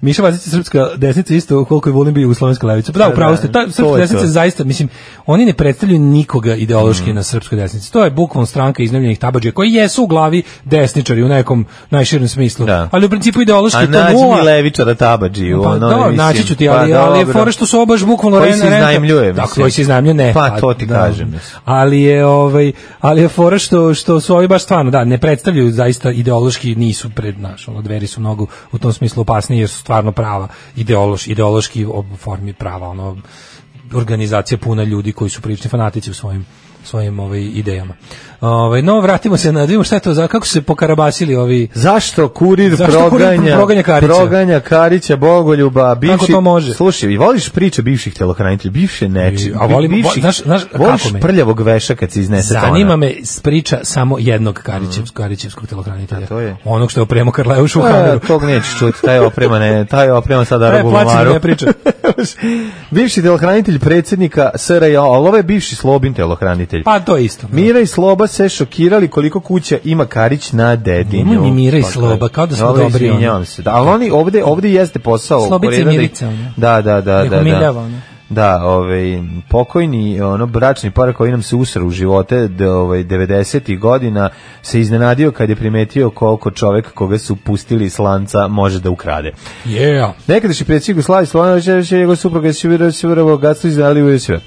F: Miša Vazić je srpska desnica isto koliko je volim bio jugoslovenska levica. Pa da, upravo ste. Ta
E: to
F: srpska
E: je
F: desnica
E: to.
F: zaista, mislim, oni ne predstavljaju nikoga ideološki
E: Mm.
F: na srpskoj desnici. To je bukvalno stranka iznajmljenih tabađa koji jesu u glavi desničari u nekom najširem smislu.
E: Da.
F: Ali u principu ideološki
E: A
F: je to
E: nađi
F: nula.
E: mi Levičara Tabadžiju.
F: Pa
E: ono,
F: da,
E: mislim,
F: naći ću ti, ali,
E: pa
F: ali je
E: dobro.
F: fora što su ovo baš bukvalno
E: Koji
F: ren-
E: se
F: renta-
E: iznajmljuje,
F: Da,
E: mislim.
F: koji se iznajmljuje, ne. da.
E: Pa, to ti kažem, mislim.
F: Ali je, ovaj, ali je fora što, što su ovi baš stvarno, da, ne predstavljaju zaista ideološki, nisu pred naš, ono, dveri su mnogo u tom smislu opasniji, jer su stvarno prava, ideološ, ideološki u formi prava, ono, organizacija puna ljudi koji su prilični fanatici u svojim svojim ovaj, idejama. Ovaj, no, vratimo se na, da vidimo šta je to, za, kako su se pokarabasili ovi...
E: Zašto kurir
F: Zašto kurir
E: proganja,
F: proganja Karića?
E: proganja Karića, Bogoljuba, bivši...
F: Kako to može?
E: Slušaj, i voliš priče bivših telohranitelja, bivše neči,
F: A volim- vo-
E: bivših-
F: znaš- znaš kako
E: voliš
F: me?
E: prljavog veša kad se iznese tona.
F: Zanima me s- priča samo jednog Karićevskog, Karićevskog telohranitelja.
E: Mhm. A to je? E,
F: Onog što je opremo Karlajušu u
E: A,
F: kameru.
E: tog nećeš čuti, taj je oprema ne, taj je oprema sada
F: Taj je
E: Arabu
F: plaćen da
E: Mamaru.
F: ne priča.
E: bivši telohranitelj predsjednika SRJ, ali ovo je bivši Slobin telohranitelj.
F: Pa to je isto.
E: Mira i Sloba se šokirali koliko kuća ima Karić na Dedinju.
F: Nema ni Mira i
E: Pa,
F: Sloba, kao da smo
E: dobro,
F: dobri,
E: izvinjavam
F: ono.
E: se. Da, ali oni ovde, ovde jeste posao.
F: Slobica i
E: Korena da-
F: Mirica, ono.
E: Da, da, da.
F: Ih
E: da, da.
F: umiljava, ono.
E: Da, ovaj pokojni ono bračni par koji nam se usra u živote da ovaj 90-ih godina se iznenadio kad je primetio koliko čovek koga su pustili iz lanca može da ukrade.
F: Yeah.
E: Nekadašnji predsjednik Jugoslavije Slovanović je njegov suprug je Sivira Sivira bogatstvo iz Aliju sve.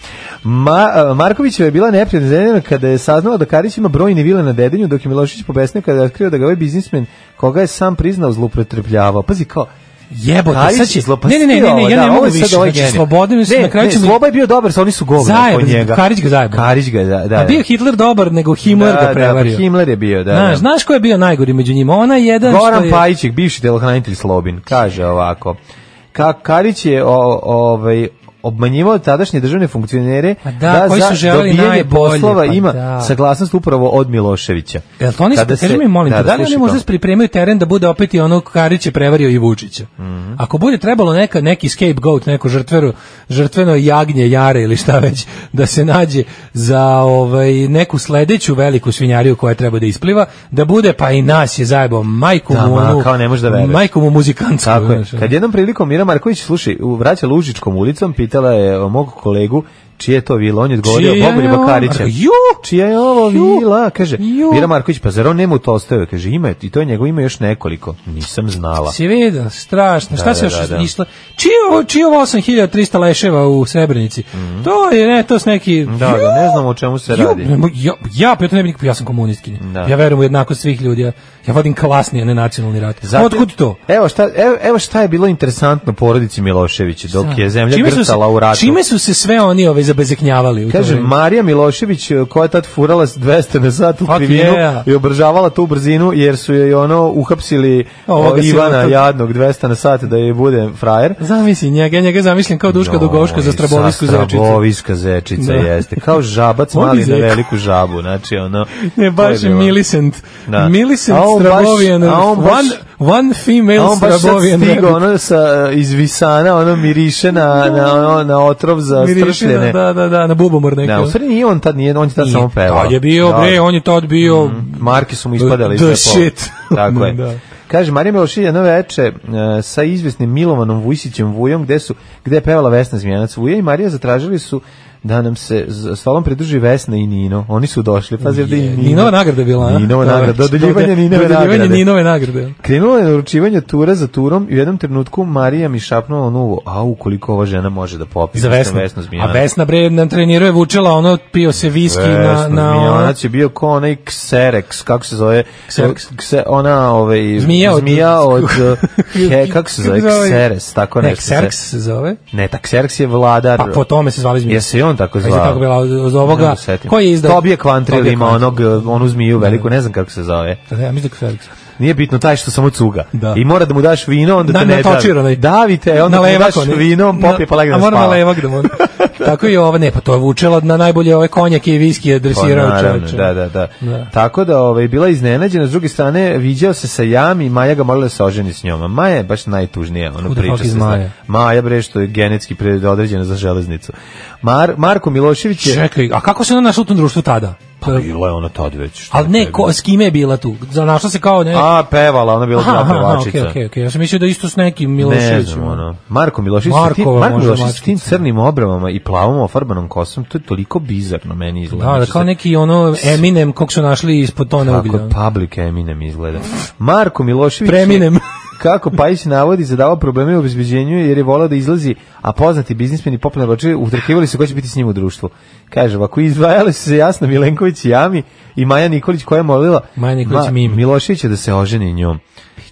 E: Ma, a, Markovićeva je bila neprijatno zanimljena kada je saznala da Karić ima brojne vile na Dedinju, dok je Milošić pobesnio kada je otkrio da ga ovaj biznismen koga je sam priznao zlopotrebljavao. Pazi kao,
F: Jebote,
E: Tarić
F: sad će...
E: je
F: Ne,
E: zlopastio
F: ne, ne, ne,
E: ovo,
F: ja
E: da,
F: ne
E: ovo
F: mogu
E: je sad
F: više.
E: ovaj
F: Znači,
E: genije.
F: slobodan je,
E: Ne,
F: na kraju
E: ne,
F: ćemo...
E: Sloba je bio dobar, sa oni su govori
F: Zajebo,
E: oko njega.
F: Karić ga zajebo.
E: Karić ga, da, da.
F: A bio je Hitler dobar, nego Himmler
E: Da,
F: ga
E: da,
F: prevario.
E: Himmler je bio, da,
F: Znaš,
E: da.
F: znaš ko je bio najgori među njima? Ona jedan što
E: Goran
F: je...
E: Pajićek, bivši telohranitelj Slobin, kaže ovako. Ka, Karić je o, ovaj obmanjivao tadašnje državne funkcionere
F: Pa da, koji su želeli
E: dobijanje
F: najbolje,
E: poslova
F: pa
E: ima
F: da.
E: saglasnost upravo od Miloševića.
F: Jel to oni,
E: Kada
F: kaži
E: se-
F: mi, molim te, da li
E: slušaj
F: oni možda
E: to.
F: pripremaju teren da bude opet i ono Karić je prevario i Vučića?
E: Mhm.
F: Ako bude trebalo neka, neki scapegoat, neko žrtveru, žrtveno jagnje, jare ili šta već, da se nađe za ovaj, neku sledeću veliku svinjariju koja treba da ispliva, da bude pa i nas je zajebo majku
E: Da,
F: mu,
E: ma,
F: onu-
E: kao ne možeš da veruješ.
F: majku mu muzikantsku.
E: Tako je.
F: znaš, ono.
E: Kad jednom prilikom Mira Marković slušaj, u- vraća Lužičkom ulicom, pitala je o mog kolegu čije je to vila, on je odgovorio
F: Čija
E: Bogoljuba
F: je ovo?
E: Karića.
F: Ju!
E: Čija je ovo
F: Ju!
E: vila? Kaže,
F: Ju!
E: Mira Marković, pa zar on nema u Tolstoju? Kaže, ima, je, i to je njegov ima još nekoliko. Nisam znala.
F: Si vidio, strašno.
E: Da,
F: Šta se
E: da,
F: još
E: da, da.
F: išlo? Čije ovo, čije ovo 8300 leševa u Srebrenici? To je, ne, to su neki...
E: Mhm. Da, da, ne znam o čemu se
F: Ja,
E: radi.
F: ja, ja, pa ja to ne bih nikako, ja sam komunistkinja.
E: Da.
F: Ja verujem u jednakost svih ljudi. Ja, ja vodim klasni, a ne nacionalni rat.
E: Zato-
F: Otkud to?
E: Evo šta, evo, evo šta je bilo interesantno porodici Miloševića dok je zemlja
F: Čime su se-
E: grcala u ratu.
F: Čime su se sve oni ove zabezeknjavali? u to
E: Kaže,
F: vreme?
E: Marija Milošević e, koja je tad furala s 200 na sat u
F: Fuck
E: krivinu
F: yeah.
E: i obržavala tu brzinu jer su joj ono uhapsili
F: Ovoga
E: o, Ivana
F: sirotu.
E: jadnog 200 na sat da je bude frajer.
F: Zamisli njega, ja njega zamislim kao Duška Dugoško za Strabovisku
E: Za
F: zečicu.
E: Straboviska zečica
F: Da.
E: jeste. Kao žabac
F: On bi
E: mali na
F: zeka.
E: veliku žabu. Znači, ono...
F: Ne, baš
E: to
F: je
E: bilo.
F: Millicent.
E: Da.
F: Millicent
E: A on baš-
F: Strabovijan.
E: a on baš-
F: one, one female
E: A on baš sad
F: Strabovijan.
E: stigao,
F: rabbit.
E: ono sa, e, iz Visana, ono miriše na, na, ono, na otrov za
F: Mirišina,
E: stršljene.
F: Da, da, da, na bubomor neki.
E: Da, u stvari nije on tad, nije, on je tad samo pevao.
F: To je bio,
E: Da. Mhm.
F: bre, on je tad bio...
E: Marke su mu ispadale iz
F: The
E: džepova.
F: shit.
E: Tako je.
F: Da.
E: Kaže, Marija Milošilj jedno veče e, sa izvesnim Milovanom Vujsićem Vujom, gde, su, gde je pevala Vesna Zmijanac Vuja i Marija zatražili su da nam se z- stolom pridruži Vesna i Nino. Oni su došli, pazi ovde i Nino.
F: Ninova nagrada je bila, a? Da,
E: Ninova nagrada, dodeljivanje Ninove
F: Dodeljivanje
E: nagrade.
F: Ninove nagrade.
E: Krenulo je naručivanje tura za turom i u jednom trenutku Marija mi šapnula ono uvo, a ukoliko ova žena može da popi.
F: Za
E: mislim,
F: Vesnu.
E: Vesnu
F: A
E: Zmijanac.
F: Vesna bre nam treniruje, vučela ono, pio se viski na... na ono-
E: Zmijanac je bio ko onaj Xerex, kako se zove?
F: Xerex.
E: Kse- ona, ovaj,
F: Zmija od-
E: od... he, kako se zove? Xeres, tako
F: ne,
E: pa nešto. se-
F: Xerx se zove.
E: Ne, tak Xerx je vladar.
F: Pa po tome se zvali zmija.
E: Jesi i on tako
F: Pa
E: zvao? da
F: isto tako bila od, od ovoga. Koji je izdao?
E: Tobije Kvantril
F: Tobija
E: ima
F: Kvantril.
E: onog, onu zmiju veliku, ne znam kako se zove.
F: Da, ja mislim da je Xerx.
E: Nije bitno taj što samo cuga.
F: Da.
E: I mora da mu daš vino, onda
F: Na-
E: te ne davi.
F: natočira onaj.
E: Davite, onda
F: na
E: mu
F: levak
E: daš
F: onaj.
E: vino, on popije pa legne
F: A
E: da
F: moram
E: spava.
F: na levak da moram. Tako i ova, ne, pa to je vučela na najbolje ove konjake i viski je
E: Pa,
F: dresirao
E: naravno,
F: čoveče.
E: Da, da, da,
F: Da.
E: Tako da ovaj, bila je iznenađena, s druge strane viđao se sa Jam i Maja ga molila da se oženi s njom. A Maja je baš najtužnija, ono
F: Who the
E: priča
F: fuck
E: se.
F: is
E: zna.
F: Maja?
E: Maja bre što je genetski predodređena za železnicu. Mar, Marko Milošević je
F: Čekaj, a kako se ona našla u tom društvu tada? Pa,
E: Bila je ona tad već. šta
F: ali
E: je
F: ne,
E: to
F: ko, s kime je bila tu? Našla se kao ne...
E: bilo? A, pevala, ona bila
F: Aha,
E: dva
F: aha,
E: pevačica.
F: okej, okej, okej. Ja sam mislio da isto s nekim
E: Ne
F: Miloševićem. Da,
E: znam, ono. Marko Milošević, sa tim,
F: Markova
E: Marko
F: možda
E: Milošević s tim
F: mačica.
E: crnim obramama i plavom ofarbanom kosom, to je toliko bizarno meni izgleda.
F: Da, da
E: Znači,
F: kao
E: sad-
F: neki ono Eminem kog su našli ispod tona
E: Kako
F: uglja.
E: je public Eminem izgleda. Marko Milošević je-
F: Preminem.
E: kako Pajić navodi zadavao probleme u obezbeđenju jer je volao da izlazi, a poznati biznismeni i popularni roče utrkivali se ko će biti s njim u društvu. Kaže, ovako izdvajali su se jasno Milenković i Jami i Maja Nikolić koja je molila
F: Maja Nikolić Mimi.
E: Miloševića da se oženi njom.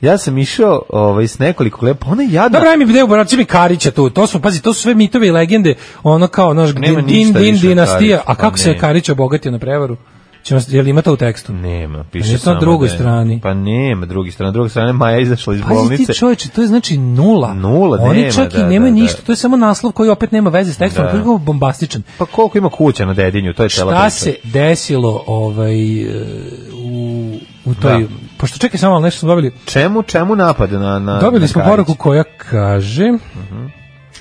E: Ja sam išao ovaj, s nekoliko lepa, ona je jadna.
F: Dobra, ajme, gde obraci Da, mi Karića tu? To su, pazi, to su sve mitovi i legende, ono kao, naš,
E: Nema
F: din, din,
E: ništa
F: din,
E: više o
F: dinastija.
E: Kariću,
F: A kako
E: pa
F: se je
E: ne.
F: Karić obogatio na prevaru? Ćemo, je li ima to u tekstu?
E: Nema,
F: Pa
E: piše
F: nije to na
E: samo
F: drugoj
E: da je-
F: strani.
E: Pa nema, drugi strana. Na drugoj strane Maja je izašla iz
F: Pazi
E: bolnice.
F: ti čoveče, to je znači nula.
E: Nula,
F: Oni
E: nema,
F: čak
E: da,
F: i nemaju
E: da, da.
F: ništa, to je samo naslov koji opet nema veze s tekstom,
E: Da.
F: koji je bombastičan.
E: Pa koliko ima kuća na dedinju, to je cela
F: Šta
E: priča.
F: se desilo ovaj, e, u, u toj...
E: Da.
F: Pošto čekaj samo, ali nešto smo dobili.
E: Čemu, čemu napad na... na Da, na
F: Dobili smo
E: Karića? Mhm.
F: poruku koja kaže...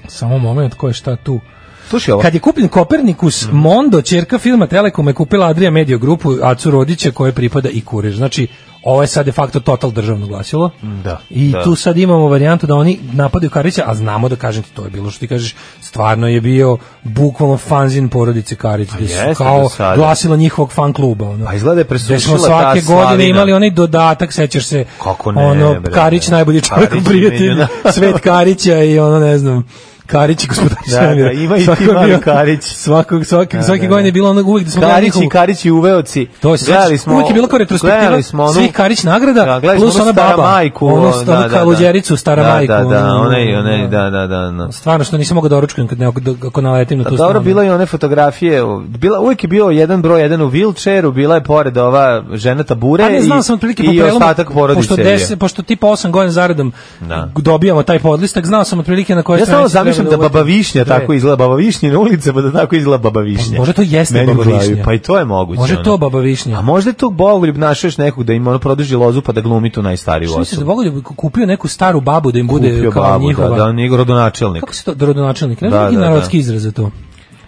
F: Samo moment, ko je šta tu?
E: Slušaj ovo. Mhm.
F: Kad je kupljen Kopernikus, Mondo, čerka filma Telekom je kupila Adria Media grupu Acu Rodića koje pripada i kurir. Znači, ovo je sad de facto total državno glasilo.
E: Da,
F: I
E: da.
F: tu sad imamo varijantu da oni napadaju Karića, a znamo da kažem ti to je bilo što ti kažeš, stvarno je bio bukvalno fanzin porodice Karić, gde su
E: jeste
F: kao
E: do sada.
F: glasilo njihovog fan kluba. Ono.
E: Pa izgleda je
F: Gde Da smo
E: presušila
F: svake
E: ta slavina.
F: godine imali onaj dodatak, sećaš se,
E: Kako ne,
F: ono,
E: bre.
F: Karić najbolji čovjek u
E: Karić je
F: prijatelju,
E: menjena.
F: svet Karića i ono, ne znam, Karić i gospodar
E: Da, da,
F: Svemira.
E: ima i ti
F: Svako je
E: mali
F: bio-
E: Karić.
F: Svakog, svake,
E: Da,
F: svake
E: da, da.
F: godine je bilo ono uvek da smo gledali
E: Karić i
F: njihovu-
E: Karić i Uveoci.
F: To se
E: gledali
F: sećaš, uvijek je bilo kao retrospektiva
E: gledali smo onu-
F: svih Karić nagrada,
E: da, gledali
F: plus
E: smo onu
F: ona
E: stara
F: baba,
E: majku,
F: onu-
E: o,
F: onu kaluđericu, stara
E: da,
F: majku,
E: Da, da,
F: ono-
E: one, one, da, da, da. da.
F: Stvarno što nisam mogao da oručkujem kad ne, ako naletim na
E: Pa
F: tu
E: dobro,
F: stranu.
E: bilo je one fotografije, u- bila, uvijek je bio jedan broj, jedan u wheelchairu, bila je pored ova žena tabure
F: A ne znam
E: i,
F: sam otprilike po
E: i
F: prelomu,
E: ostatak porodice.
F: pošto,
E: je bio.
F: des, pošto tipa 8 godina zaredom
E: Da.
F: dobijamo taj podlistak, znao sam otprilike na koje
E: Ja samo
F: stranici treba
E: zamišljam da
F: uvatim.
E: baba višnja
F: Dve. Pa
E: tako izgleda, baba višnja na ulice, pa da tako izgleda baba višnja.
F: možda to jeste
E: Meni u
F: baba
E: glavi,
F: višnja.
E: Pa i to je moguće.
F: Može
E: ono.
F: to baba višnja.
E: A možda je to Bogoljub našao još nekog da im ono produži lozu pa da glumi tu najstariju
F: Što misliš da
E: osobu.
F: Bogoljub kupio neku staru babu da im bude
E: Kupio
F: kao
E: babu,
F: njihova?
E: da, da, on je rodonačelnik.
F: Kako se to, rodonačelnik? Ne
E: Da,
F: znam neki
E: da, da.
F: narodski izraz za to.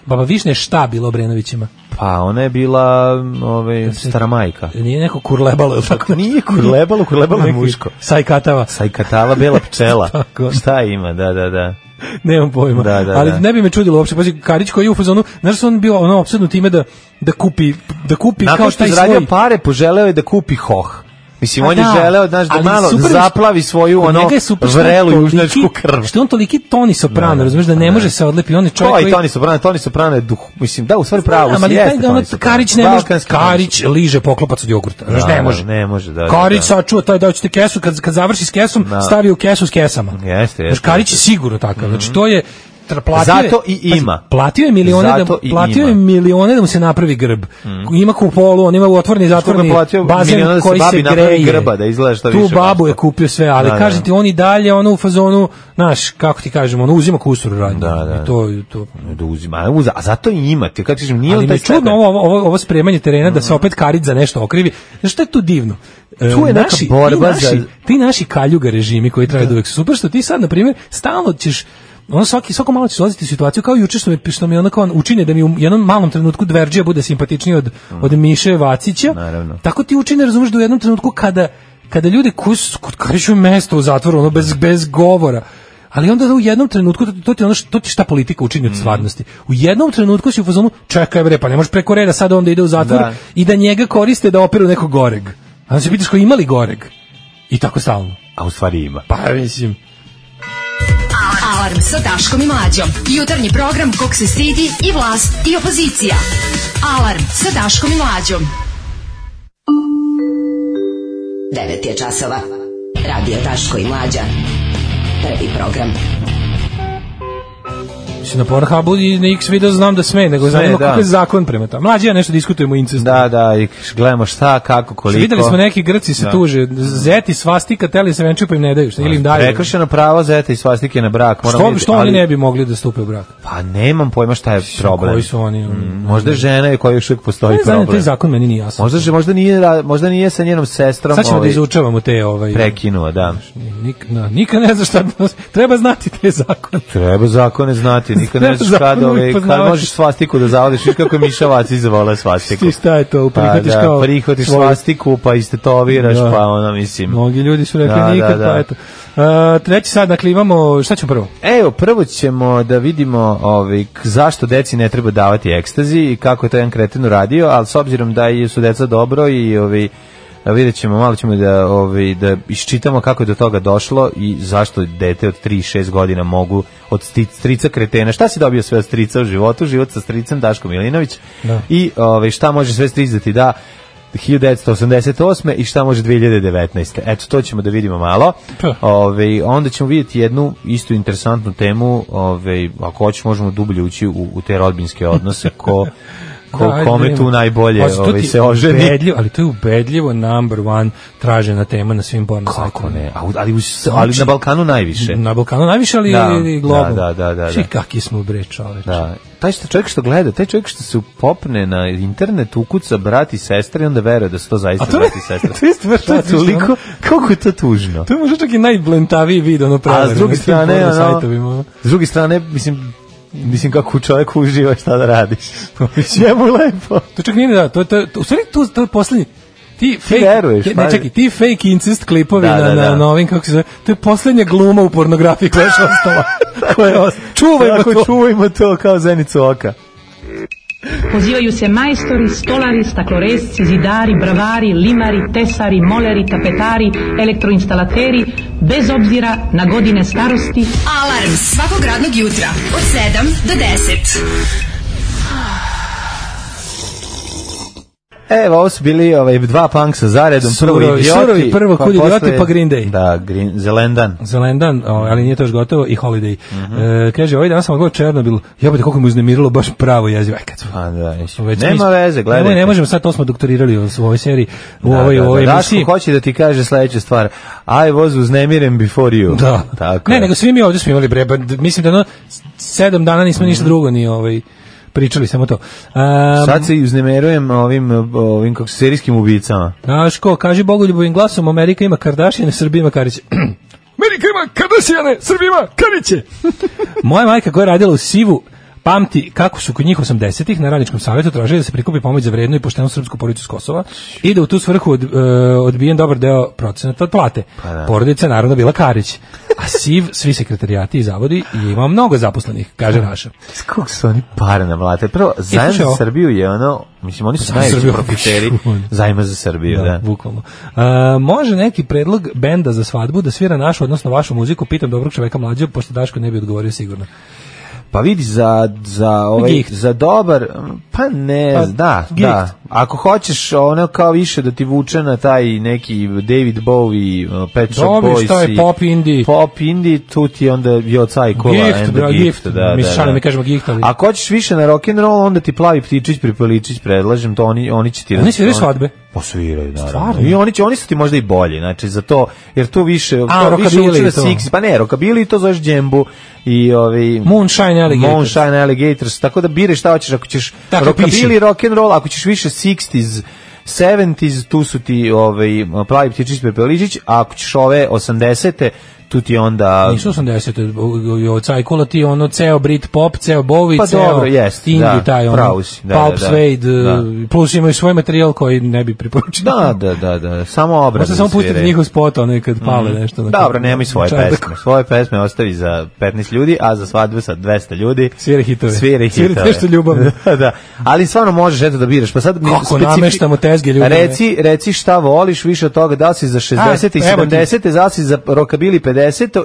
F: Baba Višnja je šta bilo Obrenovićima?
E: Pa ona je bila m,
F: Da
E: ovaj, stara majka.
F: Nije neko kurlebalo ili tako?
E: Nije kurlebalo, kurlebalo je
F: Neki
E: muško.
F: Sajkatava.
E: Sajkatala, bela pčela.
F: Tako.
E: Šta ima, da, da, da.
F: Nemam pojma.
E: Da, da,
F: Ali
E: da.
F: ne bi me čudilo uopšte. Pazi, Karić koji je u fazonu, znaš što on bio ono opsednut time da, da kupi, da kupi
E: Nakon
F: kao
E: što
F: taj
E: je zaradio
F: svoj...
E: pare, poželeo je da kupi hoh. Mislim,
F: Pa
E: on je
F: da,
E: želeo znaš, da
F: ali
E: malo
F: super je što-
E: zaplavi svoju
F: kod
E: ono
F: njega je super što je
E: vrelu
F: toliki-
E: južnačku krv.
F: Što je on toliki Toni Soprano, razumiješ, da ne može se odlepi. On je čovjek
E: Ko je
F: koji...
E: Toni Soprano? Toni Soprano je duh. Mislim, da, u stvari pravo.
F: Znam, ali
E: jeste
F: taj ga ono
E: Toni Soprano.
F: Karić ne može,
E: Balkanski
F: Karić
E: muž.
F: liže poklopac od jogurta. Znaš,
E: Da,
F: ne može.
E: da, ne može, da, da,
F: Karić
E: da.
F: sačuva taj da ćete kesu, kad, kad završi s kesom,
E: Da.
F: stavi u kesu s kesama.
E: Jeste,
F: Znaš,
E: jeste. Mhm.
F: Karić je sigurno takav. Znači, to je tra- platio je-
E: Zato i
F: pazi,
E: ima.
F: platio je milione da
E: Zato i
F: platio
E: ima. Mhm.
F: je milione da mu se napravi grb. Ima kupolu, on ima otvoreni i
E: Što ga
F: zatvoreni
E: platio milione
F: bazen
E: da se
F: koji se
E: babi napravi
F: greje.
E: grba, da izgleda što
F: Tu
E: više
F: babu
E: baš.
F: je kupio sve, ali
E: Da, da.
F: kažete on i dalje ono u fazonu, znaš, kako ti kažemo, ono uzima kusur radnje.
E: Da, da.
F: I to to
E: Da uzima, a uza, a zato i ima. Ti kako kažem, nije
F: ali
E: on
F: mi
E: taj
F: je čudno
E: čudno
F: ovo, ovo, ovo spremanje terena da se opet Karić za nešto okrivi. Znaš šta je tu divno? E,
E: Tu je neka borba
F: ti naši,
E: za-
F: Ti naši kaljuga režimi koji traju da. uvek su super, što ti sad, na primjer, stalno ćeš ono svaki svako malo ćeš dolaziti u situaciju kao juče što mi što mi onako on učine da mi u jednom malom trenutku Dverđija bude simpatičniji od od Miše Vacića.
E: Mm. Naravno.
F: Tako ti učine razumeš da u jednom trenutku kada kada ljude kus kod karišu mesto u zatvoru ono bez bez govora. Ali onda da u jednom trenutku to, to ti je ono što to ti šta politika
E: Mm.
F: učini od stvarnosti. U jednom trenutku si u fazonu čekaj bre pa ne možeš preko reda sad onda ide u zatvor
E: Da.
F: i da njega koriste da operu nekog goreg. A onda se pitaš ko imali goreg. I tako stalno.
E: A u stvari ima.
F: Pa mislim
D: Alarm sa Daškom i Mlađom. Jutarnji program kog se stidi i vlast i opozicija. Alarm sa Daškom i Mlađom.
M: 9 je časova. Radio Daško i Mlađa. Prvi program.
F: Mislim, na Pornhubu i na X video znam da sme, nego
E: Sme,
F: zanima
E: da.
F: kako je zakon prema tamo. Mlađi ja nešto diskutujemo o incestu. Znači,
E: Da, da, i gledamo šta, kako, koliko.
F: Videli smo neki Grci se
E: Da.
F: tuže, zeti svastika, teli se venčuju pa im ne daju, šta ili im daju.
E: Prekršeno pravo zeta i svastike na brak. moram
F: Što,
E: vidjeti,
F: što oni
E: ali-
F: ne bi mogli da stupe u brak?
E: Pa nemam pojma šta je problem.
F: Koji su oni?
E: Mm, Možda je žena je koja još uvijek postoji
F: Ne znam, taj
E: problem.
F: zakon meni nije jasan.
E: Možda, že- možda, nije, ra- možda nije sa njenom sestrom
F: Sad ćemo da
E: ovaj,
F: izučavamo te ovaj...
E: prekinuo, da.
F: Nik, na, nikad ne zna šta... Treba znati te zakone.
E: Treba zakone znati, nikad ne znaš
F: Zakone
E: kad, ovaj,
F: uvijek
E: kad
F: poznavaš.
E: možeš svastiku da zavodiš, viš kako je Miša Vacić zavolao svastiku.
F: Ti šta je to, prihvatiš
E: pa, da,
F: kao...
E: prihvatiš
F: svoju-
E: svastiku, pa istetoviraš,
F: Da.
E: pa ono, mislim.
F: Mnogi ljudi su rekli
E: Da, da,
F: nikad,
E: da.
F: pa eto. A, treći sad, dakle, imamo... Šta ćemo prvo?
E: Evo, prvo ćemo da vidimo ovaj, k- zašto deci ne treba davati ekstazi i kako je to jedan kreten uradio, ali s obzirom da je- su deca dobro i ovaj, a vidjet ćemo, malo ćemo da, ovaj, da iščitamo kako je do toga došlo i zašto dete od 3-6 godina mogu od sti- strica kretena. Šta si dobio sve od strica u životu? Život sa stricem Daško Milinović.
F: Da.
E: I ovaj, šta može sve stric da ti da 1988. i šta može 2019. Eto, to ćemo da vidimo malo.
F: Pa.
E: Ove, onda ćemo vidjeti jednu istu interesantnu temu, ove, ako hoćeš možemo dublje ući u, u te rodbinske odnose, ko, ko
F: Pa Da, ajde,
E: kome
F: vidimo.
E: tu najbolje
F: Pazi, to
E: ove,
F: ti je
E: se oženi.
F: Ubedljivo, ali to je ubedljivo number one tražena tema na svim porno
E: Kako
F: sajtovima.
E: ne? A u- ali, u s- ali na Balkanu najviše.
F: Na Balkanu najviše, ali
E: Da,
F: i globalno.
E: da, da, da, da.
F: Svi kakvi smo bre čoveče.
E: Da. Taj što čovjek što gleda, taj čovjek što se popne na internet, ukuca brat i sestra i onda veruje da su to zaista
F: A to-
E: brat i sestra.
F: to je stvarno
E: to je
F: tužno.
E: toliko, kako je to tužno.
F: To je možda čak i najblentaviji vid, ono prevare.
E: A s druge
F: na svim porno
E: strane,
F: sajtovima.
E: ono, s druge strane, mislim, mislim kako čovjek uživa šta da radiš.
F: Pa
E: Njemu je lepo.
F: To čak nije da, to, to, to, u stvari to, to je poslednji. Ti, fake,
E: veruješ,
F: ti- ne,
E: pazi.
F: čekaj, ti fake incest klipovi
E: Da,
F: na,
E: da, da.
F: na, na ovim, kako se zove, to je poslednja gluma u pornografiji koja je još ostala. koja je ostala. Čuvajmo
E: Tako,
F: to.
E: čuvajmo to kao zenicu oka.
J: Pozivaju se majstori, stolari, stakloresci, zidari, bravari, limari, tesari, moleri, tapetari, elektroinstalateri, bez obzira na godine starosti.
D: Alarm svakog radnog jutra od 7 do 10.
E: Evo, ovo su bili ovaj, dva punk sa zaredom, prvo
F: Surovi-
E: idioti.
F: surovi, prvo Kud idioti,
E: posle-
F: pa Green Day.
E: Da, green, Zelendan.
F: Zelendan, o, ali nije to još gotovo, i Holiday.
E: Mhm.
F: e, kaže, ovaj dan sam odgledao Černobil, jebote, koliko me uznemirilo, baš pravo jezivo. Aj, kad smo-
E: Pa da,
F: već
E: Nema
F: smo-
E: veze, gledajte.
F: Ne, ne možemo, sad to smo doktorirali u ovoj seriji, u
E: Da,
F: ovoj,
E: da,
F: u
E: da.
F: ovoj
E: Daško
F: emisiji.
E: hoće da ti kaže sledeću stvar. I was uznemiren before you.
F: Da.
E: Tako
F: Ne,
E: je.
F: nego svi mi ovdje smo imali bre, ba- mislim da ono, s- sedam dana nismo ništa drugo ni ovaj, pričali, samo to. Um,
E: Mhm. Sad se uznemerujem ovim, ovim kako se serijskim ubicama.
F: Znaš ko, kaži bogoljubovim glasom, Amerika ima Kardashian, Srbija ima Karića. Amerika ima Kardashiane, Srbija ima Kariće. Moja majka koja je radila u Sivu, pamti kako su kod njih 80-ih na radničkom savjetu tražili da se prikupi pomoć za vrednu i poštenu srpsku porodicu s Kosova i da u tu svrhu od, e, odbijen dobar deo procenata od plate. Porodica je naravno bila Karić. A Siv, svi sekretarijati i zavodi, je imao mnogo zaposlenih, kaže Raša.
E: Kako su oni pare na vlate? Prvo, zajem
F: E, slušaj
E: za
F: ovo.
E: Srbiju je ono, mislim, oni su
F: Za
E: najveći
F: Srbiju.
E: profiteri zajma za Srbiju, da.
F: Da, bukvalno. A, može neki predlog benda za svadbu da svira našu, odnosno vašu muziku? Pitam dobrog čoveka mlađe, pošto Daško ne bi odgovorio sigurno.
E: Pa vidi, za, za, ovaj,
F: Gift.
E: za dobar, m, pa ne,
F: Pa,
E: da,
F: gift.
E: da. Ako hoćeš ono kao više da ti vuče na taj neki David Bowie, uh, Pet Shop Boys
F: Dobri, šta
E: i
F: je pop indie?
E: pop indie, tu ti je onda Yoca i Cola
F: Gift,
E: and the
F: bra,
E: gift,
F: gift.
E: da,
F: Mi
E: da,
F: šalim,
E: da.
F: mi kažemo gift, ali-
E: Ako hoćeš više na rock and roll, onda ti plavi ptičić, pripeličić, predlažem to, oni, oni će ti...
F: Oni sviraju svadbe?
E: Posviraju, naravno.
F: Stvarno?
E: I oni, će, oni su ti možda i bolji, znači, za to, jer tu više... to više
F: rockabilly
E: uče na
F: to.
E: Six, pa ne, rokabili to zoveš džembu i ovi...
F: Moonshine Alligators.
E: Moonshine Alligators, tako da biraš šta hoćeš, ako ćeš
F: Tako
E: rockabilly,
F: piši.
E: rock and roll, ako ćeš više 60s, 70s, tu su ti ovaj, plavi ptičić pepeličić, a ako ćeš ove 80-te, tu ti onda...
F: Nisu 80 od Cajkola ti ono ceo Brit pop, ceo Bowie,
E: Pa
F: ceo
E: dobro, jest,
F: indie,
E: da,
F: taj ono,
E: pravo si, da,
F: Pulp
E: da, da.
F: Suede,
E: Da.
F: e, plus imaju svoj materijal koji ne bi preporučio.
E: Da, da, da, da, samo obrade.
F: Možda samo da pustiti
E: sviraju.
F: njihov spot, ono kad pale nešto. na
E: Dobro,
F: kom-
E: nemoj svoje
F: čardaku.
E: pesme. Svoje pesme ostavi za 15 ljudi, a za svadbu sa 200 ljudi.
F: Svira hitove.
E: Svira hitove.
F: Svira nešto ljubavno.
E: da, da. Ali stvarno možeš eto da biraš. Pa sad
F: Kako nameštamo tezge ljubavne.
E: Reci, reci šta voliš više od toga, da li si za 60 i
F: A, evo ti.
E: 70, da li si za rokabili 50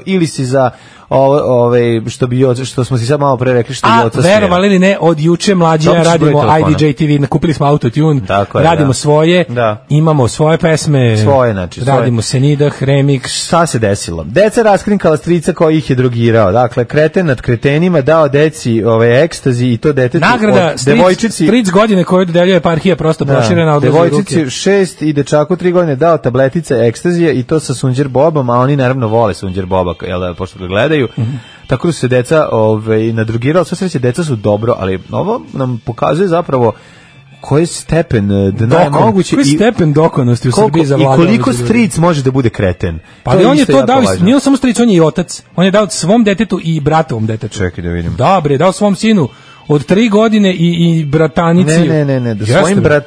E: ili si za ove, ove što bi Joca- što smo si sad malo pre rekli što
F: A,
E: Joca svira.
F: verovali ili ne, od juče mlađe
E: Dobit ćeš
F: radimo
E: broj telefona.
F: IDJ TV, nakupili smo autotune,
E: Tako je,
F: radimo
E: da.
F: svoje,
E: Da.
F: imamo svoje pesme,
E: Svoje, znači, svoje.
F: radimo Senidah, Remix,
E: Šta se desilo? Deca raskrinkala strica koji ih je drogirao. Dakle, kreten nad kretenima dao deci ove ekstazi i to detetu
F: nagrada,
E: od
F: stric,
E: devojčici
F: stric godine koju dodeljuje eparhija prosto
E: Da,
F: proširena od odlaze ruke.
E: devojčici šest i dečaku tri godine dao tabletice ekstazije i to sa Sunđer Bobom, a oni naravno vole Sunđer Boba, jel, da, pošto ga gledaju.
F: Mhm.
E: Tako da su se deca ovaj, nadrugirala, sve sreće, deca su dobro, ali ovo nam pokazuje zapravo koji je stepen eh, dna je
F: Dokon.
E: moguće
F: Koji
E: i,
F: stepen dokonosti u
E: koliko,
F: Srbiji
E: i
F: zavladao
E: koliko
F: među ljudima?
E: stric može da bude kreten.
F: Pa ali on je
E: isto
F: to
E: jako
F: dao, i-
E: važno.
F: nije on samo stric, on je i otac. On je dao svom detetu i bratovom detetu.
E: Čekaj da vidim.
F: Da, bre, dao svom sinu od tri godine i, i bratanici.
E: Ne, ne, ne, ne, da
F: Jeste,
E: svojim
F: bre.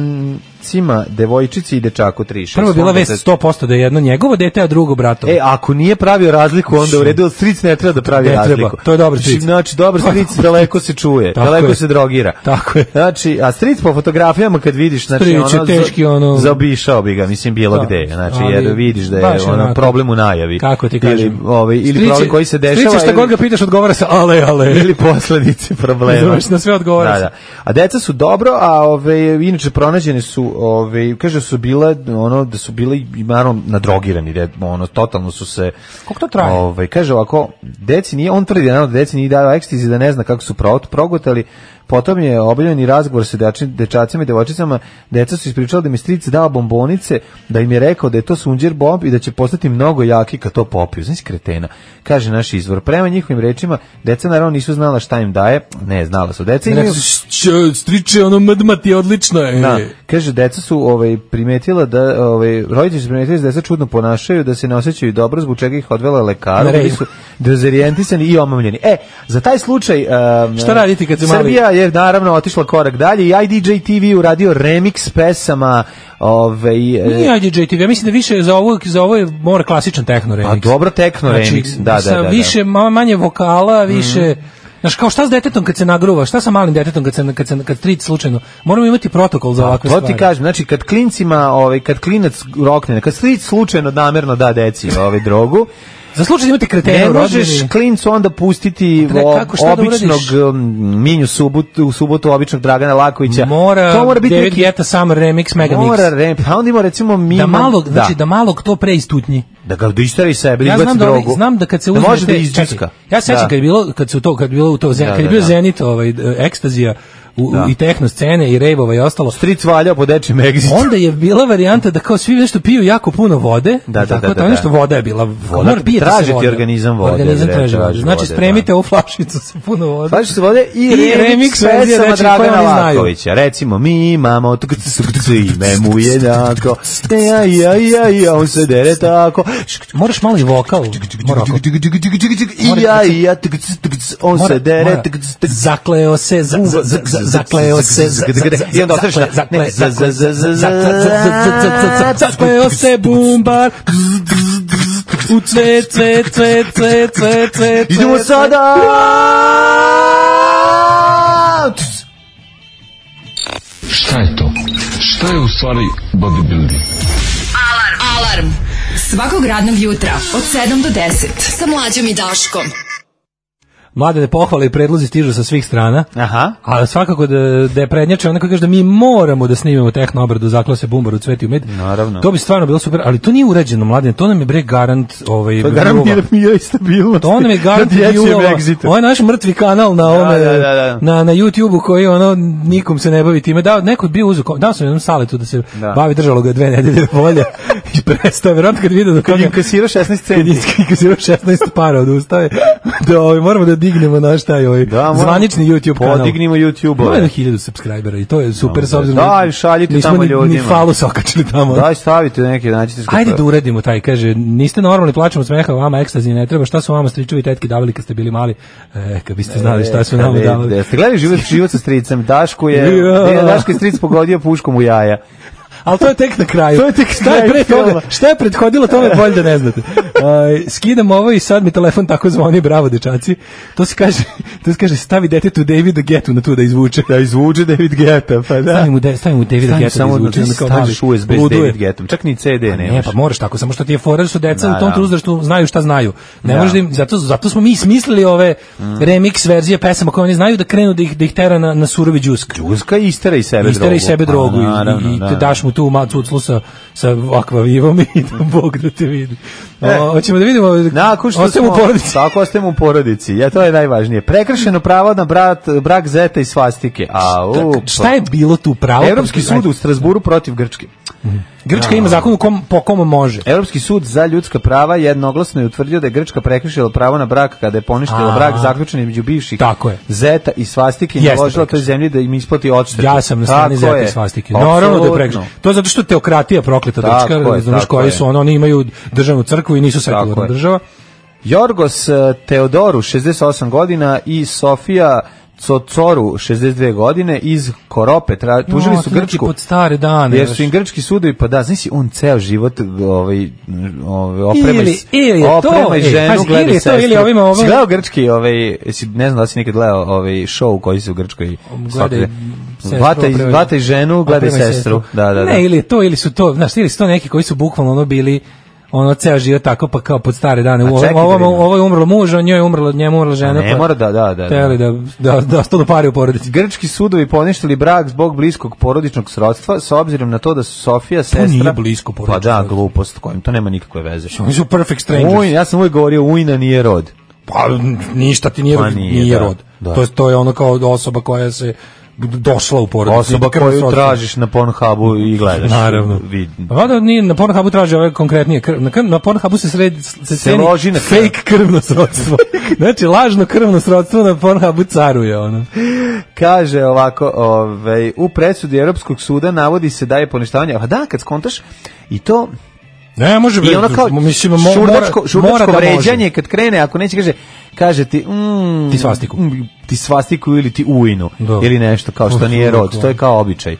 E: bratancima, devojčici i dečaku tri. šest.
F: Prvo je bila
E: Svom
F: vest
E: detetu.
F: 100% da je jedno njegovo dete, a drugo bratovo.
E: E, ako nije pravio razliku, onda u redu, ali stric ne treba da pravi
F: Ne treba,
E: razliku.
F: to je dobar
E: Znači,
F: stric.
E: Znači, dobar
F: To je
E: stric
F: dobar
E: daleko se čuje,
F: Tako
E: daleko
F: je.
E: se drogira.
F: Tako je.
E: Znači, a stric po fotografijama kad vidiš, znači,
F: Stric je
E: za-
F: teški, ono-
E: zaobišao bi ga, mislim, bilo
F: Da.
E: gde. Znači,
F: Ali,
E: jer vidiš da je
F: baš je
E: ono,
F: onako.
E: problem u najavi.
F: Kako ti
E: E, Ili,
F: kažem?
E: ovaj, ili
F: Stric je-
E: problem koji se dešava.
F: Stric je šta
E: ili-
F: god ga pitaš odgovara sa ale, ale.
E: ili posledice problema.
F: Razumeš, na sve odgovara
E: Da,
F: se.
E: da. A deca su dobro, a ove inače pronađene su, ove kaže su bile ono da su bile i naravno nadrogirani, da ono totalno su se
F: Koliko to traje?
E: Ovaj kaže ovako, deci nije on tvrdi naravno da deci nije dao ekstizi da ne zna kako su pro- progutali. Potom je obavljen i razgovor sa deči- dečacima i devojčicama. Deca su ispričala da im je stric dao bombonice, da im je rekao da je to sunđer bomb i da će postati mnogo jaki kad to popiju. Znači kretena. Kaže naš izvor. Prema njihovim rečima, deca naravno nisu znala šta im daje. Ne, znala su. Deca imaju-
F: Rekao su, "Šć, striče, ono mdmati, odlično je.
E: da, kaže deca su ovaj primetila da ovaj roditelji su primetili da se deca čudno ponašaju, da se ne osjećaju dobro zbog čega ih odvela lekaru,
F: Na red.
E: bili su dezorijentisani i omamljeni. E, za taj slučaj um,
F: Šta raditi kad su mali?
E: Srbija je naravno otišla korak dalje i IDJ TV uradio remix pesama ovaj e,
F: Nije IDJ TV, ja mislim da više za ovo, za ovo je mora klasičan techno remix. Znači,
E: Pa dobro, techno pa remix, da, Mhm. da,
F: sa
E: da, da.
F: Više, ma- manje vokala, više... Znaš, kao šta s detetom kad se nagruva, šta sa malim detetom kad se, kad se kad tric slučajno? Moramo imati protokol za ovakve
E: Pa, To
F: stvari.
E: ti kažem, znači kad klincima, ovaj kad klinac rokne, kad slič slučajno namerno da deci ovaj drogu,
F: Za slučaj da imate kretena
E: Ne
F: u
E: možeš
F: rodbini.
E: klincu onda pustiti
F: Pa ne,
E: o-
F: kako, šta da
E: običnog
F: uradiš?
E: um, Minju subotu, u subotu običnog Dragana Lakovića.
F: Mora,
E: to mora biti
F: David
E: neki
F: Guetta Summer Remix, Mega Mix.
E: Mora rem, pa onda ima recimo Miman,
F: da malog,
E: da.
F: znači da malog to preistutnji.
E: da ga da istari sebe, da
F: Ja
E: izbaci
F: znam da, oni-
E: drogu.
F: znam da kad se
E: da
F: uzme
E: može da
F: te-
E: izđuska.
F: čekaj, Ja sećam kad je bilo kad su to kad je bilo u to Zen-
E: Da,
F: kad je
E: da,
F: bio
E: da.
F: Zenit ovaj e, ekstazija u- u-
E: Da.
F: i tehno scene i rejvova i ostalo.
E: Stric valjao po dečjem egzitu.
F: Onda je bila varijanta da kao svi nešto piju jako puno vode,
E: Da, da,
F: tako,
E: da, da,
F: to nešto
E: da.
F: voda je bila.
E: Voda-
F: mora pijete se
E: traži ti
F: voda.
E: organizam vode,
F: Organizam
E: bre,
F: traži
E: traži
F: vodu. Znači
E: vode,
F: spremite ovu flašicu sa puno vode.
E: Slažeš se vode i,
F: I remix
E: remix
F: verzija
E: pesama
F: nečih koje
E: Dragana
F: oni znaju.
E: Lakovića. Recimo, mi imamo tuk, tuk, tuk, tuk, ime mu jednako, e, aj, aj, aj, on se dere tako,
F: Moraš mali vokal. Mora ovako.
E: i ja, i ja, tuk, tuk, tuk, on se dere, tuk, tuk,
F: Zakleo se, za- za- za- za- zakleo se, za- za- za-
E: I onda ostaviš na-
F: zakle- zakle-
E: ne, za- za- za- za- za-
F: zakle- za- za- za- za- za- zakleo se bumbar, u cve, cve, cve, cve, cve, cve,
E: Idemo
F: cve,
E: sada!
N: Šta je to? Šta je u stvari bodybuilding?
D: Alarm. Alarm. Svakog radnog jutra od 7 do 10 sa Mlađom i Daškom.
F: Mlade pohvale i predlozi stižu sa svih strana.
E: Aha.
F: Ali svakako da, da je prednjače onako kaže da mi moramo da snimimo tehno obradu zakla se bumbar u cveti u med.
E: Naravno.
F: To bi stvarno bilo super, ali to nije urađeno mladen, to nam je bre garant ovaj
E: To je garant
F: viewova.
E: mira, mira i stabilnost.
F: To nam je garant viewova. Ovo je naš mrtvi kanal na ovome,
E: da, da, da.
F: na, na YouTube-u koji ono nikom se ne bavi time. Da, neko je bio uzu, dao sam jednom saletu da se
E: Da.
F: bavi, držalo ga je dve nedelje volja i prestao, verovatno kad vidio da
E: Kad je kasirao 16 centi.
F: kad je 16 para odustaje, da ovaj, moramo da dignemo naš taj ovaj,
E: Da, moramo.
F: zvanični YouTube kanal.
E: Podignimo YouTube-ove.
F: Ima jedno 1000 subscribera i to je super, s obzirom da
E: Daj, šaljite
F: nismo
E: tamo
F: ni- Ni
E: ljudima. Da,
F: falu se okačili tamo.
E: Daj, stavite neke, naćite što
F: Ajde
E: to-
F: da uradimo taj, kaže, niste normalni, plačemo od smeha, vama ekstazi ne treba, šta su vama stričevi i tetke davali kad ste bili mali? E, kad biste znali šta su nam
E: E,
F: davali.
E: Jeste gledali život, život sa stricem? Dašku je,
F: Ja.
E: ja. Daško je stric pogodio puškom u jaja.
F: Ali to je tek na kraju.
E: To je tek
F: šta je
E: kraj
F: pre
E: filma.
F: toga? Šta je prethodilo tome bolje da ne znate. Aj, skidam ovo i sad mi telefon tako zvoni, bravo dečaci. To se kaže, to se kaže stavi detetu Davida Getu na to da izvuče.
E: Da izvuče David Geta, pa da.
F: Stavi mu, de, stavi mu Davida
E: Stavi
F: Geta da
E: samo da
F: izvuče.
E: ti
F: onda kao
E: staviš
F: mali.
E: USB s
F: Luduje.
E: David Getom. Čak ni CD nemaš.
F: Ne, pa moraš tako, samo što ti je fora da su deca
E: Da,
F: u tom
E: da.
F: uzrastu znaju šta znaju. Ne
E: Da. Mm.
F: možeš da im, zato, zato smo mi smislili ove remix verzije pesama koje oni znaju da krenu da ih, da ih tera na, na surovi džusk.
E: Uzka i istera i sebe drogu.
F: Istera i sebe
E: Pa,
F: drogu i-
E: naravno,
F: i, i te da-
E: naravno.
F: daš mu tu macu uclu sa, sa akvavivom i da Bog da te vidi.
E: E.
F: O, hoćemo da vidimo,
E: Nakon što
F: ostajemo
E: smo,
F: u porodici.
E: Tako ostajemo u porodici. Ja, to je najvažnije. Prekršeno pravo na brat, brak zeta i svastike. A, u,
F: Šta je bilo tu pravo?
E: Pa, Evropski sud u Da. Strasburu protiv Grčke.
F: Grčka ima zakon u kom, po kom može.
E: Evropski sud za ljudska prava jednoglasno je utvrdio da je Grčka prekršila pravo na brak kada je poništila
F: A.
E: brak zaključen između bivših
F: Tako je.
E: Zeta i svastike i
F: Jeste
E: naložila toj zemlji da im isplati odštetu.
F: Ja sam na strani
E: Tako
F: zeta i
E: je.
F: svastike. Naravno da je
E: Apsolutno.
F: prekršaj. To je zato što je teokratija prokleta da
E: Tako
F: Grčka,
E: je,
F: razumeš
E: tako
F: koji
E: je.
F: su ono, oni imaju državnu crkvu i nisu
E: Tako
F: sekularna
E: je.
F: država.
E: Jorgos eh, Teodoru 68 godina i Sofija Cocoru 62 godine iz Korope tra... tužili
F: Jo,
E: su
F: to neki
E: Grčku.
F: znači, pod stare dane.
E: Jer
F: znaš.
E: su im grčki sudovi, pa da, znaš si, on ceo život ovaj, m, ovaj, oprema,
F: Ili-
E: i s-
F: ili je to,
E: oprema i
F: ej,
E: ženu,
F: pazi,
E: gleda
F: ili je to,
E: sestru.
F: ili ovima, ovima-
E: Si gledao grčki, ovaj, si, ne znam da li si nekad gledao ovaj show koji se u Grčkoj svakde-
F: sestru,
E: Vata i,
F: opremaj-
E: vata i ženu, gledaj
F: opremaj
E: sestru. Da, da, da.
F: Ne, ili je to, ili su to, znaš, ili su to neki koji su bukvalno ono bili ono ceo život tako pa kao pod stare dane. U
E: A čekaj
F: ovom,
E: da
F: ovom,
E: vidimo.
F: ovo je umrlo muž, on njoj je umrlo, njemu umrla žena.
E: Ne
F: pa
E: mora da, da, da. da.
F: Teli da, da, da ostanu pari u porodici.
E: Grčki sudovi poništili brak zbog bliskog porodičnog srodstva s obzirom na to da su Sofija sestra.
F: nije blisko porodično
E: Pa da,
F: srodstvo.
E: glupost kojim, to nema nikakve veze.
F: Oni su perfect strangers.
E: Ujna, ja sam uvijek govorio ujna nije rod.
F: Pa n- ništa ti nije,
E: Pa
F: rod-
E: nije,
F: nije
E: da,
F: rod.
E: da.
F: To, je, to je ono kao osoba koja se došla u porodicu.
E: Osoba
F: Krv
E: koju da,
F: srodstva.
E: tražiš na Pornhubu i gledaš.
F: Naravno.
E: Vid-
F: Pa Valjda nije na Pornhubu traži ove konkretnije krv. Na, krv- na Pornhubu se sredi se, ceni
E: loži na krv.
F: fake krvno srodstvo. znači lažno krvno srodstvo na Pornhubu caruje ono.
E: Kaže ovako, ovaj, u presudi Europskog suda navodi se da je poništavanje, a da, kad skontaš, i to,
F: Ne može
E: I ono kao
F: mislim mo- mora-
E: šurdačko, šurdačko
F: mora da može.
E: vređanje kad krene, ako neće kaže, kaže ti... Mm,
F: Ti svastiku.
E: mm, Ti svastiku ili ti ujnu.
F: Da.
E: Ili nešto, kao što
F: To
E: nije
F: su
E: rod.
F: uvek,
E: To je kao običaj.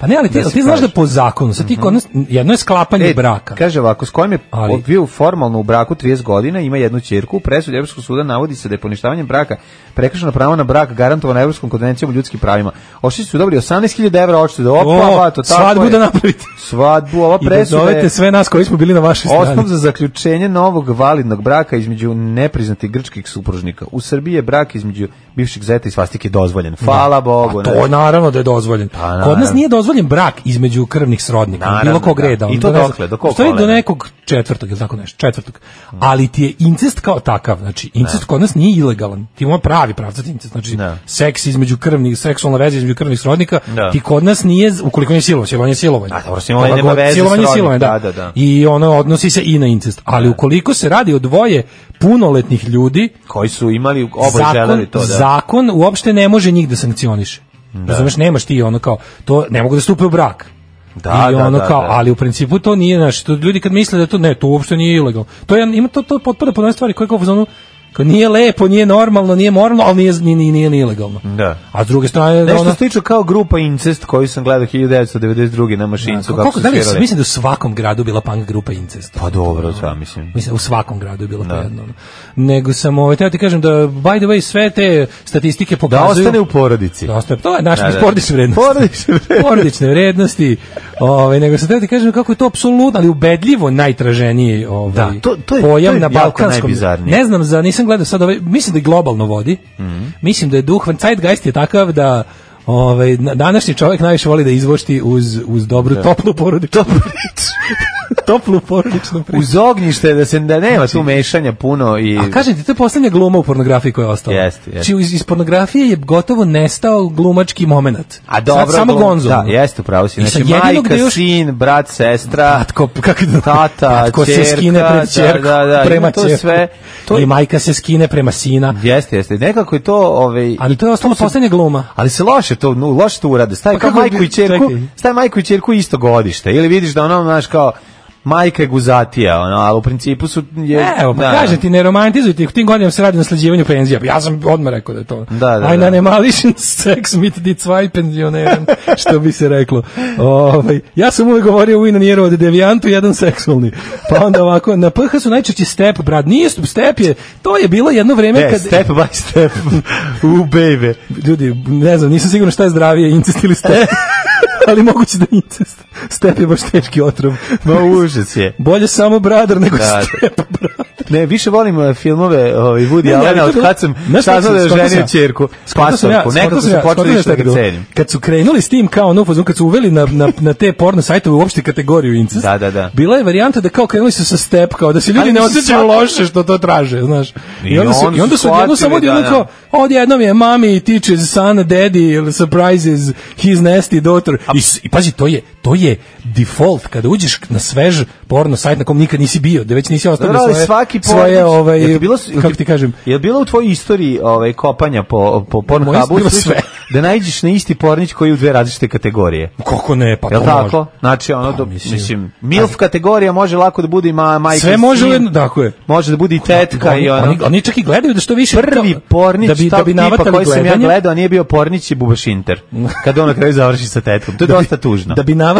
F: Pa ne, ali ti,
E: Da
F: ali
E: se
F: ti znaš
E: kaže. Mhm.
F: da po zakonu, sad ti kod nas, jedno je sklapanje
E: E,
F: braka.
E: Kaže ovako, s kojim je
F: Ali-
E: bio formalno u braku 30 godina, ima jednu ćerku, u presudi Evropskog suda navodi se da je poništavanjem braka prekršeno pravo na brak garantovano Evropskom konvencijom o ljudskim pravima. Ošli su dobili 18.000 evra odštete. Opa,
F: O,
E: ba, to tako
F: svadbu
E: je.
F: da napravite.
E: Svadbu, ova
F: I da
E: presuda je
F: zovete sve nas koji smo bili na vašoj strani.
E: osnov za zaključenje novog validnog braka između nepriznatih grčkih supružnika. U Srbiji je brak između bivšeg zeta i svastike dozvoljen. Hvala Bogu.
F: A to
E: ne. Pa,
F: je naravno da je dozvoljen. Kod nas
E: naravno.
F: nije dozvoljen brak između krvnih srodnika,
E: Naravno,
F: bilo kog
E: da.
F: reda.
E: I
F: ono,
E: to
F: ne znam,
E: dokle, do kog
F: u stvari do
E: kolena?
F: nekog četvrtog, ili tako nešto, četvrtog. Ali ti je incest kao takav, znači incest
E: Da.
F: kod nas nije ilegalan. Ti ima pravi pravcat incest, znači seks između krvnih, seksualna veza između krvnih srodnika,
E: Da.
F: ti kod nas nije, ukoliko nije silovanje, silovanje je silovanje.
E: A, dobro, silovanje
F: Koga
E: nema
F: god-
E: veze s
F: silovanje je
E: srodnikom,
F: silovanje, da.
E: da, da, da.
F: I ono odnosi se i na incest. Ali ukoliko se radi o dvoje punoletnih ljudi,
E: Koji su imali oboje želeli to da.
F: Zakon uopšte ne može njih da sankcioniše.
E: Da.
F: Razumeš, nemaš ti ono kao, to ne mogu da stupe u brak.
E: Da,
F: I
E: da,
F: ono
E: da,
F: kao,
E: da.
F: ali u principu to nije, znaš, to ljudi kad misle da to, ne, to uopšte nije ilegalno. To je, ima to, to potpada po nove stvari koje kao u zonu, kao nije lepo, nije normalno, nije moralno, ali nije, nije, nije, nije ni ilegalno.
E: Da.
F: A s druge strane, da
E: Nešto
F: ono,
E: slično kao grupa Incest koju sam gledao 1992. na mašincu. kako
F: koliko,
E: su
F: da li, je-
E: svirali.
F: mislim da u svakom gradu bila punk grupa incest.
E: Pa dobro, da, mislim.
F: Mislim, u svakom gradu je bilo po jednom. Nego sam, ovaj, teo ti kažem da, by the way, sve te statistike
E: Da
F: pokazuju...
E: ostane u porodici.
F: Da ostane, to je naš
E: Da, da.
F: porodične vrednosti.
E: Porodične vrednosti.
F: Porodične vrednosti. Ovaj, nego sam teo ti kažem kako je to apsolutno, ali ubedljivo najtraženiji ovaj,
E: Da, to- to je-
F: pojam
E: to je
F: na
E: jako
F: balkanskom.
E: najbizarnije. Mhm.
F: Ne znam, za, nisam gledao sad, ovaj, mislim da je globalno vodi. Mislim da je duh, zeitgeist je takav da Ovaj na- današnji čovjek najviše voli da izvošti uz uz dobru
E: Da.
F: toplu porodičnu toplu porodičnu priču.
E: Uz ognjište da se da nema tu mešanja puno i
F: A kažem ti, to je poslednja gluma u pornografiji koja je ostala.
E: Jeste, jeste.
F: Znači, iz, iz pornografije je gotovo nestao glumački moment.
E: A dobro,
F: Sad samo
E: glum-
F: Gonzo.
E: Da, jeste, upravo si.
F: I sa
E: Znači,
F: jedinog
E: majka,
F: gde još-
E: sin, brat, sestra,
F: Tatko, kako da,
E: tata,
F: tatko se
E: ćerka,
F: skine
E: da,
F: pred ćerku,
E: da, da,
F: prema
E: ima to
F: ćerku.
E: sve. To
F: I
E: je-
F: majka se skine prema sina.
E: Jeste, jeste. Nekako je to, ovaj
F: Ali to je ostalo
E: se-
F: poslednja gluma.
E: Ali se loše to, no, loše to urade. Stavi
F: Pa
E: kao
F: kako
E: majku
F: bi-
E: i ćerku,
F: čekaj.
E: stavi majku i ćerku isto godište. Ili vidiš da ona, znaš, kao majka je guzatija, ono, ali u principu su... Je,
F: Evo, pa
E: da.
F: kažem ti, ne romantizujte, ih, u tim godinama se radi na slađivanju penzija. Ja sam odmah rekao da je to.
E: Da, da,
F: Ein
E: da.
F: animalischen Sex mit die zwei penzionieren, što bi se reklo. Ovaj, ja sam uvijek govorio u Inanijeru od devijantu, jedan seksualni. Pa onda ovako, na PH su najčešće step, brat, nije stup, step je, to je bilo jedno vrijeme
E: Ne,
F: kad...
E: E, step by step. U baby.
F: Ljudi, ne znam, nisam siguran šta je zdravije, incest ili
E: E.
F: step. ali moguće da je incest. Step je baš teški otrov.
E: Ma užas je.
F: Bolje samo bradar nego
E: Da.
F: step.
E: Ne, više volim eh, filmove ovaj
F: Ne,
E: Woody
F: ne, ali
E: Allena
F: to
E: od
F: bilo-
E: kad sam
F: Znaš kako
E: saznao da je
F: sam-
E: ženio
F: skontao sam ja-
E: ćerku,
F: skontao sam ja-
E: pasovku, nekako
F: skontao
E: su
F: sam ja-
E: počeli
F: skontao
E: više
F: sam
E: da ga
F: bilo.
E: cenim.
F: Kad su krenuli s tim kao ono u fazonu, kad su uveli na, na, na te porno sajtove uopšte kategoriju incest,
E: Da, da, da.
F: bila je varijanta da kao krenuli su sa step, kao da se ljudi
E: Ali
F: ne
E: mislim,
F: osjećaju
E: svaka-
F: loše što to traže, znaš. I
E: I
F: onda su,
E: onda
F: i onda
E: su
F: su odjednom samo
E: shvatili,
F: odjednom
E: da,
F: kao, odjednom je mommy, teaches, son, daddy, ili surprises, his nasty daughter. I, s- I pazi, to je, to je default, kada uđeš na svež porno sajt na kom nikad nisi bio, da već nisi ostavio
E: Dobro, ali
F: svoje,
E: svaki
F: svoje,
E: porodić-
F: ovaj,
E: Jel ti bilo, jel
F: kako ti kažem,
E: Je bilo u tvojoj istoriji ovaj, kopanja po, po Pornhubu
F: bilo
E: slično,
F: sve.
E: da naiđeš na isti pornić koji je u dve različite kategorije?
F: Kako ne, pa
E: Jel
F: to
E: tako?
F: može. Pa
E: Znači, ono, do,
F: mislim.
E: mislim, MILF kategorija može lako da bude i ma, majka
F: Sve
E: i
F: može
E: sin,
F: u jedno, tako je.
E: Može da bude i tetka
F: oni,
E: i ono.
F: oni, oni čak i gledaju da što više
E: prvi
F: kao-
E: pornić
F: da bi, da bi
E: tog tipa
F: navatali
E: koji sam ja
F: gledanje,
E: gledao, a nije bio pornić i Bubaš Inter. Kada on na kraju završi sa tetkom. To je
F: Da bi-
E: dosta tužno.
F: da bi navatali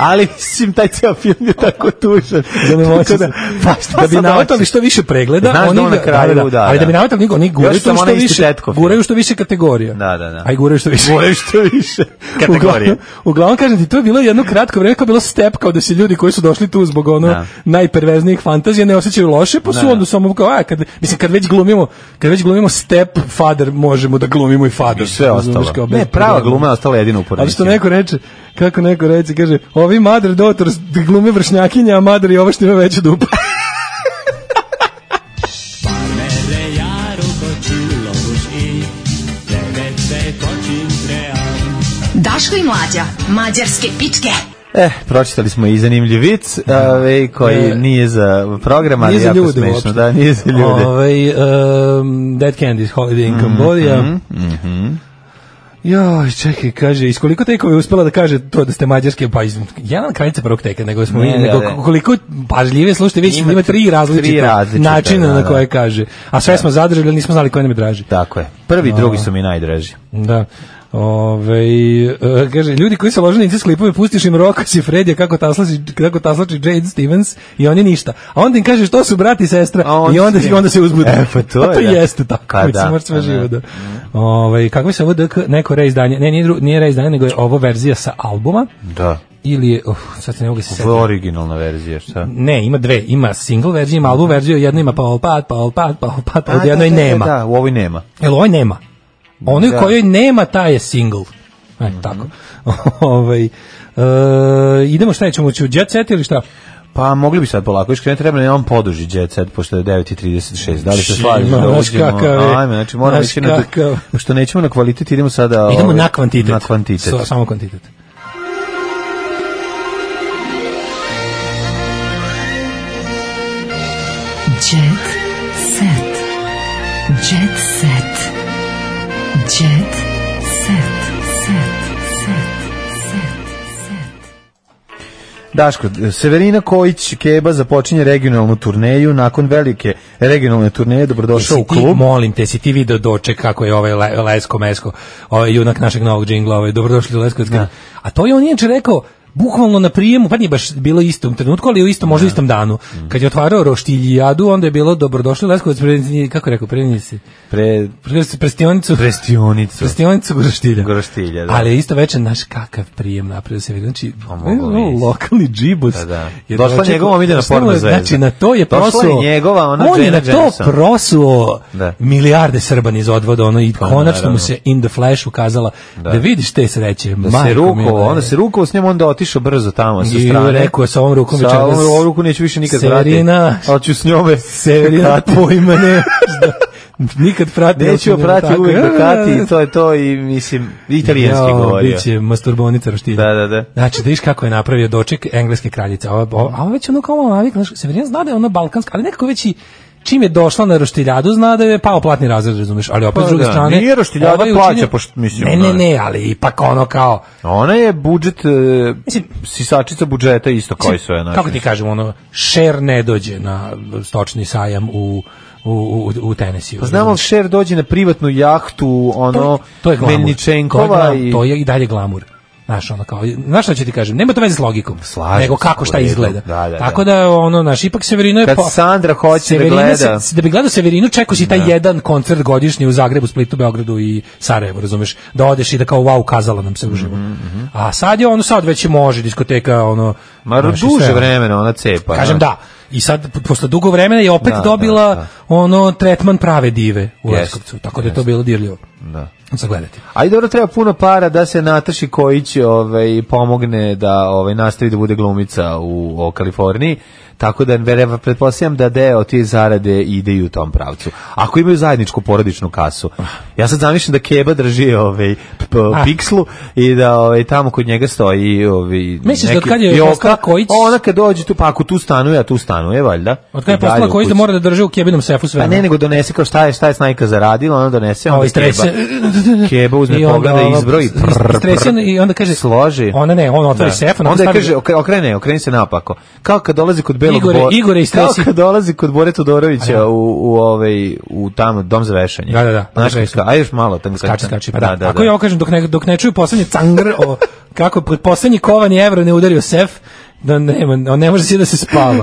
E: Ali, mislim, taj ceo film je tako tužan.
F: da ne moći
E: Tako
F: da,
E: pa šta
F: da bi
E: sad
F: navatali
E: hoćeš?
F: što više pregleda,
E: Znaš da
F: oni
E: on na
F: ga-
E: kraju, da,
F: ali da bi
E: da.
F: navatali njega, oni guraju
E: Još
F: to
E: sam
F: što
E: onaj isti
F: više,
E: tetkov film.
F: guraju što više kategorija.
E: Da, da, da.
F: Aj guraju što više.
E: Guraju što više kategorije.
F: Uglavnom, uglavnom kažem ti, to je bilo jedno kratko vreme kao bilo step kao da se ljudi koji su došli tu zbog ono
E: Da.
F: najperverznijih fantazija ne osjećaju loše, pa su
E: Da.
F: onda samo kao a, kad mislim kad već glumimo, kad već glumimo step father, možemo da glumimo i father.
E: I sve
F: Razumeš,
E: ostalo.
F: kao bez
E: Ne, prava
F: problema.
E: gluma je ostala jedina u
F: Ali što
E: pornićima.
F: neko reče, kako neko reče, kaže, ovi mother daughter glume vršnjakinja, a mother je ovo što ima veću dupu.
D: Daško i mlađa, mađarske pičke.
E: Eh, pročitali smo i zanimljiv vic, ovaj, koji
F: E,
E: nije za program, ali
F: Nije za
E: jako
F: ljude
E: smešno.
F: uopšte.
E: Da, nije za ljude.
F: Ovaj, um, Dead Candy, Holiday
E: Mhm,
F: in Cambodia. Joj, čekaj, kaže, iz koliko tekova je uspela da kaže to da ste mađarske, pa iz, jedan kraljica prvog teka, nego smo
E: Ne,
F: mi,
E: da,
F: nego
E: da.
F: koliko pažljivije slušate, vi ćete
E: Ima
F: ima tri
E: tri
F: različita
E: različita,
F: načina
E: da,
F: na
E: da.
F: koje kaže. A sve smo zadržali, ali nismo znali koje nam je draži.
E: Tako je. Prvi i drugi su mi najdraži.
F: Da. Ove, e, kaže, ljudi koji se lože na incest klipove, pustiš im Rokos i Fredija kako taslači, kako taslači Jade Stevens i oni ništa. A onda im kažeš, to su brat i sestra
E: onda
F: i onda,
E: se-
F: i onda se uzbude.
E: E, pa to
F: A to
E: je, da.
F: jeste tako.
E: Pa
F: mislim,
E: da,
F: moraš sve
E: pa da.
F: živo da. Ove, kako se ovo DK, neko reizdanje, ne, nije, dru- nije reizdanje, nego je ovo verzija sa albuma.
E: Da.
F: Ili je, uf, sad se ne mogu se
E: Ovo je
F: setiti.
E: originalna verzija, šta?
F: Ne, ima dve, ima single verziju, ima album verziju, jedno ima Paul Pat, Paul Pat, Paul Pat,
E: A,
F: a u jednoj
E: da, da,
F: nema.
E: Da, da, u ovoj nema.
F: Jel ovoj nema? Onoj
E: Da. Mhm.
F: kojoj nema, ta je single. E, tako. ovaj, e, idemo šta ćemo, ću jet set ili šta?
E: Pa mogli bi sad polako iškrenuti, treba nam da poduži jet set, pošto je 9.36. Da li se
F: Čima,
E: slažeš da
F: znaš
E: uđemo?
F: kakav je,
E: Ajme, znači moramo
F: znaš
E: ići na...
F: kakav.
E: Pošto nećemo na kvalitet, idemo sada...
F: Idemo
E: ovaj,
F: na kvantitet.
E: Na kvantitet.
F: So- samo kvantitet.
D: Jet set. Jet set. Jet set. Set. Set. Set.
E: Daško, Severina Kojić Keba započinje regionalnu turneju. Nakon velike regionalne turneje, dobrodošao u
F: Jesi ti,
E: klub.
F: molim te, si ti video doček kako je ovaj Le- Lesko Mesko, ovaj junak našeg novog džingla, ovaj, dobrodošli u Leskovac.
E: Da.
F: A to je on inače rekao, bukvalno na prijemu, pa nije baš bilo istom trenutku, ali u istom,
E: Da.
F: možda istom danu.
E: Mhm.
F: Kad je otvarao Roštiljijadu, onda je bilo dobrodošli u Leskovac, pre- kako je rekao, prednji si?
E: Pre...
F: Pre- Prestionicu.
E: Prestionicu.
F: Prestionicu Groštilja.
E: Groštilja, da.
F: Ali je isto večer naš kakav prijem napravio se vidi. Znači,
E: moglo
F: e,
E: bi se.
F: lokalni džibus.
E: Da, da.
F: je
E: Došla
F: dočekao-
E: njegova omiljena
F: Došla mu
E: porno
F: je,
E: zvezda.
F: Znači, na to je
E: Došla je
F: prosuo.
E: njegova, ona
F: on je
E: Jenna
F: na to
E: Jameson.
F: prosuo
E: Da. Pa
F: milijarde Srban iz odvoda, ono, i konačno
E: naravno.
F: mu se in the flash ukazala da, vidiš te sreće.
E: Da se rukovo, onda se rukovo s njom, onda otišao brzo tamo sa
F: I
E: strane.
F: rekao je, sa ovom rukom
E: Sa
F: večeras-
E: ovom, ovom ruku neću više nikad
F: Severina-
E: vratiti. Ali ću s njome
F: Severina
E: kati.
F: pojma ne. Nikad prati.
E: Neću
F: osim
E: oprati
F: tako.
E: uvek do kati, to je to i mislim, italijanski
F: Jao,
E: govorio.
F: Biće masturbonica roštilja.
E: Da, da, da.
F: Znači, da viš kako je napravio doček engleske kraljice. A ova, ova- a ova već ono kao malo navik, znaš, Severina zna da je ona balkanska, ali nekako već i čim je došla na roštiljadu, zna da je pao platni razred, razumeš, ali opet
E: Pa
F: s druge
E: da,
F: strane...
E: nije roštiljada
F: ovaj
E: plaća,
F: učinio-
E: pošto, mislim, da.
F: Ne, ne,
E: ono-
F: ne, ali ipak ono kao...
E: Ona je budžet, e, sisačica budžeta isto koji su je. znači.
F: Kako ti kažem, ono, šer ne dođe na stočni sajam u, u, u, u Tenesiju.
E: Pa znamo, Šer dođe na privatnu jahtu, ono,
F: to je glamur.
E: Melničenkova
F: to je, glam-
E: i...
F: to je i dalje glamur. Znaš, ono kao, znaš šta ću ti kažem, nema to veze s logikom, nego
E: se,
F: kako šta
E: u redu.
F: izgleda.
E: Da, da,
F: Tako da, ono, naš, ipak Severino je...
E: Kad Sandra hoće da
F: Severina se-
E: gleda.
F: Se, da bi gledao Severinu, čekao si taj
E: Da.
F: jedan koncert godišnji u Zagrebu, Splitu, Beogradu i Sarajevu, razumeš? Da odeš i da kao, wow, kazala nam se uživo.
E: Mhm,
F: A sad je ono, sad već može diskoteka, ono...
E: Ma
F: znaš, i
E: duže
F: sve.
E: vremena ona cepa.
F: Kažem
E: znaš.
F: da. I sad, p- posle dugo vremena je opet
E: Da, da,
F: dobila
E: da.
F: ono tretman prave dive u
E: Jest,
F: Leskovcu. Tako da je to bilo dirljivo.
E: Da.
F: Zagledajte.
E: A i dobro treba puno para da se Nataši Kojić ovaj, pomogne da ovaj, nastavi da bude glumica u, u Kaliforniji, tako da vereva- pretpostavljam da deo te zarade ide i u tom pravcu. Ako imaju zajedničku porodičnu kasu. Ja sad zamišljam da Keba drži ovaj, p- p-
F: Ah.
E: pikslu i da ovaj, tamo kod njega stoji ovaj,
F: Misliš da
E: neki
F: od kad je
E: Joka.
F: postala Kojić-
E: Ona kad dođe tu, pa ako tu stanuje, a tu stanuje, valjda.
F: Od kada
E: I
F: je postala
E: dalje u
F: koji da
E: kući.
F: mora da drže u kebinom sefu sve.
E: Pa ne, nego donese kao šta je, šta je Snajka zaradila, ona donese,
F: Ovo
E: onda
F: istrese.
E: Keba, Keba uzme
F: Ovaj I onda
E: pogleda i
F: ovo,
E: izbroji. prr,
F: istrese
E: prr,
F: i onda kaže-
E: Složi.
F: Ona ne, ona otvori
E: Da.
F: sef, ona
E: Onda je
F: stavi-
E: kaže, okre- okrene, okreni se napako. Kao kad dolazi kod Belog
F: Igore-
E: Bora.
F: Igore, istresi.
E: Kao kad dolazi kod Bore Todorovića u, u, ovaj, u tamo, dom za vešanje.
F: Da, da, da.
E: Znaš,
F: Vešanje.
E: ka- a još malo. Tam,
F: Skači, skači. Pa
E: da, da,
F: Ako ja ovo kažem, dok ne, dok ne čuju poslednji cangr, o, kako je poslednji kovani evro ne udario sef, da nema, on ne može si da se spava.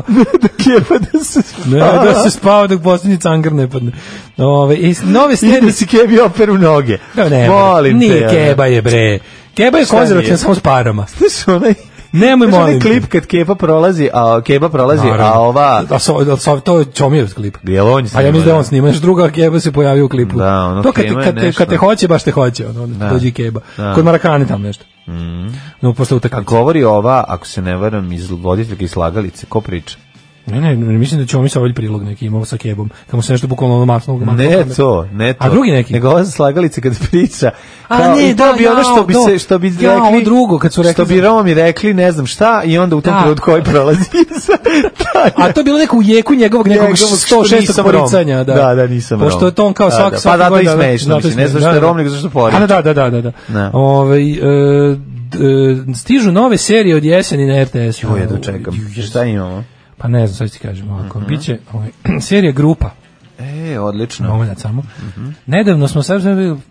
E: da Keba da se
F: Ne, da se spava dok poslednji cangr ne padne. Ove, i s- nove
E: I da
F: stene...
E: si Kebi operu noge.
F: Da, ne,
E: Molim te.
F: nije
E: ja.
F: keba je bre. Keba je
E: Šta nije?
F: konzervativan samo s parama.
E: Znaš, onaj...
F: Nemoj
E: Znaš, onaj
F: molim. te.
E: klip kad Kepa prolazi, a Keba prolazi, a
F: Naravno. Da,
E: ova...
F: A so, a so, to je Čomijev klip.
E: Jel on
F: A ja mislim da je
E: snimao?
F: on snima, još druga keba se pojavi u klipu.
E: Da, ono,
F: to kad, te-
E: Keba je
F: kad, te,
E: nešto.
F: kad te hoće, baš te hoće, ono, onda
E: Da.
F: dođe i keba.
E: Da. Mhm.
F: Kod Marakane tam nešto. No, posle
E: A
F: utakmice.
E: govori ova, ako se ne varam, iz voditeljke iz slagalice, ko priča?
F: Ne, ne, ne, mislim da će omi sa ovaj prilog neki imao sa kebom. Kamo se nešto bukvalno ono masno. masno-
E: Ne to, ne to.
F: A drugi neki?
E: Nego ova sa slagalice kad priča.
F: A
E: kao,
F: ne,
E: i to
F: da,
E: bi ono što
F: jao,
E: bi
F: to.
E: se, što bi
F: Jao,
E: rekli.
F: ovo drugo, kad su rekli
E: Što bi
F: za-
E: Romi rekli, ne znam šta, i onda u tom
F: Da.
E: trenutku koji prolazi. iza, taj-
F: A to je bilo neko u jeku njegovog nekog
E: Njegovog što
F: 106
E: nisam Rom.
F: poricanja, da.
E: Da, da, nisam
F: Pošto
E: Rom.
F: je to on kao
E: Da,
F: svak
E: da, pa
F: svake
E: zato i
F: godine,
E: smešno,
F: zato i
E: mislim, ne
F: smešno,
E: zato što je
F: da, da.
E: Rom, nego zato što poriče.
F: A, Da, da, da, da, da.
E: Ne.
F: Ovaj, e, d- e, stižu nove serije od jeseni na RTS.
E: Joj, jedno da čekam. Mhm. Šta imamo?
F: Pa ne znam, sad ti kažem ovako. Biće ovaj, serija Grupa.
E: E, odlično.
F: Moment samo. Nedavno smo sad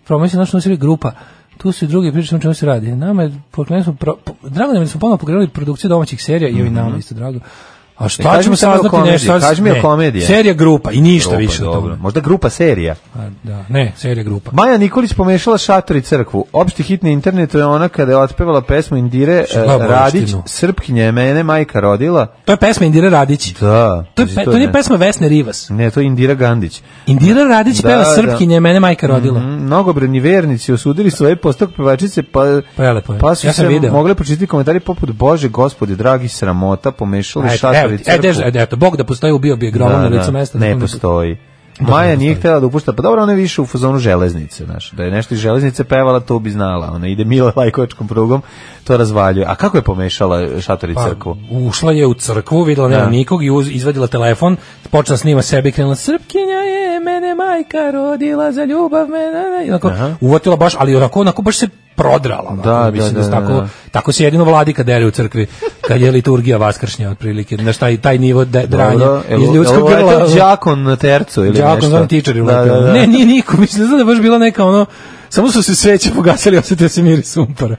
F: promovisali našu novu seriju Grupa tu su i druge priče o čemu se radi. Nama je, pokrenuli smo, pro, po, drago nam je da smo ponovno pokrenuli produkciju domaćih serija i ovi nama isto drago. A
E: Mhm. E,
F: šta
E: kaži
F: ćemo
E: mi samo o
F: saznati
E: komediji,
F: nešto? sad-
E: kaži mi o
F: ne,
E: komediji.
F: Serija grupa i ništa
E: Grupa,
F: više od
E: dobro.
F: toga.
E: Možda grupa serija.
F: A, da, ne, serija grupa.
E: Maja Nikolić pomešala šator i crkvu. Opšti hit na internetu je ona kada je otpevala pesmu Indire
F: Šta,
E: eh,
F: Boštinu?
E: Radić, Srpkinja je mene majka rodila.
F: To je pesma Indire Radić.
E: Da.
F: To, je,
E: pazi,
F: pe- to nije
E: ne.
F: pesma Vesne Rivas.
E: Ne, to je Indira Gandić.
F: Indira Radić peva Srpkinje, mene majka rodila.
E: Da, Mhm, mnogobrojni vernici osudili svoje postok pevačice, pa,
F: Prelepo je.
E: pa su
F: Ja sam
E: se
F: video.
E: mogli pročitati komentari poput Bože, gospode, dragi sramota, pomešali
F: Ajde,
E: šator
F: evo e,
E: i
F: ti, ajde,
E: crkvu.
F: ajde, eto, Bog da postoji, ubio bi je gromom na licu mesta.
E: Ne
F: da-
E: postoji. Maja nije htjela da upušta, pa dobro, ona je više u fazonu železnice, znaš, da je nešto iz železnice pevala, to bi znala, ona ide Mila Lajkovačkom prugom, to razvaljuje. A kako je pomešala šator i
F: Pa,
E: crkvu?
F: ušla je u crkvu, videla nema
E: Da.
F: nikog i uz, izvadila telefon, počela snima sebe i krenula Srpkinja je mene majka rodila za ljubav mene. I onako,
E: Aha.
F: uvotila baš, ali onako, onako baš se prodrala. Onako,
E: Da,
F: mislim
E: da,
F: da, se
E: da,
F: tako,
E: da.
F: tako se jedino vladika dere u crkvi, kad je liturgija vaskršnja otprilike, na taj, taj nivo de, dranja
E: Dobro, jel-
F: iz ljudskog
E: jel uleteo
F: grla.
E: đakon na tercu ili
F: Đakon,
E: nešto?
F: znam, tičar je
E: Da,
F: uleteo.
E: da, da.
F: Ne, nije niko, mislim, znam da je baš bila neka ono, samo su se sveće pogasili, osetio se miris sumpara.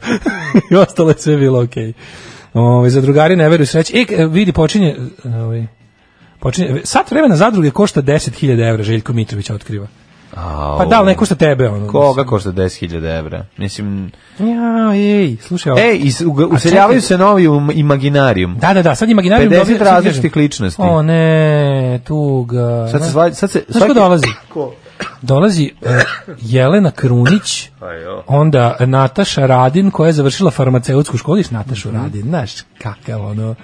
F: I ostalo je sve bilo okej. Ovaj, za drugari ne veruju sreći. E, vidi, počinje... Ovaj, počinje, sat vremena zadruge košta 10.000 evra, Željko Mitrović otkriva.
E: Au.
F: Pa da, ali ne košta tebe, ono.
E: Koga košta 10.000 evra? Mislim,
F: Ja, ej, slušaj ovo.
E: Ej, is, u-
F: A
E: useljavaju
F: čekaj.
E: se novi um, imaginarijum.
F: Da, da, da, sad imaginarijum...
E: 50
F: dobija- sad kažem.
E: različitih ličnosti.
F: O ne, tuga.
E: Sad se sva- sad se-
F: da. Znaš ko
E: svaki-
F: dolazi? Dolazi eh, Jelena Krunić,
E: Pa
F: onda Nataša Radin koja je završila farmaceutsku školu, viš Natašu Radin, znaš kakav ono...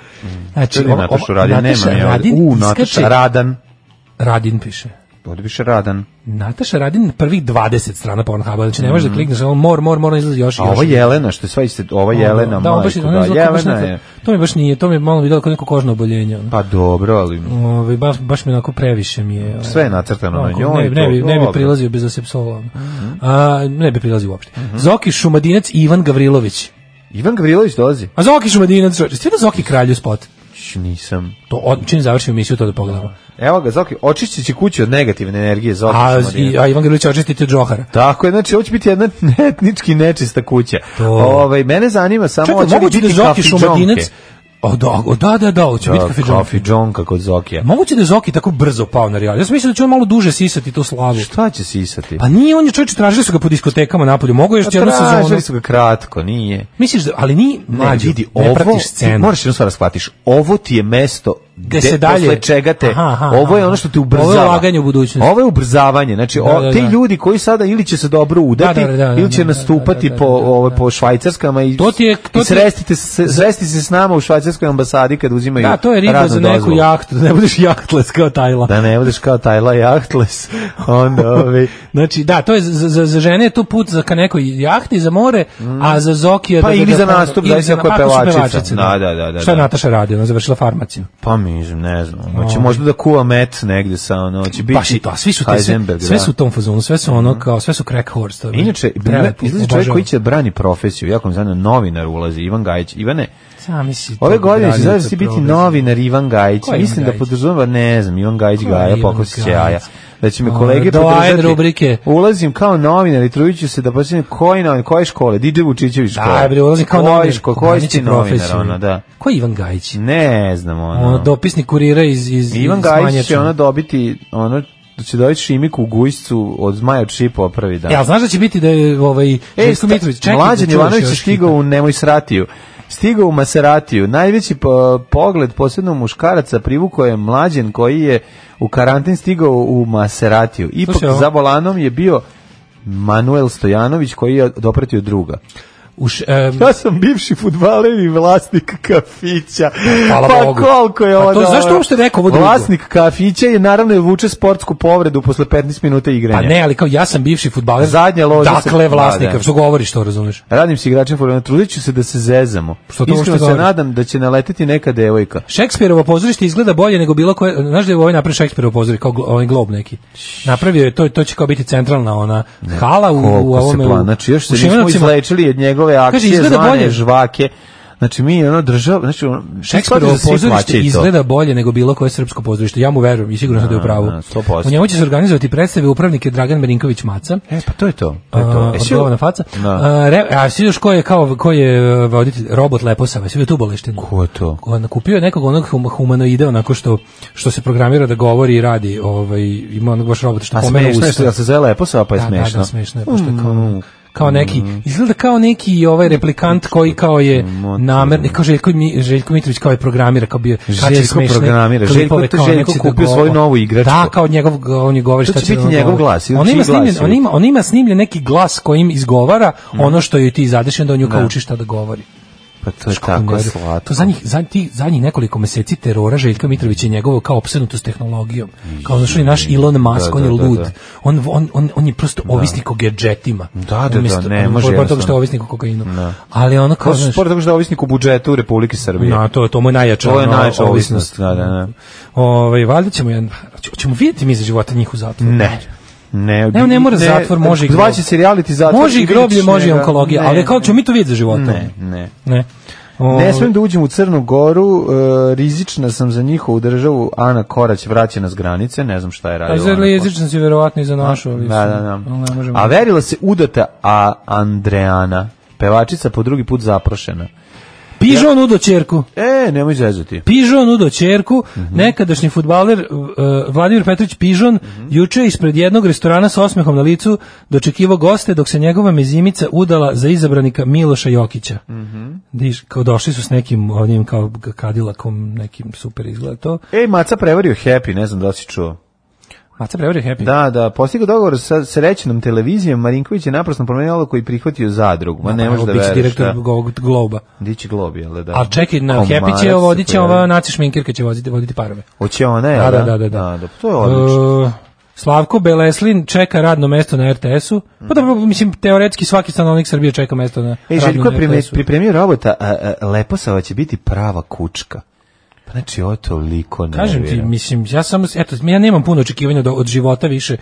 F: Znači,
E: Čekaj,
F: ova-
E: Natašu
F: ova-
E: Radin,
F: Nataša
E: nema je ovdje.
F: Radin
E: U, Nataša
F: iskače-
E: Radan.
F: Radin piše.
E: Ovdje piše Radan.
F: Nataša Radin na prvih 20 strana Pornhuba, znači ne možeš da klikneš, ono mor, mor, mor, ono izlazi još i
E: Mhm. A
F: još.
E: ova Jelena, što je sva iste, ova Jelena,
F: da, on baš,
E: majko,
F: ona
E: da,
F: izgleda kao baš
E: Jelena
F: neka-
E: je.
F: To mi baš nije, to mi je malo vidjelo kao neko kožno oboljenje. ono.
E: Pa dobro, ali
F: Ovaj baš baš mi onako previše mi je. ovaj,
E: Sve je nacrtano na
F: onako,
E: njoj
F: Ne,
E: i
F: bi- ne,
E: to, Mhm.
F: bi, ne bi
E: dobro.
F: prilazio bez asepsola. A ne bi prilazio uopšte. Zoki Šumadinac i Ivan Gavrilović.
E: Ivan Gavrilović dolazi.
F: A Zoki Šumadinac, čovječe, ste vidio Zoki kralju spot?
E: Š, nisam.
F: To od, čim završim emisiju to da pogledamo.
E: Evo ga, Zoki, očistit će kuću od negativne energije, Zoki. da
F: A,
E: Šumadinac.
F: i, a Ivan Gavrilović očistite Džohara.
E: Tako je, znači, ovo će biti jedna etnički nečista kuća.
F: To.
E: Ovaj, mene zanima samo...
F: Čekaj,
E: hoće li
F: moguće da
E: biti
F: Zoki
E: kafidžonke?
F: Šumadinac... O, da, o, da, da, da, hoće biti
E: Da,
F: kafidžonka.
E: Kafidžonka kod Zokija.
F: Moguće da je Zoki tako brzo pao na real. Ja sam mislio da će on malo duže sisati tu slavu.
E: Šta će sisati?
F: Pa nije, on je čovječe, tražili su ga po diskotekama napolju. Mogu još
E: Pa
F: jednu sezonu.
E: Tražili su ga kratko, nije.
F: Misliš da, ali ni
E: Ne,
F: mlađi,
E: vidi,
F: ne
E: ovo,
F: pratiš
E: ti
F: scenu.
E: moraš jednu stvar da shvatiš, ovo ti je mesto
F: Gde
E: gde,
F: se dalje-
E: posle čega te,
F: Aha, aha,
E: ovo je
F: aha.
E: ono što te
F: Ovo je
E: ubrzava.
F: ulaganje u budućnost.
E: Ovo je ubrzavanje, znači
F: Da,
E: o,
F: da,
E: ti
F: da.
E: ljudi koji sada ili će se dobro udati,
F: Da, da, da, da,
E: ili
F: da,
E: će
F: da,
E: nastupati
F: da, da,
E: po,
F: da, da,
E: ovo, po švajcarskama i,
F: To ti je- to ti je-
E: i srestite, se, sresti se s nama u švajcarskoj ambasadi kad uzimaju
F: Da, to je riba
E: radnu
F: za neku
E: dozvolu.
F: jahtu, da ne budeš jahtles kao Tajla.
E: Da ne budeš kao Tajla Jachtles, onda ovi...
F: Znači, da, to je za, za, za žene je to put za ka nekoj jahti, za more, a za Zokija...
E: Pa
F: da- da-
E: ili
F: da-
E: za nastup,
F: ili
E: zavisi
F: za-
E: ako je
F: ako su
E: pevačica.
F: pevačice,
E: Da, da, da, da,
F: Šta je
E: da.
F: Nataša radila? Ona završila farmaciju.
E: Pa mislim, ne znam. Hoće
F: Ovaj.
E: možda da kuva met negde sa ono, hoće biti.
F: Baš Pa i to, a svi su te, sve,
E: Heisenberg,
F: sve
E: da. Mhm.
F: su u tom fazonu, sve su ono kao, sve su crack horse. To je
E: Inače,
F: prelepo,
E: izlazi čovjek
F: obožavam.
E: koji će da brani profesiju, jako mi zanima, novinar ulazi, Ivan Gajić. Ivane,
F: Sami si
E: ove
F: to da
E: godine da će
F: granica
E: zavis ti biti
F: progresa.
E: novinar Ivan Gajić.
F: Ko je Ivan
E: Mislim da
F: Gajić?
E: podrazumeva, ne znam, Ivan Gajić
F: Ko je
E: Gaja,
F: Ivan
E: pokosiće
F: Gajić?
E: jaja. Da će me
F: A,
E: kolege
F: doajen
E: podržati.
F: rubrike.
E: Ulazim kao novinar i trudit ću se da posljednjem koji novinar, koje škole, Dide Vučićević škole.
F: Da, bre, ulazi kao
E: Koje
F: novinar.
E: ško- Koji si
F: Braniće
E: ti novinar,
F: profesiju.
E: ono, da.
F: Ko je Ivan Gajić?
E: Ne znam,
F: Ono, dopisnik kurira iz, iz,
E: Ivan
F: iz
E: Gajić će
F: Manjača.
E: ono dobiti, ono, da će dobiti šimiku u gujscu od zmaja od šipova prvi dan.
F: Ja, znaš da će biti da je ovaj Željko
E: sta-
F: Mitrović, čekaj,
E: E, Mlađan
F: da čuvaš
E: Jovanović je
F: još
E: stigao u Nemoj sratiju. Stigao u Maseratiju. Najveći po- pogled posebno muškaraca privukao je mlađen koji je u karantin stigao u Maseratiju. Ipak
F: Slušaj, ovo-
E: za volanom je bio Manuel Stojanović koji je dopratio druga.
F: U š- em,
E: Ja sam bivši fudbaler i vlasnik kafića.
F: Hvala
E: pa
F: Bogu.
E: koliko je
F: Pa
E: ovo
F: to-
E: dobro?
F: zašto uopšte rekao ovo drugo?
E: Vlasnik kafića je naravno je vuče sportsku povredu posle 15 minuta igranja.
F: Pa ne, ali kao ja sam bivši fudbaler.
E: Zadnja loža se-
F: Dakle, vlasnika,
E: Da, da.
F: što govoriš to, razumeš?
E: Radim se igračem fudbala, trudit ću se da se zezamo.
F: Što to uopšte
E: Iskreno se
F: govori?
E: nadam da će naletiti neka devojka.
F: Šekspirovo pozorište izgleda bolje nego bilo koje, znaš da je ovaj napravio Šekspirovo pozorište, kao glo- ovaj glob neki. Napravio je, to, to će kao biti centralna ona hala u, u
E: Koliko se
F: ovome.
E: plan,
F: u-
E: znači još
F: u
E: se nismo
F: Šimanovcima.
E: izlečili od njegove
F: Kaže,
E: akcije
F: izgleda
E: zvane
F: bolje.
E: žvake. Znači mi ono država, znači ono,
F: Šekspirovo
E: shakespeare
F: pozorište izgleda bolje nego bilo koje srpsko pozorište. Ja mu verujem i sigurno sam da je u pravu.
E: Da, da, 100%.
F: U njemu će se organizovati predstave upravnike Dragan Marinković Maca.
E: E, pa to je to. to, je to.
F: A,
E: E, si-
F: odgovorna faca.
E: Da.
F: A, re, a si još ko je, kao, ko je e, voditelj, robot Leposava, si vidio tu boleštinu? Ko
E: je to?
F: On kupio je nekog onog hum, humanoide, onako što, što se programira da govori i radi, ovaj, ima onog baš robota što
E: A
F: pomenu
E: pa smešno je
F: usta.
E: što se zove Leposava, pa je
F: da, Da,
E: smešno. Mm.
F: da, smešno je, pošto je kao, kao neki, izgleda kao neki ovaj replikant koji kao je namerni, kao Željko, Mi- Željko Mitrović kao je programira, kao bio kače
E: Željko
F: smešne
E: programira, Željko-
F: klipove,
E: to
F: kao
E: Željko
F: neće da
E: kupio svoju
F: govori.
E: novu igračku.
F: Da, kao njegov, on je govori
E: To
F: šta
E: će
F: će
E: biti
F: da
E: njegov
F: govori.
E: glas ili
F: On
E: čiji
F: ima, snimljen,
E: glas je? Mm.
F: on, ima, on ima snimljen neki glas kojim izgovara ono što joj ti zadeš i onda on nju kao
E: Da.
F: uči šta da govori.
E: Pa to je tako slatko.
F: To za njih, za, ti, za njih nekoliko meseci terora Željka Mitrovića i njegovo kao opsednutost tehnologijom. Kao znaš, on je naš Elon Musk,
E: Da,
F: on je
E: da, da,
F: lud.
E: da.
F: On, on, on, on je prosto ovisnik o gadgetima.
E: Da, da, da, ne, može
F: Pored toga što je
E: jednostavno.
F: ovisnik o kokainu.
E: Da.
F: Ali ono kao,
E: Kao
F: znaš,
E: sport tako što je ovisnik u budžetu Republike Srbije.
F: Na, to, to mu je najjača,
E: To je
F: ono,
E: najjača
F: ovisnost.
E: ovisnost. Da, da, da.
F: ovaj, valjda ćemo, jedan, ćemo vidjeti mi za života njih u zatvoru.
E: Ne. Ne,
F: Ne, ne mora zatvor, može i grob.
E: Zvaće se reality zatvor.
F: Može i
E: vidjet
F: groblje,
E: ćeš
F: može i
E: njega.
F: onkologija,
E: Ne,
F: ali kao ćemo mi to vidjeti za života.
E: Ne, ne.
F: Ne. Ovaj,
E: Ne smem da uđem u Crnu Goru, e, rizična sam za njihovu državu, Ana Korać vraća nas granice, ne znam šta je
F: A
E: radila.
F: Pa za
E: Ana Korać.
F: jezičan si verovatno i za našu, ali
E: Da, da, da. A verila se udata a Andreana, pevačica po drugi put zaprošena.
F: Pižon udo čerku.
E: E, nemoj zezati.
F: Pižon udo čerku,
E: Mhm.
F: nekadašnji futbaler uh, Vladimir Petrović Pižon
E: Mhm.
F: juče je ispred jednog restorana sa osmehom na licu dočekivao goste dok se njegova mezimica udala za izabranika Miloša Jokića.
E: Mhm.
F: Diš, kao došli su s nekim onim kao g- kadilakom, nekim super izgleda to.
E: E, Maca prevario Happy, ne znam da li si čuo.
F: Maca prevario Happy?
E: Da, da, postigao dogovor sa srećenom televizijom, Marinković je naprosto promenio odluku i prihvatio zadrugu. Ma ne
F: Evo,
E: može da
F: bit će
E: veruješ.
F: direktor
E: da.
F: ovog Globa.
E: Dići globi, jel da?
F: A čekaj, na
E: Komarac
F: Happy će
E: se
F: vodit će
E: pojavio.
F: ova naci šminkirka će voditi, voditi parove.
E: Hoće ona, jel
F: Da, da, da, da, da.
E: da, to je odlično.
F: E, Slavko Beleslin čeka radno mesto na RTS-u. Pa dobro, mislim, teoretski svaki stanovnik Srbije čeka mesto na
E: E, Željko
F: radno
E: je
F: na
E: prime-
F: RTS-u.
E: pripremio robota, a, a, Leposava će biti prava kučka. Pa znači, ovo toliko nervira.
F: Kažem ti, mislim, ja samo, eto, ja nemam puno očekivanja da od, od života više,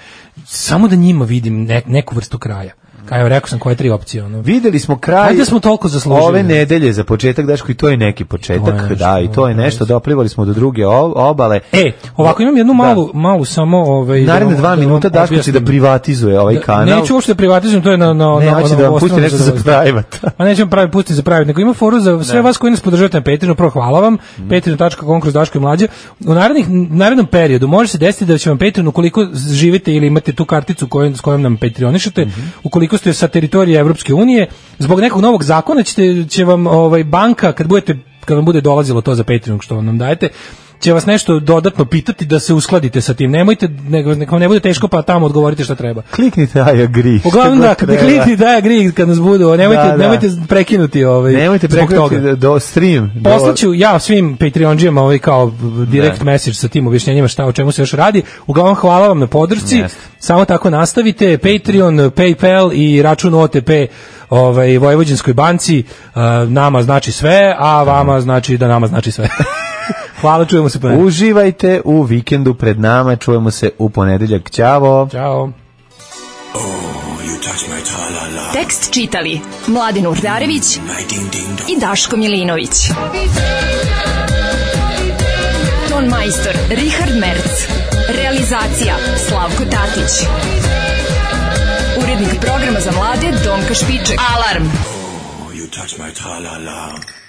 F: samo da njima vidim ne- neku vrstu kraja. Kaj, evo, rekao sam koje tri opcije, ono.
E: Videli smo kraj
F: Ajde da smo toliko zaslužili.
E: ove nedelje za početak, Daško, i to je neki početak,
F: To je nešto,
E: da, i to je nešto, doplivali smo do druge o- obale.
F: E, ovako imam jednu
E: Da.
F: malu, malu samo... Ovaj, da
E: Naredne
F: vam-
E: dva
F: da vam
E: minuta Daško će
F: objasnim.
E: da privatizuje ovaj
F: Da,
E: kanal.
F: Neću uopšte da privatizujem, to je na... na
E: Ne,
F: na,
E: ja ću
F: na
E: da vam
F: obostrano
E: pusti nešto za
F: zadovoljstvo.
E: private.
F: A nećemo pravi pustiti za pravi, nego ima foru za sve
E: Ne.
F: vas koji nas podržavate na Patreonu, prvo hvala vam, mm. patreon.com kroz Daško i Mlađe. U narednih, narednom periodu može se desiti da će vam Patreon, ukoliko živite ili imate tu karticu kojom, s kojom nam Patreonišete, ukoliko ste sa teritorije Evropske unije, zbog nekog novog zakona ćete, će vam ovaj, banka, kad budete kad vam bude dolazilo to za Patreon što nam dajete, će vas nešto dodatno pitati da se uskladite sa tim. Nemojte, nego, nek vam ne bude teško, pa tamo odgovorite šta treba.
E: Kliknite I agree.
F: Uglavnom
E: Šta
F: da,
E: god
F: kad
E: treba.
F: klikni da gri kad nas budu, nemojte,
E: Da, da.
F: nemojte prekinuti ovaj
E: Nemojte da-
F: zbog
E: prekrenuti
F: toga.
E: do- do stream. do-
F: Poslaću ja svim Patreondžijama ovaj kao direct
E: Da.
F: message sa tim objašnjenjima šta o čemu se još radi. Uglavnom hvala vam na podršci.
E: Jeste.
F: Samo tako nastavite. Patreon, PayPal i račun OTP ovaj Vojvođanskoj banci eh, nama znači sve, a vama znači da nama znači sve. hvala, čujemo se ponedeljak.
E: Uživajte u vikendu pred nama, čujemo se u ponedeljak. Ćavo.
F: Ćao.
D: Tekst čitali Mladin Urdarević i Daško Milinović. Ton majstor Richard Merc. Realizacija Slavko Tatić. Urednik programa za mlade Donka Špiček. Alarm!
I: You touch my tra-la-la.